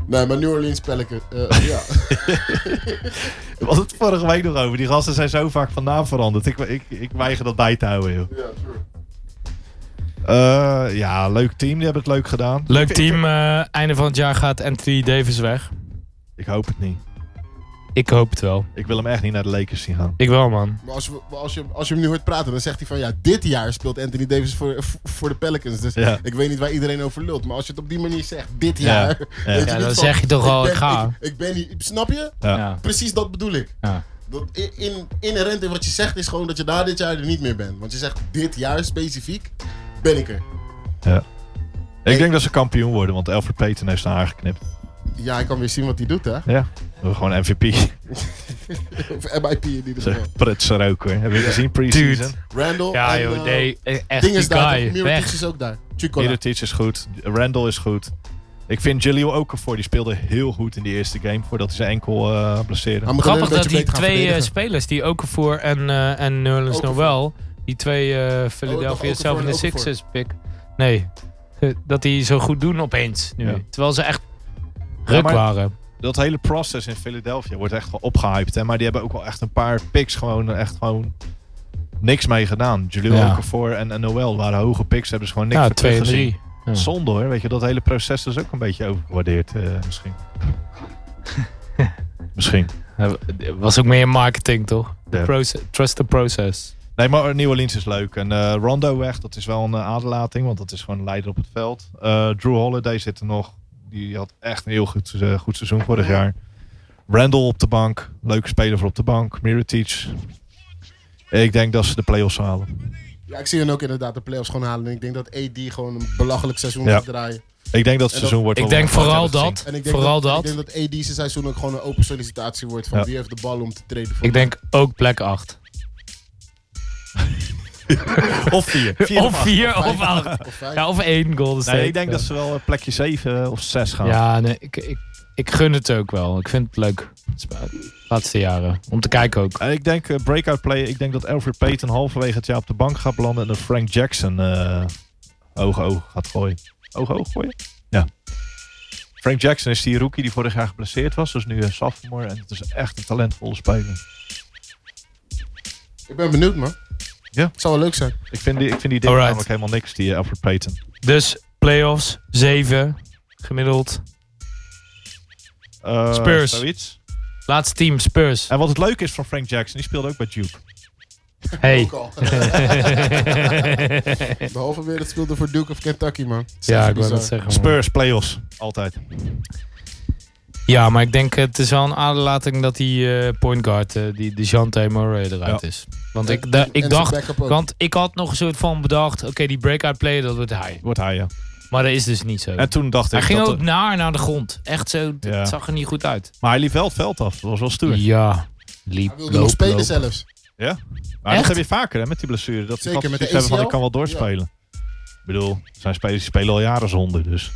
Speaker 4: Nee, maar New Orleans Pelicans, eh, ja.
Speaker 3: We hadden het vorige week nog over. Die gasten zijn zo vaak van naam veranderd. Ik, ik, ik weiger dat bij te houden, joh.
Speaker 4: ja, true.
Speaker 3: Eh, ja, leuk team. Die hebben het leuk gedaan.
Speaker 1: Leuk team. eh, einde van het jaar gaat Anthony Davis weg.
Speaker 3: Ik hoop het niet.
Speaker 1: Ik hoop het wel.
Speaker 3: Ik wil hem echt niet naar de Lakers zien gaan.
Speaker 1: Ik wel man.
Speaker 4: Maar als je, maar als, je, als je hem nu hoort praten, dan zegt hij van ja, dit jaar speelt Anthony Davis voor, voor de Pelicans. Dus
Speaker 3: Ja.
Speaker 4: ik weet niet waar iedereen over lult. Maar als je het op die manier zegt, dit
Speaker 3: Ja.
Speaker 4: jaar. weet je
Speaker 1: Ja,
Speaker 4: niet
Speaker 1: dan
Speaker 4: van,
Speaker 1: zeg je toch al,
Speaker 4: ben-
Speaker 1: ik ga.
Speaker 4: Ik, ik ben hier, snap je?
Speaker 3: Ja.
Speaker 1: Ja.
Speaker 4: Precies dat bedoel ik.
Speaker 1: Ja.
Speaker 4: Dat in, in, inherent in wat je zegt is gewoon dat je na dit jaar er niet meer bent. Want je zegt dit jaar specifiek ben ik er.
Speaker 3: Ik denk dat ze kampioen worden, want Alfred Payton heeft zijn haar geknipt.
Speaker 4: Ja, ik kan weer zien wat hij doet, hè?
Speaker 3: Ja. Gewoon MVP.
Speaker 4: Of MIP in ieder geval.
Speaker 3: Zeg, Prutser ook hoor. Heb je gezien pre-season?
Speaker 4: Randall.
Speaker 1: Ja
Speaker 4: en,
Speaker 1: joh,
Speaker 4: eh,
Speaker 1: nee, e- echt
Speaker 4: Ding
Speaker 1: die
Speaker 4: is daar. toch?
Speaker 1: guy,
Speaker 4: Mirotic
Speaker 1: weg.
Speaker 4: is ook daar. Chukola.
Speaker 3: Mirotic is goed. Randall is goed. Ik vind Jaleel Okafor, die speelde heel goed in die eerste game voordat hij zijn enkel eh blesseerde.
Speaker 4: Hij moet alleen
Speaker 1: Grappig
Speaker 4: een
Speaker 1: dat
Speaker 4: beetje
Speaker 1: die
Speaker 4: beter gaan
Speaker 1: twee eh,
Speaker 4: verdedigen.
Speaker 1: spelers, die Okafor en, eh en New Orleans
Speaker 4: Okafor.
Speaker 1: Noel, die twee eh
Speaker 4: Oh, dacht
Speaker 1: Philadelphia
Speaker 4: Okafor
Speaker 1: zelf in de
Speaker 4: en Okafor.
Speaker 1: Sixers pick. Nee, Eh, dat die zo goed doen opeens nu.
Speaker 3: Ja.
Speaker 1: Terwijl ze echt
Speaker 3: Ja,
Speaker 1: ruk
Speaker 3: maar-
Speaker 1: waren.
Speaker 3: Dat hele proces in Philadelphia wordt echt wel opgehyped. Hè? Maar die hebben ook wel echt een paar picks gewoon, eh, echt gewoon niks mee gedaan. Jaleel
Speaker 1: Ja.
Speaker 3: Okafor en, en Noel waren hoge picks. Hebben ze gewoon niks
Speaker 1: Ja,
Speaker 3: voor
Speaker 1: twee en
Speaker 3: teruggezien.
Speaker 1: drie. Ja.
Speaker 3: Zonde hoor, weet je, dat hele proces is ook een beetje overgewaardeerd eh, misschien. misschien.
Speaker 1: Eh, Was ook meer marketing toch?
Speaker 3: Ja.
Speaker 1: Proce- trust the process.
Speaker 3: Nee, maar eh, New Orleans is leuk. En eh, Rondo weg, dat is wel een eh, aderlating, want dat is gewoon een leider op het veld. Eh, Drew Holiday zit er nog. Die had echt een heel goed, eh, goed seizoen vorig jaar. Randall op de bank, leuke speler voor op de bank. Mirotic. Ik denk dat ze de play-offs halen.
Speaker 4: Ja, ik zie hen ook inderdaad de playoffs gewoon halen. En ik denk dat AD gewoon een belachelijk seizoen
Speaker 3: Ja.
Speaker 4: gaat draaien.
Speaker 3: Ik denk dat het
Speaker 4: En dat-
Speaker 3: seizoen wordt
Speaker 1: Ik
Speaker 3: wel
Speaker 1: denk
Speaker 3: wat
Speaker 1: vooral
Speaker 3: hebben gezien.
Speaker 1: dat.
Speaker 4: En ik denk
Speaker 1: Vooral
Speaker 4: dat,
Speaker 1: dat.
Speaker 4: Ik denk dat AD zijn seizoen ook gewoon een open sollicitatie wordt. Van
Speaker 3: Ja.
Speaker 4: wie heeft de bal om te treden voor
Speaker 1: Ik denk ook plek 8.
Speaker 3: Of vier. Vier
Speaker 1: Of
Speaker 3: of acht.
Speaker 1: 4 of
Speaker 4: vijf.
Speaker 1: 8.
Speaker 4: of vijf?
Speaker 1: Ja, of 1 Golden State.
Speaker 3: Nee, ik denk dat ze wel eh, plekje 7 of 6 gaan.
Speaker 1: Ja, nee, ik, ik, ik gun het ook wel. Ik vind het leuk. Het is de laatste jaren. Om te kijken ook.
Speaker 3: Eh, Ik denk eh, breakout play. Ik denk dat Alfred Payton halverwege het jaar op de bank gaat belanden. En dat Frank Jackson eh oog oog gaat gooien. Oog oog gooien? Ja. Frank Jackson is die rookie die vorig jaar geblesseerd was. Dus nu een sophomore. En het is echt een talentvolle speler.
Speaker 4: Ik ben benieuwd, man.
Speaker 3: Ja.
Speaker 4: Het zou wel leuk zijn.
Speaker 3: Ik vind die, ik vind die ding
Speaker 1: Alright.
Speaker 3: namelijk helemaal niks, die eh, Alfred Payton.
Speaker 1: Dus playoffs, 7 gemiddeld.
Speaker 3: Eh,
Speaker 1: Spurs.
Speaker 3: Zoiets.
Speaker 1: Laatste team, Spurs.
Speaker 3: En wat het leuke is van Frank Jackson, die speelde ook bij Duke.
Speaker 1: Hey.
Speaker 4: Ook al. Behalve weer dat speelde voor Duke of Kentucky, man. Dat is
Speaker 1: ja,
Speaker 4: echt
Speaker 1: ik wil
Speaker 4: bizar.
Speaker 1: dat zeggen. man.
Speaker 3: Spurs, playoffs. Altijd.
Speaker 1: Ja, maar ik denk het is wel een aderlating dat die eh, point guard, eh, die Dejante Murray, eruit
Speaker 3: Ja.
Speaker 1: is. Want
Speaker 4: En-
Speaker 1: ik, da-
Speaker 4: en
Speaker 1: ik
Speaker 4: zijn
Speaker 1: dacht,
Speaker 4: backup ook.
Speaker 1: want ik had nog een soort van bedacht, oké, die breakout player, dat wordt hij.
Speaker 3: Wordt hij, ja.
Speaker 1: Maar dat is dus niet zo.
Speaker 3: En toen dacht
Speaker 1: Hij
Speaker 3: ik
Speaker 1: ging
Speaker 3: dat...
Speaker 1: ook
Speaker 3: de-
Speaker 1: naar naar de grond. Echt zo, het
Speaker 3: Ja.
Speaker 1: zag er niet goed uit.
Speaker 3: maar hij liep wel het veld af. Dat was wel stoer.
Speaker 1: Ja, liep,
Speaker 4: Hij wilde nog spelen zelfs.
Speaker 3: Maar dat
Speaker 1: Echt?
Speaker 3: heb je vaker hè, met die blessure. Dat
Speaker 4: Zeker,
Speaker 3: gasten
Speaker 4: met de
Speaker 3: zoiets hebben van,
Speaker 4: ACL.
Speaker 3: ik kan wel doorspelen. Ik bedoel, er zijn spelers die spelen al jaren zonder. Dus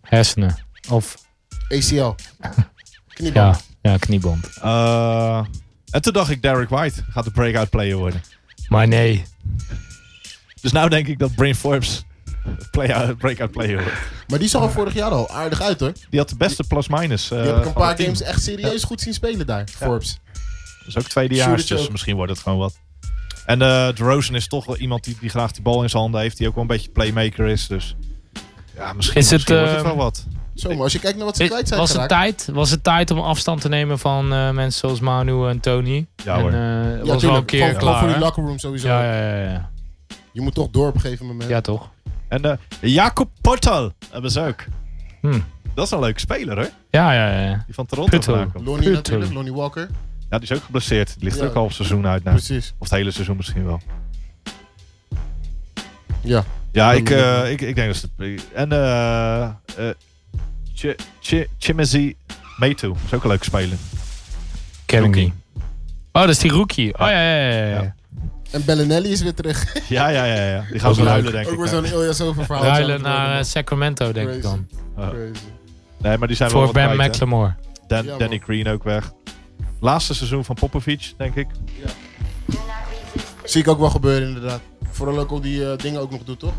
Speaker 1: Hersenen. Of,
Speaker 4: ACL. Kniebal.
Speaker 1: ja, ja, knieband.
Speaker 3: Eh, en toen dacht ik, Derek White gaat de breakout player worden.
Speaker 1: Maar nee.
Speaker 3: Dus nou denk ik dat Brain Forbes play eh, breakout player wordt.
Speaker 4: Maar die zag er vorig jaar al aardig uit, hoor.
Speaker 3: Die had de beste plus-minus. eh,
Speaker 4: Die heb ik een
Speaker 3: van het
Speaker 4: paar
Speaker 3: team.
Speaker 4: games echt serieus goed zien spelen daar. Forbes.
Speaker 3: Dat is ook tweedejaars,
Speaker 4: Shootertje
Speaker 3: dus
Speaker 4: ook.
Speaker 3: misschien wordt het gewoon wat. En eh DeRozan is toch wel iemand die, die graag die bal in zijn handen heeft. Die ook wel een beetje playmaker is. Dus ja, misschien,
Speaker 1: Is het,
Speaker 3: misschien wordt
Speaker 1: eh,
Speaker 3: het wel wat.
Speaker 4: Zo, maar als je kijkt naar wat ze
Speaker 1: Is-
Speaker 4: kwijt zijn
Speaker 1: was, het
Speaker 4: geraakt.
Speaker 1: tijd, was het tijd om afstand te nemen van eh, mensen zoals Manu en Tony?
Speaker 3: Ja
Speaker 1: en,
Speaker 3: hoor.
Speaker 1: eh,
Speaker 4: Ja,
Speaker 1: was wel een
Speaker 4: tuurlijk.
Speaker 1: keer
Speaker 4: Gewoon- gewoon
Speaker 1: klaar.
Speaker 4: voor die
Speaker 1: hè?
Speaker 4: locker room sowieso.
Speaker 1: Ja, ja, ja, ja.
Speaker 4: Je moet toch door op een gegeven moment.
Speaker 1: ja, toch?
Speaker 3: En eh, Jacob Portal hebben ze ook.
Speaker 1: Hm.
Speaker 3: Dat is een leuke speler, hè?
Speaker 1: Ja, ja, ja.
Speaker 3: Die van Toronto
Speaker 1: Portal.
Speaker 3: vandaan komt.
Speaker 4: Lonnie
Speaker 1: Puur
Speaker 4: natuurlijk,
Speaker 1: toe.
Speaker 4: Lonnie Walker.
Speaker 3: Ja, die is ook geblesseerd. Die ligt
Speaker 4: Ja.
Speaker 3: ook al op seizoen uit. Nou.
Speaker 4: Precies.
Speaker 3: Of het hele seizoen misschien wel.
Speaker 4: Ja.
Speaker 3: Ja,
Speaker 4: Dat
Speaker 3: ik,
Speaker 4: moet
Speaker 3: eh,
Speaker 4: lukken.
Speaker 3: ik, ik denk dat ze... En eh eh Ch Ch Chimezie Metu. Is ook een leuke speler.
Speaker 1: Ken ik
Speaker 3: Rookie.
Speaker 1: niet. Oh, dat is die rookie. Oh, ja, ja, ja. ja.
Speaker 3: Ja.
Speaker 4: En Bellinelli is weer terug.
Speaker 3: Ja, ja, ja. ja. Die gaan
Speaker 1: Ook
Speaker 3: ze
Speaker 1: leuk.
Speaker 3: ruilen, denk
Speaker 4: Ook
Speaker 3: ik.
Speaker 4: weer zo'n Ilya's over verhaal.
Speaker 1: Ruilen naar eh, Sacramento, denk ik dan.
Speaker 4: Crazy.
Speaker 3: nee, maar die zijn
Speaker 1: Voor
Speaker 3: wel wat
Speaker 1: Ben
Speaker 3: kwijt, hè.
Speaker 1: McLemore.
Speaker 3: Dan,
Speaker 4: Ja, man.
Speaker 3: Danny Green ook weg. Laatste seizoen van Popovic, denk ik.
Speaker 4: Zie ik ook wel gebeuren, inderdaad. Vooral ook al die eh, dingen ook nog doet, toch?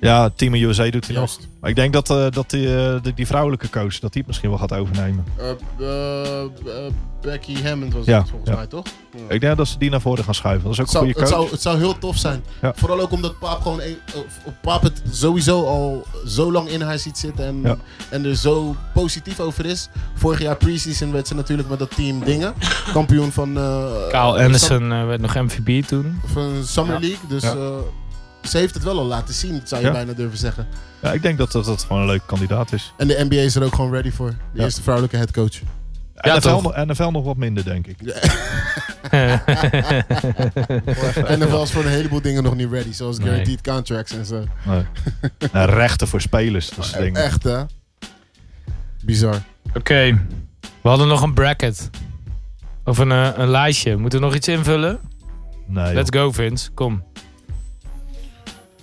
Speaker 3: Ja, Team USA doet hij nog.
Speaker 4: Juist.
Speaker 3: Maar ik denk dat, eh, dat die, eh, die, die vrouwelijke coach, dat die het misschien wel gaat overnemen.
Speaker 4: Eh, eh, eh, Becky Hammond was
Speaker 3: Ja,
Speaker 4: het volgens
Speaker 3: ja.
Speaker 4: mij, toch? Ja.
Speaker 3: Ik denk dat ze die naar voren gaan schuiven. Dat is ook
Speaker 4: Het
Speaker 3: een
Speaker 4: zou,
Speaker 3: goede
Speaker 4: het,
Speaker 3: coach.
Speaker 4: zou, het zou heel tof zijn.
Speaker 3: Ja.
Speaker 4: Vooral ook omdat Paap gewoon een, of- of Paap het sowieso al zo lang in haar ziet zitten en,
Speaker 3: Ja.
Speaker 4: en er zo positief over is. Vorig jaar pre-season werd ze natuurlijk met dat team dingen. Kampioen van, eh
Speaker 1: Kyle Anderson eh, werd nog MVP toen.
Speaker 4: van Summer League. Dus
Speaker 3: Ja.
Speaker 4: eh, ze heeft het wel al laten zien, zou je
Speaker 3: Ja.
Speaker 4: bijna durven zeggen.
Speaker 3: Ja, ik denk dat dat, dat gewoon een leuke kandidaat is.
Speaker 4: En de NBA is er ook gewoon ready voor. De
Speaker 3: Ja.
Speaker 4: eerste vrouwelijke headcoach.
Speaker 1: Ja,
Speaker 3: NFL,
Speaker 1: toch?
Speaker 3: nog- NFL nog wat minder, denk ik.
Speaker 4: en dan was voor een heleboel dingen nog niet ready. Zoals
Speaker 1: Nee.
Speaker 4: guaranteed contracts en zo.
Speaker 3: Nee. Nou, rechten voor spelers, dat is het ding.
Speaker 4: Echt hè? Bizar.
Speaker 1: Oké, we hadden nog een bracket. Of een, eh, een lijstje. Moeten we nog iets invullen?
Speaker 3: Nee, joh.
Speaker 1: Let's go, Vince. Kom.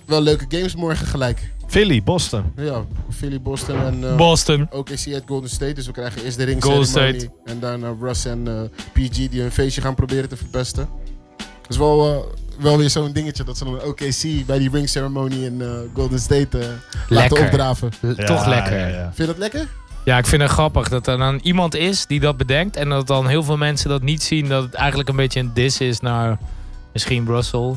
Speaker 4: Wel leuke games morgen gelijk.
Speaker 3: Philly, Boston.
Speaker 4: Ja, Philly, Boston en eh,
Speaker 1: Boston.
Speaker 4: OKC uit Golden State. Dus we krijgen eerst de ring
Speaker 1: Golden
Speaker 4: ceremony. En daarna Russ en eh, PG die hun feestje gaan proberen te verpesten. Dat is wel, eh, wel weer zo'n dingetje dat ze dan OKC bij die ring ceremony in eh, Golden State eh, laten
Speaker 1: Lekker.
Speaker 4: opdraven.
Speaker 1: L- Toch
Speaker 3: Ja,
Speaker 1: lekker.
Speaker 3: ja,
Speaker 1: Ja,
Speaker 3: ja.
Speaker 4: Vind je dat lekker?
Speaker 1: ik vind het grappig dat er dan iemand is die dat bedenkt. En dat dan heel veel mensen dat niet zien. Dat het eigenlijk een beetje een dis is naar misschien Russell.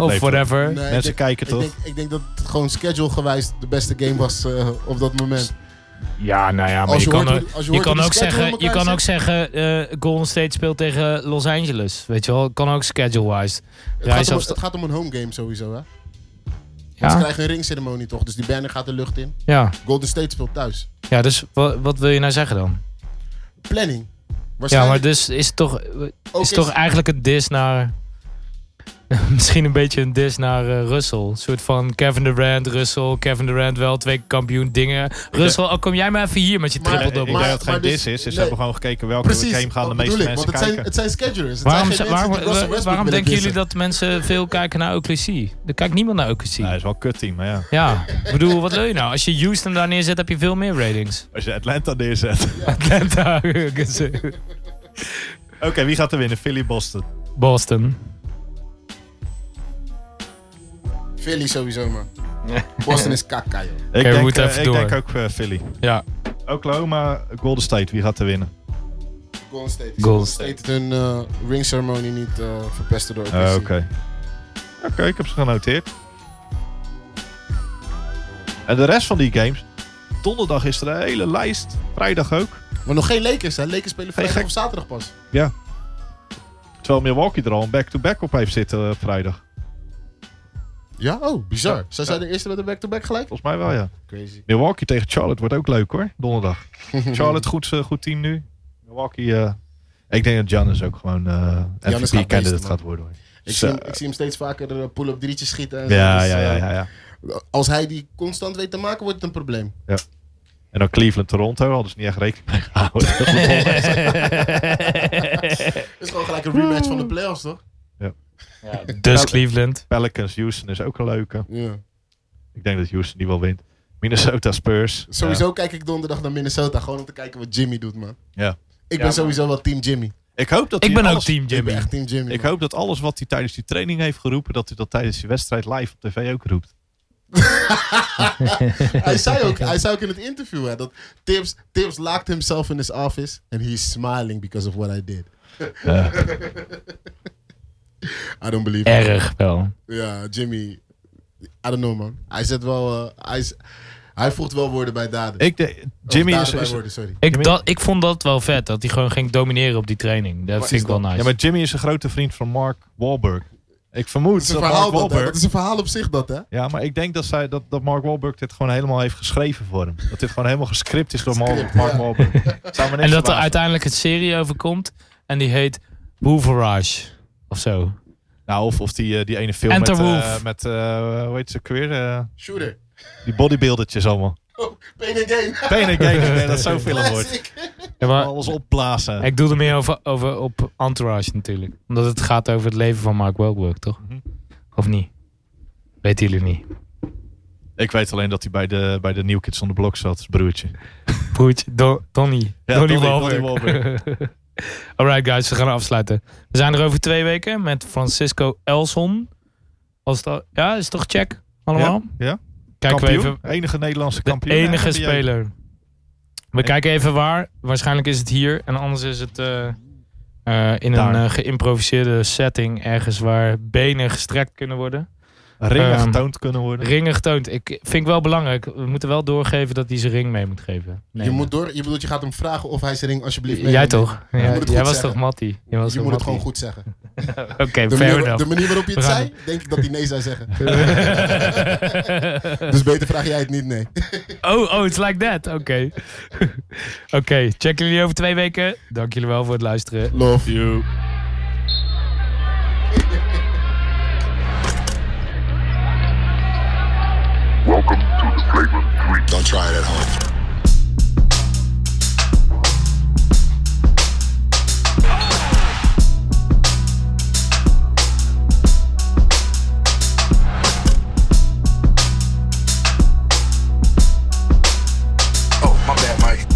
Speaker 1: Of
Speaker 3: Nee,
Speaker 1: whatever.
Speaker 4: Nee,
Speaker 3: Mensen
Speaker 4: ik denk-
Speaker 3: kijken
Speaker 4: ik
Speaker 3: toch?
Speaker 4: denk, ik denk dat het gewoon schedule gewijs de beste game was eh, op dat moment.
Speaker 1: Ja, nou ja, maar je,
Speaker 4: Als je
Speaker 1: kan,
Speaker 4: hoort
Speaker 1: ook-
Speaker 4: hoe- als je
Speaker 1: je,
Speaker 4: hoort
Speaker 1: kan
Speaker 4: hoe
Speaker 1: ook
Speaker 4: die schedule
Speaker 1: zeggen,
Speaker 4: in
Speaker 1: je kan
Speaker 4: elkaar
Speaker 1: ook zeggen eh, Golden State speelt tegen Los Angeles. Weet je wel, kan ook schedule-wise.
Speaker 4: Het,
Speaker 1: Ja,
Speaker 4: gaat
Speaker 1: is
Speaker 4: om,
Speaker 1: afsta-
Speaker 4: het gaat om een home game sowieso hè? Ze
Speaker 1: Ja?
Speaker 4: krijgen een ringceremonie toch, dus die banner gaat de lucht in.
Speaker 1: Ja.
Speaker 4: Golden State speelt thuis.
Speaker 1: ja, dus wat, wat wil je nou zeggen dan?
Speaker 4: Planning.
Speaker 1: Ja, maar
Speaker 4: Waarschijnlijk
Speaker 1: dus is het toch,
Speaker 4: ook
Speaker 1: is het toch eigenlijk een dis naar... Misschien een beetje een dis naar eh, Russell. Een soort van Kevin Durant, Russell, Kevin Durant wel, twee keer kampioen dingen. Russell, oh, kom jij maar eh, even hier met je
Speaker 4: Maar-
Speaker 3: Ik
Speaker 1: triple
Speaker 3: denk- ik
Speaker 1: double.
Speaker 3: denk dat
Speaker 4: Maar-
Speaker 3: het geen
Speaker 4: maar dus-
Speaker 3: dis is. Ze
Speaker 4: nee.
Speaker 3: hebben gewoon gekeken welke
Speaker 4: Precies,
Speaker 3: game gaan de
Speaker 4: dat
Speaker 3: meeste
Speaker 4: bedoel ik,
Speaker 3: mensen
Speaker 4: want het
Speaker 3: kijken.
Speaker 4: zijn, het zijn schedulers. Het
Speaker 1: Waarom,
Speaker 4: zijn geen
Speaker 1: waarom,
Speaker 4: mensen die Russell Westbrook
Speaker 1: waarom
Speaker 4: willen
Speaker 1: denken jullie
Speaker 4: dissen.
Speaker 1: dat mensen veel kijken naar OKC? Er kijkt niemand naar OKC.
Speaker 3: Nee, is wel een kutteam, maar ja.
Speaker 1: Ja, ik bedoel, wat wil je nou? Als je Houston daar neerzet, heb je veel meer ratings.
Speaker 3: Als je Atlanta neerzet.
Speaker 1: Atlanta, Hurricanes,
Speaker 3: Oké, wie gaat er winnen? Philly, Boston.
Speaker 1: Boston.
Speaker 4: Philly sowieso, man. Boston is kaka, joh.
Speaker 3: Ik,
Speaker 1: we
Speaker 3: denk,
Speaker 1: moeten
Speaker 3: eh,
Speaker 1: even
Speaker 3: ik
Speaker 1: door.
Speaker 3: denk ook eh, Philly.
Speaker 1: Ja.
Speaker 3: Oklahoma, Golden State, wie gaat er winnen?
Speaker 4: Golden State.
Speaker 1: Golden
Speaker 4: Golden State. heeft hun eh, ring ceremony niet eh, verpesten door
Speaker 3: Eh, Oké.
Speaker 4: agressie.
Speaker 3: Oké, ik heb ze genoteerd. En de rest van die games. Donderdag is er een hele lijst. Vrijdag ook.
Speaker 4: Maar nog geen Lakers, hè? Lakers spelen vrijdag
Speaker 3: gek.
Speaker 4: of zaterdag pas.
Speaker 3: Terwijl Milwaukee er al een back-to-back op heeft zitten eh, vrijdag.
Speaker 4: Ja? Oh, bizar.
Speaker 3: Ja.
Speaker 4: Zij zijn de eerste met een back-to-back gelijk?
Speaker 3: Volgens mij wel, ja.
Speaker 4: Crazy.
Speaker 3: Milwaukee tegen Charlotte wordt ook leuk hoor. Donderdag. Charlotte, goed, eh, goed team nu. Milwaukee. eh, ik denk dat Giannis ook gewoon eh
Speaker 4: gaat beesten,
Speaker 3: MVP-candidate
Speaker 4: man.
Speaker 3: gaat worden. Hoor.
Speaker 4: Ik
Speaker 3: Zo.
Speaker 4: zie, hem, ik zie hem steeds vaker eh, pull-up drietjes schieten. En zo.
Speaker 3: Ja,
Speaker 4: Dus,
Speaker 3: ja, ja,
Speaker 4: eh,
Speaker 3: ja, ja.
Speaker 4: Als hij die constant weet te maken, wordt het een probleem.
Speaker 3: En dan Cleveland-Toronto hadden ze niet echt rekening mee gehouden. Dat was wel echt-
Speaker 4: Het is gewoon gelijk een rematch van de playoffs, toch?
Speaker 1: Dus Cleveland.
Speaker 3: Pelicans, Houston is ook een leuke.
Speaker 4: Ja.
Speaker 3: Ik denk dat Houston die wel wint. Minnesota Spurs.
Speaker 4: Sowieso kijk ik donderdag naar Minnesota, gewoon om te kijken wat Jimmy doet, man.
Speaker 3: Ja.
Speaker 4: Ik
Speaker 2: Ja,
Speaker 4: ben sowieso wel team Jimmy.
Speaker 3: Ja. Ik hoop dat
Speaker 1: Ik
Speaker 3: hij
Speaker 1: ben ook
Speaker 3: alles-
Speaker 1: team
Speaker 4: Ik ben
Speaker 1: Jimmy.
Speaker 4: echt team Jimmy.
Speaker 3: Ik
Speaker 4: man.
Speaker 3: hoop dat alles wat hij tijdens die training heeft geroepen, dat hij dat tijdens die wedstrijd live op tv ook roept.
Speaker 4: hij, zei ook, hij zei ook in het interview hè, dat Tibbs, Tibbs locked himself in his office and he's smiling because of what I did. I don't believe it.
Speaker 1: Erg wel.
Speaker 4: Ja, Jimmy. I don't know, man. Hij zet wel... eh, hij, is- hij voegt wel woorden bij daden.
Speaker 3: Ik de, Jimmy
Speaker 4: Of
Speaker 3: is,
Speaker 4: daden bij
Speaker 3: is-
Speaker 4: woorden, sorry.
Speaker 1: Ik, dat, ik vond dat wel vet, dat hij gewoon ging domineren op die training. Dat vind ik wel nice.
Speaker 3: ja, maar Jimmy is een grote vriend van Mark Wahlberg. Ik vermoed
Speaker 4: Dat is, een
Speaker 3: dat, Mark
Speaker 4: verhaal, dat, hè.
Speaker 3: Wahlberg.
Speaker 4: dat is een verhaal op zich, dat, hè?
Speaker 3: Ja, maar ik denk dat, zij, dat, dat Mark Wahlberg dit gewoon helemaal heeft geschreven voor hem. Dat dit gewoon helemaal gescript is door Mark,
Speaker 4: Script,
Speaker 3: Mark
Speaker 4: ja.
Speaker 3: Wahlberg. Zou me niks
Speaker 1: en dat er
Speaker 3: verbazen.
Speaker 1: uiteindelijk het serie overkomt en die heet Wolverage of zo.
Speaker 3: Nou, of, of die, eh, die ene film
Speaker 1: Enter
Speaker 3: met, eh,
Speaker 1: Wolf.
Speaker 3: met eh, hoe heet ze ook weer? Eh,
Speaker 4: Shooter.
Speaker 3: die bodybuildertjes allemaal.
Speaker 4: Oh, pain and gain.
Speaker 3: Pain and Gain, ik denk dat zo'n film wordt.
Speaker 4: Classic.
Speaker 1: Ja, maar
Speaker 3: Alles opblazen.
Speaker 1: ik doe er meer over, over op Entourage natuurlijk. Omdat het gaat over het leven van Mark Wahlberg, toch?
Speaker 3: Mhm.
Speaker 1: Of niet? Weten jullie niet.
Speaker 3: Ik weet alleen dat hij bij de, bij de New Kids on the Block zat, broertje.
Speaker 1: Broertje, Don, Donnie.
Speaker 3: Ja,
Speaker 1: Donnie
Speaker 3: Donnie,
Speaker 1: Wahlberg.
Speaker 3: Donnie
Speaker 1: Alright guys, we gaan afsluiten. We zijn er over twee weken met Francisco Elson. Als dat, ja, is toch check allemaal?
Speaker 3: ja.
Speaker 1: Kijken we
Speaker 3: Kampioen,
Speaker 1: even.
Speaker 3: Enige Nederlandse
Speaker 1: De
Speaker 3: kampioen.
Speaker 1: enige
Speaker 3: NBA.
Speaker 1: speler. We kijken even waar. Waarschijnlijk is het hier. En anders is het eh, eh, in
Speaker 3: Daar.
Speaker 1: een eh, geïmproviseerde setting. Ergens waar benen gestrekt kunnen worden.
Speaker 3: Ringen
Speaker 1: Ehm,
Speaker 3: getoond kunnen worden.
Speaker 1: Ringen getoond. Ik vind ik wel belangrijk. We moeten wel doorgeven dat hij zijn ring mee moet geven.
Speaker 4: Je, moet door, je bedoelt, je gaat hem vragen of hij zijn ring alsjeblieft
Speaker 1: Jij
Speaker 4: meeneemt.
Speaker 1: toch? Ja,
Speaker 4: Je moet het
Speaker 1: jij
Speaker 4: goed
Speaker 1: was
Speaker 4: zeggen.
Speaker 1: toch Mattie? Jij was
Speaker 4: Je
Speaker 1: toch
Speaker 4: moet het gewoon
Speaker 1: Mattie?
Speaker 4: goed zeggen.
Speaker 1: Oké,
Speaker 4: De
Speaker 1: fair
Speaker 4: manier, de
Speaker 1: enough.
Speaker 4: manier waarop je het
Speaker 1: We gaan-
Speaker 4: zei, denk ik dat hij nee zou zeggen. Dus beter vraag jij het niet, nee.
Speaker 1: oh, oh, it's like that. Oké. Oké, checken jullie over twee weken. Dank jullie wel voor het luisteren.
Speaker 4: Love you.
Speaker 6: Welcome to the flavor three. Don't try it at home. Oh, my bad, Mike.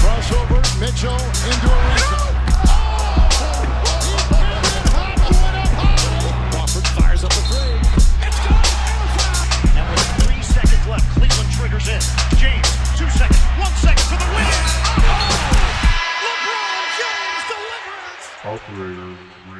Speaker 7: Crossover, Mitchell into a rebound. Crawford fires up a three.
Speaker 8: And with three seconds left, Cleveland triggers in. James, two seconds, one second for the win. Oh! LeBron James delivers.
Speaker 6: Operator